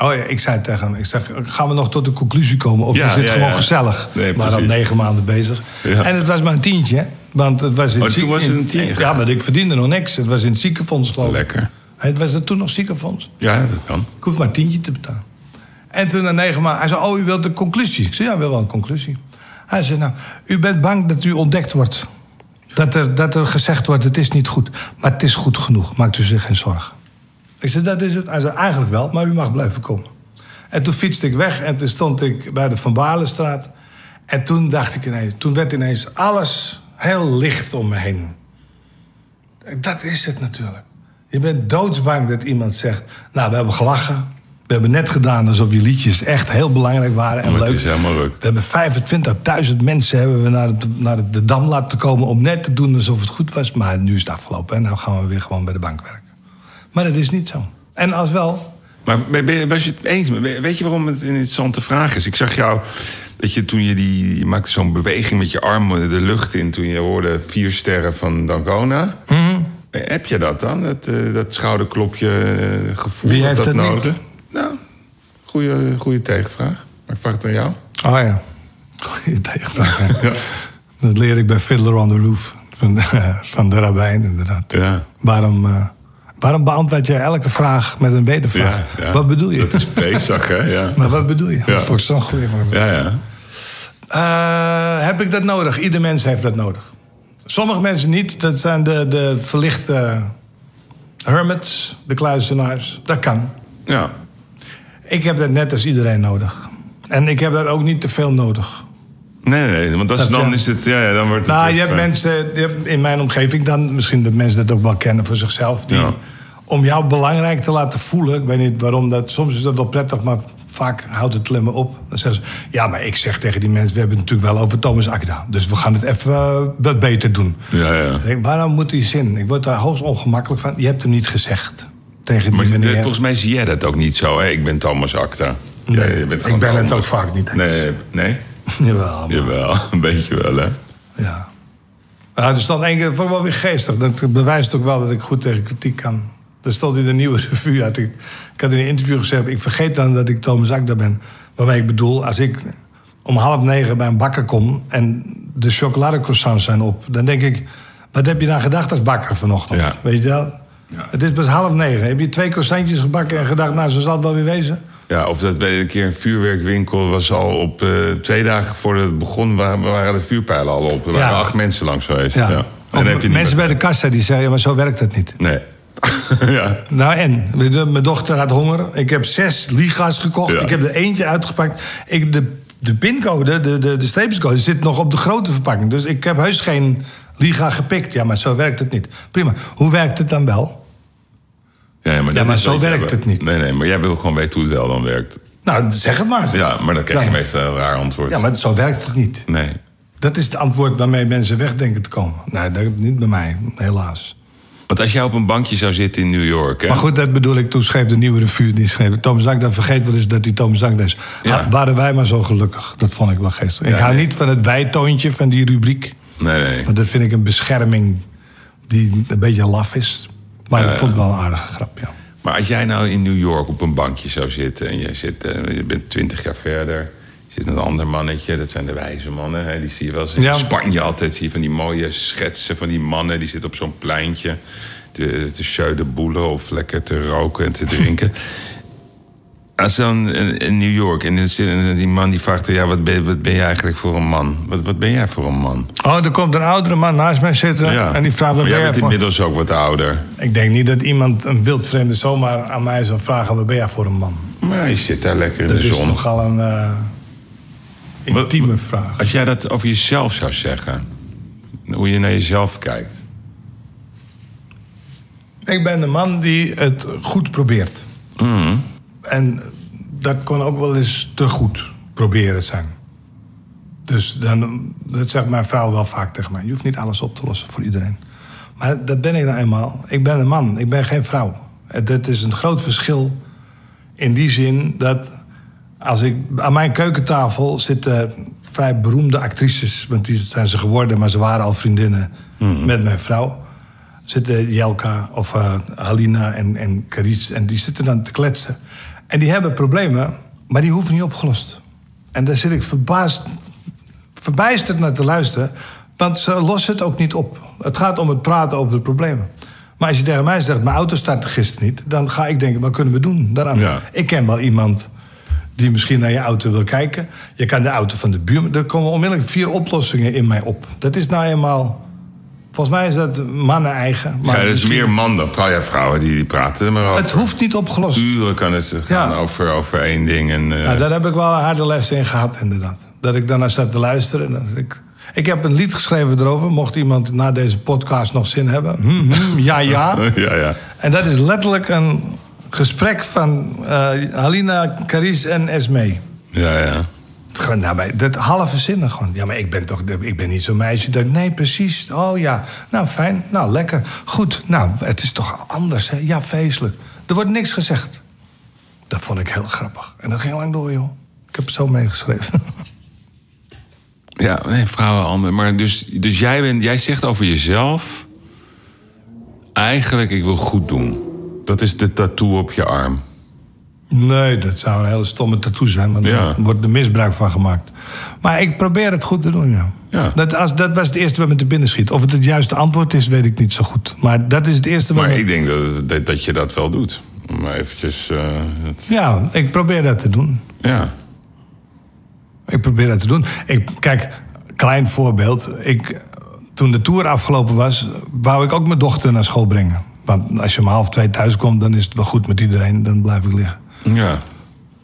Speaker 2: Oh ja, ik zei tegen hem, ik zeg, gaan we nog tot de conclusie komen? Of
Speaker 1: Ja,
Speaker 2: is dit
Speaker 1: ja,
Speaker 2: gewoon
Speaker 1: ja.
Speaker 2: gezellig?
Speaker 1: Nee,
Speaker 2: maar dan
Speaker 1: precies.
Speaker 2: negen maanden bezig.
Speaker 1: Ja.
Speaker 2: En het was maar een tientje, hè? want het was in
Speaker 1: Oh, toen
Speaker 2: ziek-
Speaker 1: was het
Speaker 2: in-
Speaker 1: een tientje.
Speaker 2: Ja, maar ik verdiende nog niks. Het was in het ziekenfonds, geloof ik.
Speaker 1: Lekker.
Speaker 2: Het was er toen nog ziekenfonds.
Speaker 1: Ja, dat kan.
Speaker 2: Ik hoef maar een tientje te betalen. En toen na negen maanden, hij zei, oh, u wilt de conclusie? Ik zei, ja, ik wil wel een conclusie. Hij zei, nou, u bent bang dat u ontdekt wordt. Dat er, dat er gezegd wordt, het is niet goed. Maar het is goed genoeg, maakt u zich geen zorgen. Ik zei, dat is het. Hij zei, eigenlijk wel, maar u mag blijven komen. En toen fietste ik weg en toen stond ik bij de Van Balenstraat. En toen dacht ik ineens, toen werd ineens alles heel licht om me heen. Dat is het natuurlijk. Je bent doodsbang dat iemand zegt, nou, we hebben gelachen. We hebben net gedaan alsof je liedjes echt heel belangrijk waren en
Speaker 1: Maar het
Speaker 2: leuk.
Speaker 1: is helemaal leuk.
Speaker 2: We hebben 25.000 mensen hebben we naar, het, naar de dam laten komen om net te doen alsof het goed was. Maar nu is het afgelopen en nou gaan we weer gewoon bij de bank werken. Maar dat is niet zo. En als wel,
Speaker 1: Maar ben- ben- was je het eens? met- Weet je waarom het een interessante vraag is? Ik zag jou dat je toen je die je maakte zo'n beweging met je armen de lucht in toen je hoorde vier sterren van Dancona.
Speaker 2: Mhm.
Speaker 1: Heb je dat dan? Dat, eh, dat schouderklopje eh, gevoel?
Speaker 2: Wie
Speaker 1: dat
Speaker 2: heeft
Speaker 1: dat
Speaker 2: dat
Speaker 1: nodig?
Speaker 2: niet?
Speaker 1: Nou, goede, goede tegenvraag. Maar ik vraag het aan jou.
Speaker 2: Oh ja. Goeie tegenvraag. hè. Dat leer ik bij Fiddler on the Roof van, van de rabbijn, inderdaad.
Speaker 1: Ja.
Speaker 2: Waarom, eh, waarom beantwoord jij elke vraag met een wedervraag?
Speaker 1: Ja, ja.
Speaker 2: Wat bedoel je?
Speaker 1: Dat is Pesach, hè? Ja.
Speaker 2: Maar wat bedoel je?
Speaker 1: Ja.
Speaker 2: Dat vond ik zo'n goeie vraag.
Speaker 1: Ja, ja.
Speaker 2: Eh, heb ik dat nodig? Ieder mens heeft dat nodig. Sommige mensen niet. Dat zijn de, de verlichte eh, hermits, de kluizenaars. Dat kan.
Speaker 1: ja.
Speaker 2: Ik heb dat net als iedereen nodig. En ik heb dat ook niet te veel nodig.
Speaker 1: Nee, nee, nee, want als
Speaker 2: Dat-
Speaker 1: dan
Speaker 2: ja.
Speaker 1: is het... Ja, ja, dan wordt het
Speaker 2: Nou,
Speaker 1: echt,
Speaker 2: je hebt
Speaker 1: eh,
Speaker 2: mensen je hebt in mijn omgeving dan, misschien dat mensen dat ook wel kennen voor zichzelf, die
Speaker 1: Ja.
Speaker 2: om jou belangrijk te laten voelen. Ik weet niet waarom dat. Soms is dat wel prettig, maar vaak houdt het klimmen op. Dan zeggen ze: Ja, maar ik zeg tegen die mensen: We hebben het natuurlijk wel over Thomas Akda. Dus we gaan het even eh, wat beter doen.
Speaker 1: Ja, ja.
Speaker 2: Ik denk, waarom moet die zin? Ik word daar hoogst ongemakkelijk van. Je hebt hem niet gezegd tegen die
Speaker 1: Maar
Speaker 2: meneer.
Speaker 1: eh, volgens mij zie jij dat ook niet zo. Hè? Ik ben Thomas Acta. Jij
Speaker 2: Nee,
Speaker 1: bent
Speaker 2: ik
Speaker 1: gewoon
Speaker 2: ben het
Speaker 1: Thomas.
Speaker 2: ook vaak niet eens.
Speaker 1: Nee, nee.
Speaker 2: Jawel. maar-
Speaker 1: Jawel, een beetje wel, hè?
Speaker 2: Ja. Ja, er stond één keer, dat vond ik wel weer geestig. Dat bewijst ook wel dat ik goed tegen kritiek kan. Er stond in de nieuwe revue, had ik, ik had in een interview gezegd... ik vergeet dan dat ik Thomas Akda ben. Waarmee ik bedoel, als ik om half negen bij een bakker kom... en de chocoladecroissants zijn op, dan denk ik... wat heb je nou gedacht als bakker vanochtend?
Speaker 1: Ja.
Speaker 2: Weet je wel?
Speaker 1: Ja.
Speaker 2: Het is pas half negen. Heb je twee croissantjes gebakken en gedacht... nou, zo zal het wel weer wezen?
Speaker 1: Ja, of dat bij een keer een vuurwerkwinkel was al op eh, twee dagen voordat het begon, waren, waren de vuurpijlen al op. Er
Speaker 2: Ja.
Speaker 1: waren acht mensen langs geweest. Ja.
Speaker 2: Ja.
Speaker 1: En
Speaker 2: Of
Speaker 1: dan heb je niet
Speaker 2: mensen bij de kassa die zeggen, ja, maar zo werkt het niet.
Speaker 1: meer- Nee. ja.
Speaker 2: Nou en, mijn dochter had honger. Ik heb zes liga's gekocht.
Speaker 1: Ja.
Speaker 2: Ik heb er eentje uitgepakt. Ik, de, de pincode, de, de, de streepjescode, zit nog op de grote verpakking. Dus ik heb heus geen liga gepikt. Ja, maar zo werkt het niet. Prima. Hoe werkt het dan wel?
Speaker 1: Ja, maar, dat
Speaker 2: maar
Speaker 1: is
Speaker 2: zo
Speaker 1: wat je
Speaker 2: werkt
Speaker 1: wil.
Speaker 2: het niet.
Speaker 1: Nee, nee, maar jij wil gewoon weten hoe het wel dan werkt.
Speaker 2: Nou, zeg het maar.
Speaker 1: Ja, maar dan krijg je
Speaker 2: Ja.
Speaker 1: meestal een raar antwoord.
Speaker 2: Ja, maar zo werkt het niet.
Speaker 1: Nee.
Speaker 2: Dat is het antwoord waarmee mensen wegdenken te komen. Nou, dat, niet bij mij, helaas.
Speaker 1: Want als jij op een bankje zou zitten in New York... Hè?
Speaker 2: Maar goed, dat bedoel ik. Toen schreef de nieuwe revue, die schreef... Thomas Langda, vergeet wel eens dat die Thomas Langda is.
Speaker 1: Ja.
Speaker 2: Ah, waren wij maar zo gelukkig. Dat vond ik wel geestig. ik
Speaker 1: Ja,
Speaker 2: hou
Speaker 1: nee.
Speaker 2: niet van het wijtoontje van die rubriek.
Speaker 1: Nee, nee.
Speaker 2: Want dat vind ik een bescherming die een beetje laf is. Maar
Speaker 1: Ja,
Speaker 2: ik vond het wel een aardige grap, ja.
Speaker 1: Maar als jij nou in New York op een bankje zou zitten en jij zit, eh, je bent twintig jaar verder, je zit met een ander mannetje, dat zijn de wijze mannen, hè, die zie je wel eens in
Speaker 2: Ja.
Speaker 1: Spanje altijd, zie je van die mooie schetsen van die mannen, die zitten op zo'n pleintje te, te boelen of lekker te roken en te drinken. Als dan in, in New York en dan zit- en die man die vraagt, ja, wat ben, wat ben je eigenlijk voor een man? Wat, wat ben jij voor een man?
Speaker 2: Oh, er komt een oudere man naast mij zitten en die vraagt... Wat
Speaker 1: Maar jij
Speaker 2: ben Oh, jij
Speaker 1: bent
Speaker 2: voor?
Speaker 1: inmiddels ook wat ouder.
Speaker 2: Ik denk niet dat iemand, een wildvreemde, zomaar aan mij zou vragen... wat ben jij voor een man?
Speaker 1: Maar ja, je zit daar lekker in
Speaker 2: Dat
Speaker 1: de
Speaker 2: is
Speaker 1: zon.
Speaker 2: nogal een eh,
Speaker 1: Wat-
Speaker 2: intieme vraag.
Speaker 1: Als jij dat over jezelf zou zeggen, hoe je naar jezelf kijkt.
Speaker 2: Ik ben de man die het goed probeert. En dat kon ook wel eens te goed proberen zijn. Dus dan, dat zegt mijn vrouw wel vaak tegen mij. Je hoeft niet alles op te lossen voor iedereen. Maar dat ben ik nou eenmaal. Ik ben een man, ik ben geen vrouw. En Dat is een groot verschil in die zin dat... Als ik, aan mijn keukentafel zitten vrij beroemde actrices... want die zijn ze geworden, maar ze waren al vriendinnen met mijn vrouw zitten Jelka of eh, Halina en, en Carice. En die zitten dan te kletsen. En die hebben problemen, maar die hoeven niet opgelost. En daar zit ik verbaasd, verbijsterd naar te luisteren. Want ze lossen het ook niet op. Het gaat om het praten over de problemen. Maar als je tegen mij zegt, mijn auto startte gisteren niet... dan ga ik denken, wat kunnen we doen daaraan?
Speaker 1: Ja.
Speaker 2: Ik ken wel iemand die misschien naar je auto wil kijken. Je kan de auto van de buurman... Er komen onmiddellijk vier oplossingen in mij op. Dat is nou eenmaal Volgens mij is dat mannen eigen. Maar
Speaker 1: ja, dat is
Speaker 2: misschien-
Speaker 1: meer man dan vrouw. Ja, vrouwen die, die praten. Maar over
Speaker 2: Het hoeft niet opgelost.
Speaker 1: uren kan het eh, gaan over, over één ding. En, eh,
Speaker 2: Ja, daar heb ik wel een harde les in gehad, inderdaad. Dat ik daarna zat te luisteren. en dat ik, ik heb een lied geschreven erover. Mocht iemand na deze podcast nog zin hebben. Hm, hm, ja, ja.
Speaker 1: ja, ja.
Speaker 2: En dat is letterlijk een gesprek van eh Halina, Caries en Esme.
Speaker 1: Ja, ja.
Speaker 2: Gewoon, nou, maar dat halve zinnen gewoon. Ja, maar ik ben toch ik ben niet zo'n meisje. Dat, nee, precies. Oh ja. Nou, fijn. Nou, lekker. Goed. Nou, het is toch anders, hè? Ja, feestelijk. Er wordt niks gezegd. Dat vond ik heel grappig. En dat ging lang door, joh. Ik heb het zo meegeschreven.
Speaker 1: Ja, nee, vrouwen anders. Maar dus, dus jij, bent, jij zegt over jezelf... Eigenlijk, ik wil goed doen. Dat is de tattoo op je arm.
Speaker 2: Nee, dat zou een hele stomme tattoo zijn. Maar
Speaker 1: Ja.
Speaker 2: daar wordt er misbruik van gemaakt. Maar ik probeer het goed te doen, ja.
Speaker 1: Ja.
Speaker 2: Dat, als, dat was het eerste wat me te binnen schiet. Of het het juiste antwoord is, weet ik niet zo goed. Maar dat is het eerste wat
Speaker 1: Maar
Speaker 2: me-
Speaker 1: ik denk dat, dat, dat je dat wel doet. Maar eventjes... eh, het-
Speaker 2: Ja, ik probeer dat te doen.
Speaker 1: ja.
Speaker 2: Ik probeer dat te doen. Ik, kijk, klein voorbeeld. Ik, toen de tour afgelopen was, wou ik ook mijn dochter naar school brengen. Want als je om half twee thuis komt, dan is het wel goed met iedereen. Dan blijf ik liggen.
Speaker 1: Ja.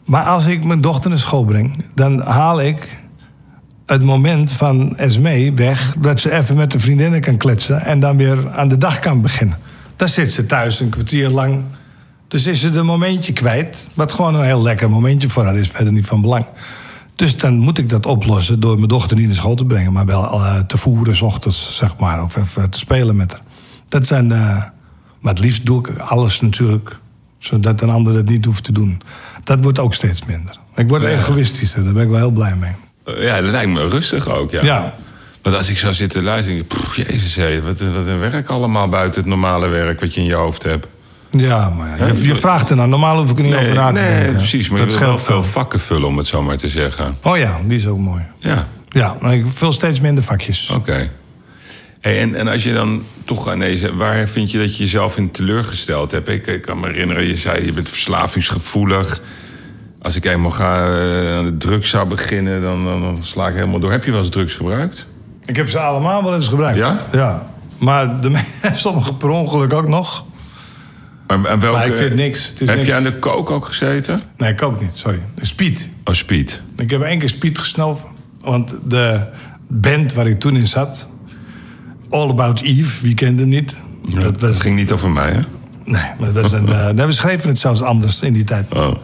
Speaker 2: Maar als ik mijn dochter naar school breng, dan haal ik het moment van Esme weg. Dat ze even met de vriendinnen kan kletsen en dan weer aan de dag kan beginnen. Dan zit ze thuis een kwartier lang. Dus is ze een momentje kwijt. Wat gewoon een heel lekker momentje voor haar is, verder niet van belang. Dus dan moet ik dat oplossen door mijn dochter niet naar school te brengen, maar wel eh, te voeren, 's ochtends, zeg maar. Of even te spelen met haar. Dat zijn. eh, maar het liefst doe ik alles natuurlijk, zodat een ander het niet hoeft te doen. Dat wordt ook steeds minder. Ik word egoïstischer, daar ben ik wel heel blij mee.
Speaker 1: Eh, ja, dat lijkt me rustig ook, ja.
Speaker 2: Ja.
Speaker 1: Want als ik zou zitten luisteren, denk ik... "Pff, jezus, hé, wat, een- wat een werk allemaal buiten het normale werk wat je in je hoofd hebt.
Speaker 2: Ja, maar ja, je, je vraagt er nou. Normaal hoef ik er niet over na te
Speaker 1: nee,
Speaker 2: denken.
Speaker 1: precies. Maar
Speaker 2: dat
Speaker 1: je wil wel
Speaker 2: scheelt
Speaker 1: veel vakken vullen, om het zo maar te zeggen.
Speaker 2: Oh ja, die is ook mooi.
Speaker 1: Ja,
Speaker 2: Ja, maar ik vul steeds minder vakjes.
Speaker 1: oké. Hey, en, en als je dan toch aan deze... Waar vind je dat je jezelf in teleurgesteld hebt? Ik, ik kan me herinneren, je zei je bent verslavingsgevoelig. Als ik eenmaal ga, eh, aan de drugs zou beginnen, dan, dan, dan sla ik helemaal door. Heb je wel eens drugs gebruikt?
Speaker 2: Ik heb ze allemaal wel eens gebruikt.
Speaker 1: Ja?
Speaker 2: Ja. Maar de, me- sommige per ongeluk ook nog.
Speaker 1: Maar, aan welke,
Speaker 2: Maar ik vind niks. Het Dus is
Speaker 1: heb
Speaker 2: niks.
Speaker 1: je aan de kook ook gezeten?
Speaker 2: Nee, ik ook niet, sorry. Speed.
Speaker 1: Oh, speed.
Speaker 2: Ik heb één keer speed gesnoven. Want de band waar ik toen in zat... All About Eve, wie kende hem niet? dat was,
Speaker 1: Dat ging niet over mij, hè?
Speaker 2: Nee, maar dat was een, eh, nee, we schreven het zelfs anders in die tijd.
Speaker 1: Oh.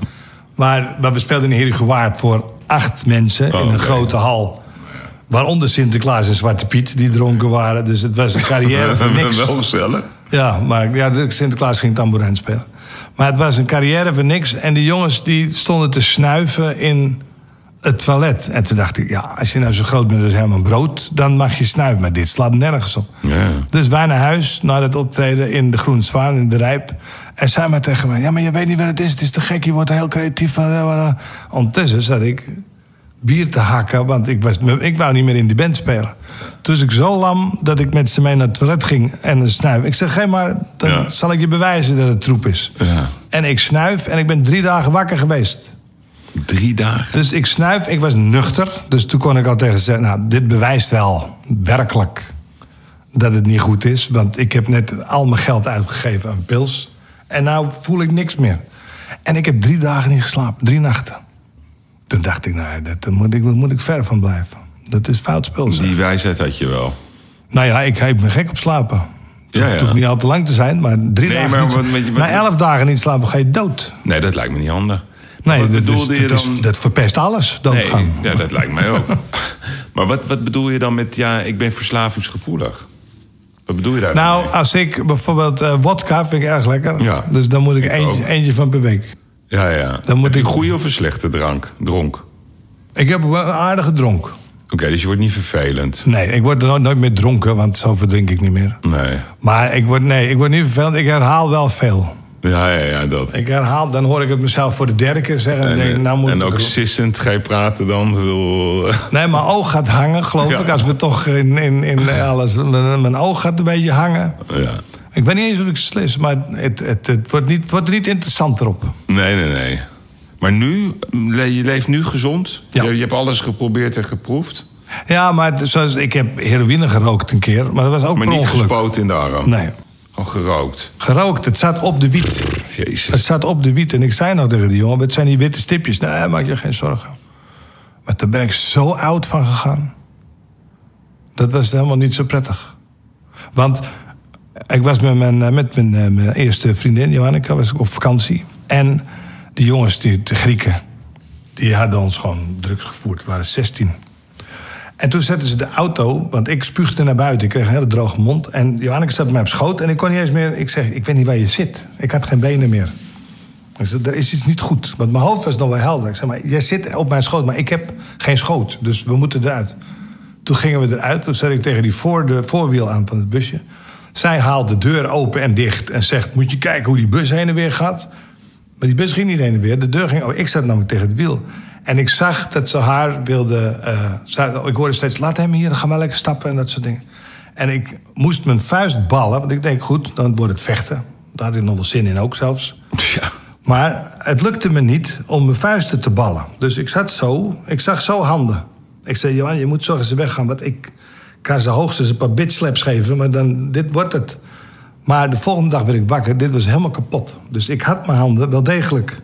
Speaker 2: Maar, maar we speelden in Heerlijk voor acht mensen in een
Speaker 1: Oh, oké.
Speaker 2: grote hal. Waaronder Sinterklaas en Zwarte Piet, die dronken waren. Dus het was een carrière van niks.
Speaker 1: wel gezellig.
Speaker 2: Ja, maar ja, de- Sinterklaas ging tamboerijn spelen. Maar het was een carrière voor niks. En die jongens die stonden te snuiven in het toilet. En toen dacht ik, ja, als je nou zo groot bent als Herman Brood... dan mag je snuiven, maar dit slaat nergens op.
Speaker 1: Ja.
Speaker 2: Dus wij naar huis, na dat optreden in de Groene Zwaan, in de Rijp. En zij maar tegen mij, ja, maar je weet niet wat het is. Het is te gek, je wordt er heel creatief van. eh, Ondertussen zat ik bier te hakken, want ik, was, ik wou niet meer in die band spelen. Toen was ik zo lam dat ik met ze mee naar het toilet ging en een snuif. Ik zeg, geef maar, dan
Speaker 1: Ja.
Speaker 2: zal ik je bewijzen dat het troep is.
Speaker 1: Ja.
Speaker 2: En ik snuif en ik ben drie dagen wakker geweest.
Speaker 1: Drie dagen.
Speaker 2: Dus ik snuif, ik was nuchter. Dus toen kon ik al tegen ze zeggen, nou, dit bewijst wel, werkelijk, dat het niet goed is. Want ik heb net al mijn geld uitgegeven aan pils. En nou voel ik niks meer. En ik heb drie dagen niet geslapen, drie nachten. Toen dacht ik, nou, dat- daar moet ik, daar moet ik ver van blijven. Dat is fout spul. zeg.
Speaker 1: Die wijsheid had je wel.
Speaker 2: Nou ja, ik heb me gek op slapen.
Speaker 1: Ja,
Speaker 2: Het hoeft
Speaker 1: ja.
Speaker 2: niet al te lang te zijn, maar drie
Speaker 1: Nee,
Speaker 2: dagen
Speaker 1: maar
Speaker 2: niet-
Speaker 1: wat- wat- wat-
Speaker 2: Na elf dagen niet slapen ga je dood.
Speaker 1: Nee, dat lijkt me niet handig. Maar
Speaker 2: Nee,
Speaker 1: wat
Speaker 2: dat, is-
Speaker 1: bedoelde je
Speaker 2: dat is-
Speaker 1: dan?
Speaker 2: dat verpest alles,
Speaker 1: nee,
Speaker 2: doodgaan.
Speaker 1: ja, dat lijkt mij ook. maar wat, wat bedoel je dan met, ja, ik ben verslavingsgevoelig? Wat bedoel je daar dan
Speaker 2: Nou,
Speaker 1: mee?
Speaker 2: als ik bijvoorbeeld eh wodka vind ik erg lekker.
Speaker 1: Ja.
Speaker 2: Dus dan moet ik,
Speaker 1: Ik
Speaker 2: eentje,
Speaker 1: ook.
Speaker 2: eentje van per week.
Speaker 1: Ja, ja.
Speaker 2: dan moet
Speaker 1: Heb je
Speaker 2: ik-
Speaker 1: een goede of een slechte drank? Dronk. Oké,
Speaker 2: Ik heb wel een aardige dronk.
Speaker 1: dus je wordt niet vervelend.
Speaker 2: Nee, ik word nooit, nooit meer dronken, want zo verdrink ik niet meer.
Speaker 1: Nee.
Speaker 2: Maar ik word, nee, ik word niet vervelend. Ik herhaal wel veel.
Speaker 1: Ja, ja, ja, dat.
Speaker 2: Ik herhaal, dan hoor ik het mezelf voor de derde keer zeggen. En,
Speaker 1: En,
Speaker 2: denk, ik,
Speaker 1: eh,
Speaker 2: nou moet
Speaker 1: en
Speaker 2: ik
Speaker 1: ook
Speaker 2: het doen.
Speaker 1: sissend ga je praten dan. Ik bedoel,
Speaker 2: Nee, mijn oog gaat hangen, geloof
Speaker 1: Ja.
Speaker 2: ik. Als we toch in, in, in alles... Mijn mijn oog gaat een beetje hangen.
Speaker 1: ja.
Speaker 2: Ik weet niet eens of ik slis, maar het, het, het wordt, niet, wordt er niet interessanter op.
Speaker 1: Nee, nee, nee. Maar nu, le- je leeft nu gezond.
Speaker 2: Ja.
Speaker 1: Je, je hebt alles geprobeerd en geproefd.
Speaker 2: Ja, maar het- zoals, ik heb heroïne gerookt een keer, maar dat was ook
Speaker 1: Maar
Speaker 2: per
Speaker 1: niet
Speaker 2: ongeluk.
Speaker 1: gespoten in de arm.
Speaker 2: Nee,
Speaker 1: Gewoon gerookt.
Speaker 2: gerookt. Het zat op de wiet.
Speaker 1: Jezus.
Speaker 2: Het zat op de wiet. En ik zei nog tegen die jongen, het zijn die witte stipjes. Nee, maak je geen zorgen. Maar daar ben ik zo oud van gegaan. Dat was helemaal niet zo prettig. Want ik was met mijn, eh, met mijn, eh, mijn eerste vriendin, Johannika, was ik op vakantie. En die jongens, die, de Grieken, die hadden ons gewoon drugs gevoerd. We waren 16. En toen zetten ze de auto, want ik spuugde naar buiten. Ik kreeg een hele droge mond. En Johannes zat mij op schoot. En ik kon niet eens meer... Ik zeg, ik weet niet waar je zit. Ik had geen benen meer. Ik zeg, er is iets niet goed. Want mijn hoofd was nog wel helder. Ik zeg, maar jij zit op mijn schoot, maar ik heb geen schoot. Dus we moeten eruit. Toen gingen we eruit. Toen zat ik tegen die voor, de voorwiel aan van het busje. Zij haalt de deur open en dicht. En zegt, moet je kijken hoe die bus heen en weer gaat. Maar die bus ging niet heen en weer. De deur ging... Oh, ik zat namelijk tegen het wiel. En ik zag dat ze haar wilde... eh, ze- ik hoorde steeds, laat hem hier, dan gaan we lekker stappen en dat soort dingen. En ik moest mijn vuist ballen, want ik denk, goed, dan wordt het vechten. Daar had ik nog wel zin in ook zelfs.
Speaker 1: Ja.
Speaker 2: Maar het lukte me niet om mijn vuisten te ballen. Dus ik zat zo, ik zag zo handen. Ik zei, Johan, je moet zorgen dat ze weggaan. Want ik kan ze hoogstens een paar bitslaps geven, maar dan, dit wordt het. Maar de volgende dag werd ik wakker, dit was helemaal kapot. Dus ik had mijn handen wel degelijk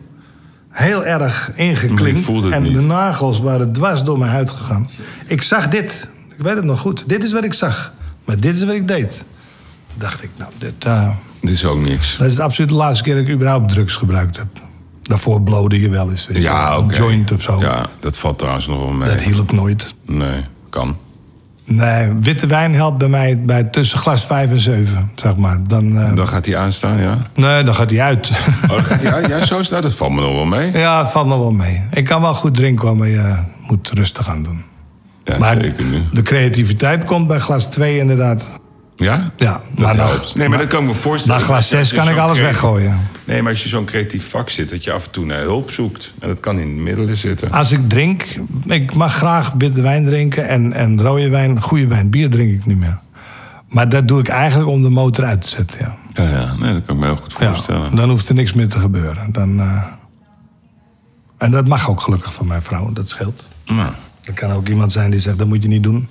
Speaker 2: heel erg
Speaker 1: Maar je
Speaker 2: ingeklinkt.
Speaker 1: voelde het
Speaker 2: en
Speaker 1: niet.
Speaker 2: de nagels waren dwars door mijn huid gegaan. Ik zag dit, ik weet het nog goed. Dit is wat ik zag, maar dit is wat ik deed. Toen dacht ik, nou, dit... eh,
Speaker 1: Dit is ook niks.
Speaker 2: dat is absoluut de laatste keer dat ik überhaupt drugs gebruikt heb. Daarvoor blode je wel eens. weet je,
Speaker 1: Ja,
Speaker 2: een
Speaker 1: oké.
Speaker 2: joint of zo.
Speaker 1: Ja, dat valt trouwens nog wel mee.
Speaker 2: Dat hielp nooit.
Speaker 1: Nee, kan.
Speaker 2: Nee, witte wijn helpt bij mij bij tussen glas 5 en 7, zeg maar. Dan, eh,
Speaker 1: Dan gaat hij aanstaan, ja.
Speaker 2: nee, dan gaat hij uit.
Speaker 1: Oh, dan gaat hij uit. Ja, zo is dat. Dat valt me nog wel mee.
Speaker 2: ja, het valt nog wel mee. Ik kan wel goed drinken, hoor, maar je moet rustig aan doen.
Speaker 1: Ja,
Speaker 2: maar
Speaker 1: zeker nu.
Speaker 2: de creativiteit komt bij glas 2 inderdaad.
Speaker 1: Ja?
Speaker 2: Ja, maar
Speaker 1: Dat
Speaker 2: na,
Speaker 1: helpt. Nee, maar dat kan ik me voorstellen.
Speaker 2: na glas
Speaker 1: Als je-
Speaker 2: 6
Speaker 1: als je
Speaker 2: kan ik
Speaker 1: zo'n
Speaker 2: alles
Speaker 1: crea-
Speaker 2: weggooien.
Speaker 1: Nee, maar als je zo'n creatief vak zit, dat je af en toe naar hulp zoekt. En dat kan in de middelen zitten.
Speaker 2: Als ik drink, ik mag graag witte wijn drinken en, en rode wijn, goede wijn. Bier drink ik niet meer. Maar dat doe ik eigenlijk om de motor uit te zetten. Ja.
Speaker 1: Ja, ja. Nee, dat kan ik me heel goed
Speaker 2: Ja,
Speaker 1: voorstellen.
Speaker 2: dan hoeft er niks meer te gebeuren. Dan, eh, En dat mag ook gelukkig van mijn vrouw, dat scheelt.
Speaker 1: Nou,
Speaker 2: Er kan ook iemand zijn die zegt, dat moet je niet doen.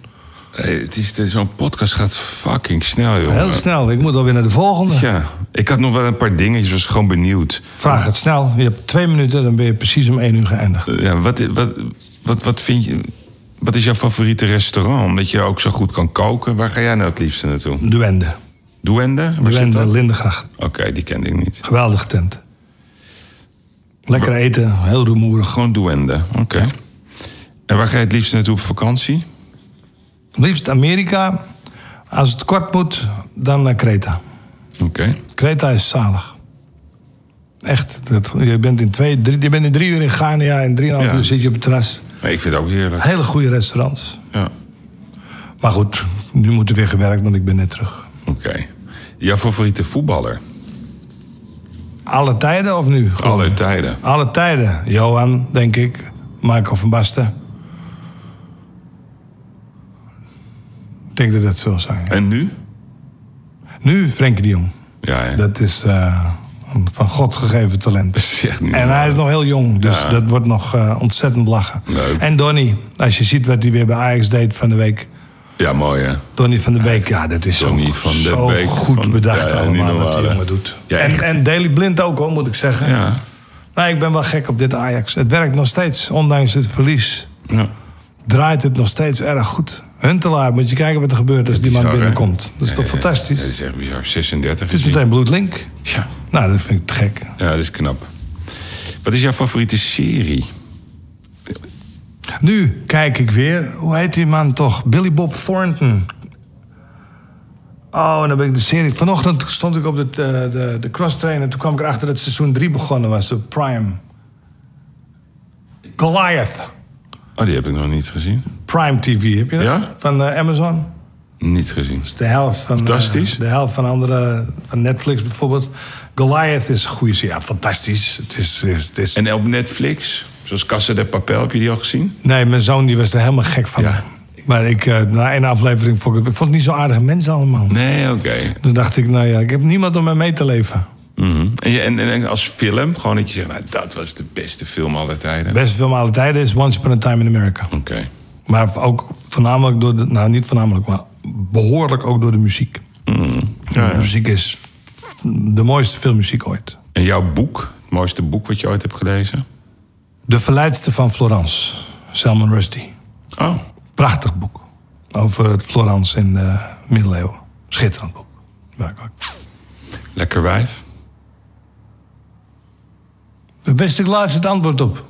Speaker 1: hey, het is, dit- zo'n podcast gaat fucking snel, jongen.
Speaker 2: Heel snel, ik moet alweer naar de volgende.
Speaker 1: Ja, ik had nog wel een paar dingetjes, was gewoon benieuwd.
Speaker 2: Vraag het snel. Je hebt twee minuten, dan ben je precies om één uur geëindigd.
Speaker 1: Eh, Ja, wat, wat, wat, wat vind je... Wat is jouw favoriete restaurant? Omdat je ook zo goed kan koken. Waar ga jij nou het liefste naartoe?
Speaker 2: Duende.
Speaker 1: Duende? Waar zit
Speaker 2: Duende,
Speaker 1: dat?
Speaker 2: Lindegracht.
Speaker 1: Oké, die kende ik niet.
Speaker 2: Geweldige tent. Lekker eten, heel rumoerig.
Speaker 1: Gewoon Duende, oké. En waar ga je het liefst naartoe op vakantie?
Speaker 2: Liefst Amerika. Als het kort moet, dan naar Kreta.
Speaker 1: Oké.
Speaker 2: Kreta is zalig. Echt, dat, je, bent in twee, drie, je bent in drie uur in Ghana en drieënhalf
Speaker 1: Ja.
Speaker 2: uur zit je op het terras.
Speaker 1: Nee, ik vind het ook heerlijk.
Speaker 2: Hele goede restaurants.
Speaker 1: Ja,
Speaker 2: Maar goed, nu moet er weer gewerkt, want ik ben net terug.
Speaker 1: oké. Jouw favoriete voetballer?
Speaker 2: Alle tijden of nu? Gewoon?
Speaker 1: Alle tijden.
Speaker 2: Alle tijden. Johan, denk ik. Marco van Basten. Ik denk dat dat zo zal zijn. ja.
Speaker 1: En nu?
Speaker 2: Nu Frenkie de Jong.
Speaker 1: Ja, ja.
Speaker 2: Dat is eh, een van God gegeven talent.
Speaker 1: is echt niet
Speaker 2: En
Speaker 1: normaal.
Speaker 2: hij is nog heel jong, dus
Speaker 1: Ja.
Speaker 2: dat wordt nog eh, ontzettend lachen.
Speaker 1: Leuk.
Speaker 2: En Donny, als je ziet wat hij weer bij Ajax deed van de week.
Speaker 1: Ja, mooi hè.
Speaker 2: Donny van de Beek, ja, dat is zo,
Speaker 1: Donny van de
Speaker 2: zo
Speaker 1: Beek
Speaker 2: goed
Speaker 1: van-
Speaker 2: bedacht
Speaker 1: ja, niet
Speaker 2: allemaal wat
Speaker 1: normaal,
Speaker 2: die
Speaker 1: hè.
Speaker 2: jongen doet.
Speaker 1: Ja, echt.
Speaker 2: en, en Daily Blind ook hoor, moet ik zeggen.
Speaker 1: Ja.
Speaker 2: Nou, ik ben wel gek op dit Ajax. Het werkt nog steeds, ondanks het verlies.
Speaker 1: ja.
Speaker 2: Draait het nog steeds erg goed. Huntelaar, moet je kijken wat er gebeurt als die man
Speaker 1: Bizar, hè?
Speaker 2: binnenkomt. Dat is
Speaker 1: Ja,
Speaker 2: toch
Speaker 1: ja,
Speaker 2: fantastisch?
Speaker 1: ja, dat is echt bizar. 36
Speaker 2: Het is meteen bloedlink.
Speaker 1: Ja.
Speaker 2: Nou, dat vind ik te gek.
Speaker 1: ja, dat is knap. Wat is jouw favoriete serie?
Speaker 2: Nu kijk ik weer. Hoe heet die man toch? Billy Bob Thornton. Oh, en dan ben ik de serie. Vanochtend stond ik op de, de, de, de crosstrain en toen kwam ik erachter dat seizoen 3 begonnen was. De Prime. Goliath.
Speaker 1: Oh, die heb ik nog niet gezien.
Speaker 2: Prime TV, heb je dat?
Speaker 1: Ja?
Speaker 2: Van eh, Amazon.
Speaker 1: Niet gezien.
Speaker 2: De helft van, eh,
Speaker 1: Fantastisch.
Speaker 2: de helft van andere, van Netflix bijvoorbeeld. Goliath is een goede serie. Ja, fantastisch. Het is, is, het is...
Speaker 1: En op Netflix, zoals Casa de Papel, heb je die al gezien?
Speaker 2: Nee, mijn zoon die was er helemaal gek van.
Speaker 1: Ja.
Speaker 2: Maar ik, eh, na één aflevering vond ik het, ik vond het niet zo aardige mensen allemaal.
Speaker 1: Nee, oké.
Speaker 2: Toen dacht ik, nou ja, ik heb niemand om mij mee te leven.
Speaker 1: Mhm. en, je- en, en als film, gewoon dat je zegt, nou, dat was de beste film aller tijden.
Speaker 2: Best film alle tijden is Once Upon a Time in America.
Speaker 1: Oké.
Speaker 2: Maar ook voornamelijk door de... Nou, niet voornamelijk, maar behoorlijk ook door de muziek. De muziek is de mooiste filmmuziek ooit.
Speaker 1: En jouw boek, het mooiste boek wat je ooit hebt gelezen?
Speaker 2: De Verleidste van Florence, Salman Rushdie.
Speaker 1: Oh,
Speaker 2: Prachtig boek. Over het Florence in de middeleeuwen. Schitterend boek. Werkelijk.
Speaker 1: lekker wijf.
Speaker 2: Daar wist ik laatst het antwoord op.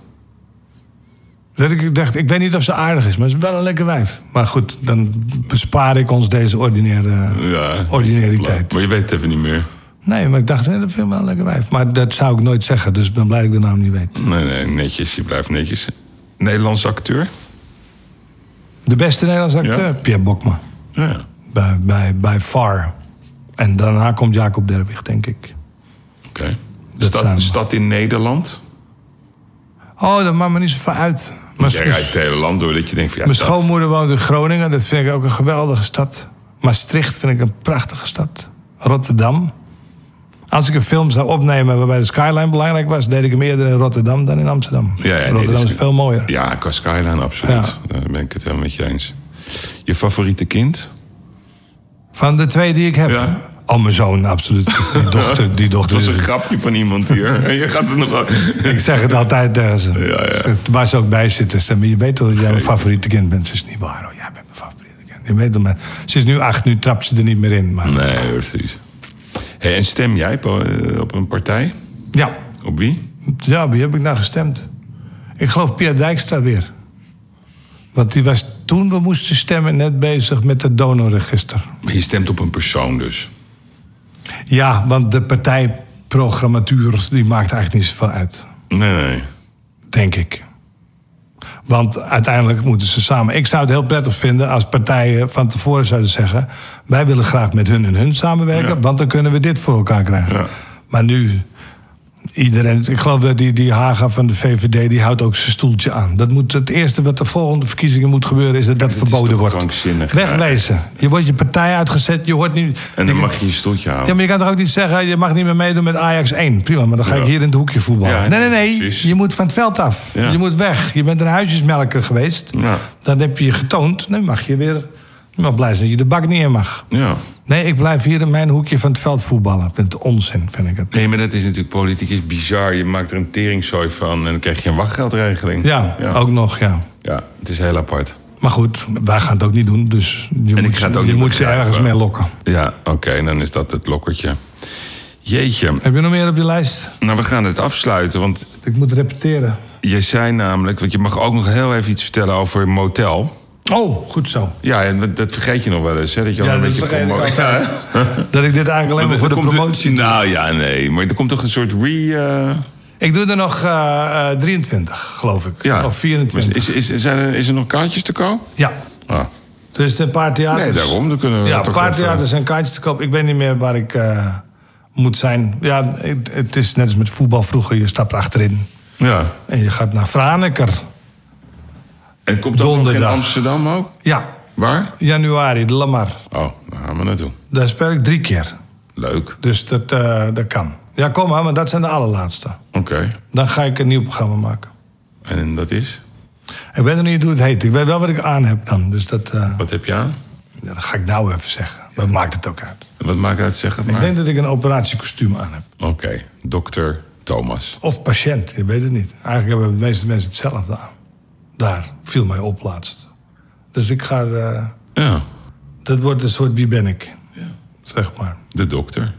Speaker 2: Dat ik dacht, ik weet niet of ze aardig is, maar ze is wel een lekker wijf. Maar goed, dan bespaar ik ons deze ordinaire
Speaker 1: Ja,
Speaker 2: Oh, ordinariteit.
Speaker 1: Maar je weet het even niet meer.
Speaker 2: Nee, maar ik dacht, nee, dat vind ik wel een lekker wijf. Maar dat zou ik nooit zeggen, dus dan blijf ik de naam niet weten.
Speaker 1: Nee, nee, netjes. Je blijft netjes. Nederlandse acteur?
Speaker 2: De beste Nederlandse acteur?
Speaker 1: Ja.
Speaker 2: Pierre Bokma.
Speaker 1: Ja.
Speaker 2: Bij, bij, bij far. En daarna komt Jacob Derwig, denk ik.
Speaker 1: Oké.
Speaker 2: Dat zijn
Speaker 1: Stad,
Speaker 2: we.
Speaker 1: stad in Nederland?
Speaker 2: Oh, dat maakt me niet zo ver uit. Mijn,
Speaker 1: Jij rijdt het hele land door dat je denkt van ja,
Speaker 2: mijn
Speaker 1: dat-
Speaker 2: schoonmoeder woont in Groningen. Dat vind ik ook een geweldige stad. Maastricht vind ik een prachtige stad. Rotterdam. Als ik een film zou opnemen waarbij de skyline belangrijk was... deed ik hem eerder in Rotterdam dan in Amsterdam.
Speaker 1: Ja, ja, nee,
Speaker 2: Rotterdam
Speaker 1: dat
Speaker 2: is,
Speaker 1: is-
Speaker 2: veel mooier.
Speaker 1: Ja, qua Skyline, absoluut. Daar ben ik het helemaal met je eens. Je favoriete kind?
Speaker 2: Van de twee die ik heb.
Speaker 1: Ja.
Speaker 2: Oh, mijn zoon, absoluut. Die dochter, die dochter
Speaker 1: Dat was
Speaker 2: is
Speaker 1: een grapje van iemand hier. En je gaat het nog wel...
Speaker 2: Ik zeg het altijd tegen ze. Het Waar ze ook bij zitten. Ze zeggen, maar je weet toch dat jij mijn favoriete kind bent? Ze is niet waar. Oh, jij bent mijn favoriete kind. Je weet het, maar ze is nu acht, nu trapt ze er niet meer in. Maar...
Speaker 1: Nee, precies. Hey, en stem jij po- eh, op een partij?
Speaker 2: Ja.
Speaker 1: Op wie?
Speaker 2: ja, wie heb ik nou gestemd? Ik geloof Pia Dijkstra weer. Want die was toen we moesten stemmen net bezig met het donorregister.
Speaker 1: Maar je stemt op een persoon dus.
Speaker 2: Ja, want de partijprogrammatuur die maakt eigenlijk niets van uit.
Speaker 1: Nee, nee.
Speaker 2: Denk ik. Want uiteindelijk moeten ze samen. Ik zou het heel prettig vinden als partijen van tevoren zouden zeggen: wij willen graag met hun en hun samenwerken,
Speaker 1: Ja.
Speaker 2: want dan kunnen we dit voor elkaar krijgen.
Speaker 1: Ja.
Speaker 2: Maar nu, iedereen, ik geloof dat die, die Haga van de VVD, die houdt ook zijn stoeltje aan. Dat moet, het eerste wat de volgende verkiezingen moet gebeuren, is dat dat
Speaker 1: is
Speaker 2: verboden
Speaker 1: toch
Speaker 2: wordt.
Speaker 1: krankzinnig,
Speaker 2: Wegwezen. Je wordt je partij uitgezet, je hoort niet.
Speaker 1: En
Speaker 2: je-
Speaker 1: dan mag je je stoeltje
Speaker 2: ja,
Speaker 1: houden.
Speaker 2: maar je kan toch ook niet zeggen, je mag niet meer meedoen met Ajax 1. Prima, maar dan ga
Speaker 1: Ja.
Speaker 2: ik hier in het hoekje voetballen.
Speaker 1: Ja,
Speaker 2: nee, nee, nee.
Speaker 1: precies.
Speaker 2: Je moet van het veld af.
Speaker 1: Ja.
Speaker 2: Je moet weg. Je bent een huisjesmelker geweest.
Speaker 1: Ja.
Speaker 2: Dan heb je je getoond. Nu mag je weer... Je mag blij zijn dat je de bak niet in mag.
Speaker 1: Ja.
Speaker 2: Nee, ik blijf hier in mijn hoekje van het veld voetballen. Ik vind het onzin, vind ik het.
Speaker 1: Nee, maar dat is natuurlijk politiek is bizar. Je maakt er een teringzooi van en dan krijg je een wachtgeldregeling.
Speaker 2: Ja,
Speaker 1: ja.
Speaker 2: ook nog, ja.
Speaker 1: Ja, het is heel apart.
Speaker 2: Maar goed, wij gaan het ook niet doen. Dus je moet,
Speaker 1: ik ga het ook
Speaker 2: je
Speaker 1: niet
Speaker 2: moet ze
Speaker 1: begrijpen.
Speaker 2: ergens mee lokken.
Speaker 1: Ja, oké, dan is dat het lokkertje. Jeetje.
Speaker 2: Heb je nog meer op je lijst?
Speaker 1: Nou, we gaan het afsluiten, want
Speaker 2: Ik moet repeteren.
Speaker 1: je zei namelijk... want je mag ook nog heel even iets vertellen over motel.
Speaker 2: Oh, goed zo.
Speaker 1: Ja, en dat vergeet je nog wel eens, hè? Dat je al
Speaker 2: Ja,
Speaker 1: een
Speaker 2: dat
Speaker 1: beetje
Speaker 2: vergeet ik
Speaker 1: promo-
Speaker 2: altijd.
Speaker 1: Ja, hè?
Speaker 2: Dat ik dit eigenlijk alleen maar voor de
Speaker 1: Er komt een-
Speaker 2: promotie
Speaker 1: nou ja, nee, maar er komt toch een soort re... eh,
Speaker 2: Ik doe er nog eh, eh, 23, geloof ik.
Speaker 1: ja.
Speaker 2: Of 24.
Speaker 1: Is, is, zijn er, is er nog kaartjes te koop?
Speaker 2: Ja.
Speaker 1: Ah.
Speaker 2: Dus een paar theaters.
Speaker 1: Nee, daarom. Dan kunnen we
Speaker 2: Ja, dus- een
Speaker 1: toch
Speaker 2: paar
Speaker 1: even-
Speaker 2: theaters en kaartjes te koop. Ik weet niet meer waar ik eh, moet zijn. Ja, het- het is net als met voetbal vroeger. Je stapt achterin
Speaker 1: Ja.
Speaker 2: en je gaat naar Franeker.
Speaker 1: En komt dat nog in
Speaker 2: Donderdag.
Speaker 1: Amsterdam ook?
Speaker 2: Ja,
Speaker 1: Waar?
Speaker 2: januari, de Lamar.
Speaker 1: Oh, daar gaan we naartoe.
Speaker 2: Daar speel ik drie keer.
Speaker 1: Leuk.
Speaker 2: Dus dat, eh, dat kan. Ja, kom maar, maar dat zijn de allerlaatste.
Speaker 1: Oké.
Speaker 2: Dan ga ik een nieuw programma maken.
Speaker 1: En dat is?
Speaker 2: Ik weet nog niet hoe het heet. Ik weet wel wat ik aan heb dan. Dus dat, eh,
Speaker 1: Wat heb je aan?
Speaker 2: dat ga ik nou even zeggen. Dat maakt het ook uit.
Speaker 1: Wat maakt het uit? Zeg het
Speaker 2: Ik
Speaker 1: maar.
Speaker 2: denk dat ik een operatiekostuum aan heb.
Speaker 1: Oké, dokter Thomas.
Speaker 2: Of patiënt, je weet het niet. Eigenlijk hebben de meeste mensen hetzelfde aan. Daar viel mij op laatst. Dus ik ga... eh,
Speaker 1: Ja,
Speaker 2: dat wordt een soort wie ben ik, zeg maar.
Speaker 1: de dokter.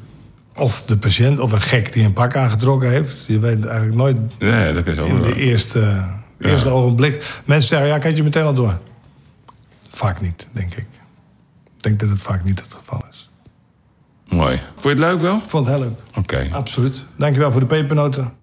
Speaker 2: Of de patiënt, of een gek die een pak aangetrokken heeft. Je weet eigenlijk nooit
Speaker 1: Ja, dat is ook
Speaker 2: in
Speaker 1: wel.
Speaker 2: de eerste, eerste ogenblik. Mensen zeggen, ja, kan je het meteen al door? Vaak niet, denk ik. Ik denk dat het vaak niet het geval is.
Speaker 1: Mooi. Vond je het leuk wel?
Speaker 2: Ik vond het heel leuk.
Speaker 1: Oké.
Speaker 2: Absoluut. Dankjewel voor de pepernoten.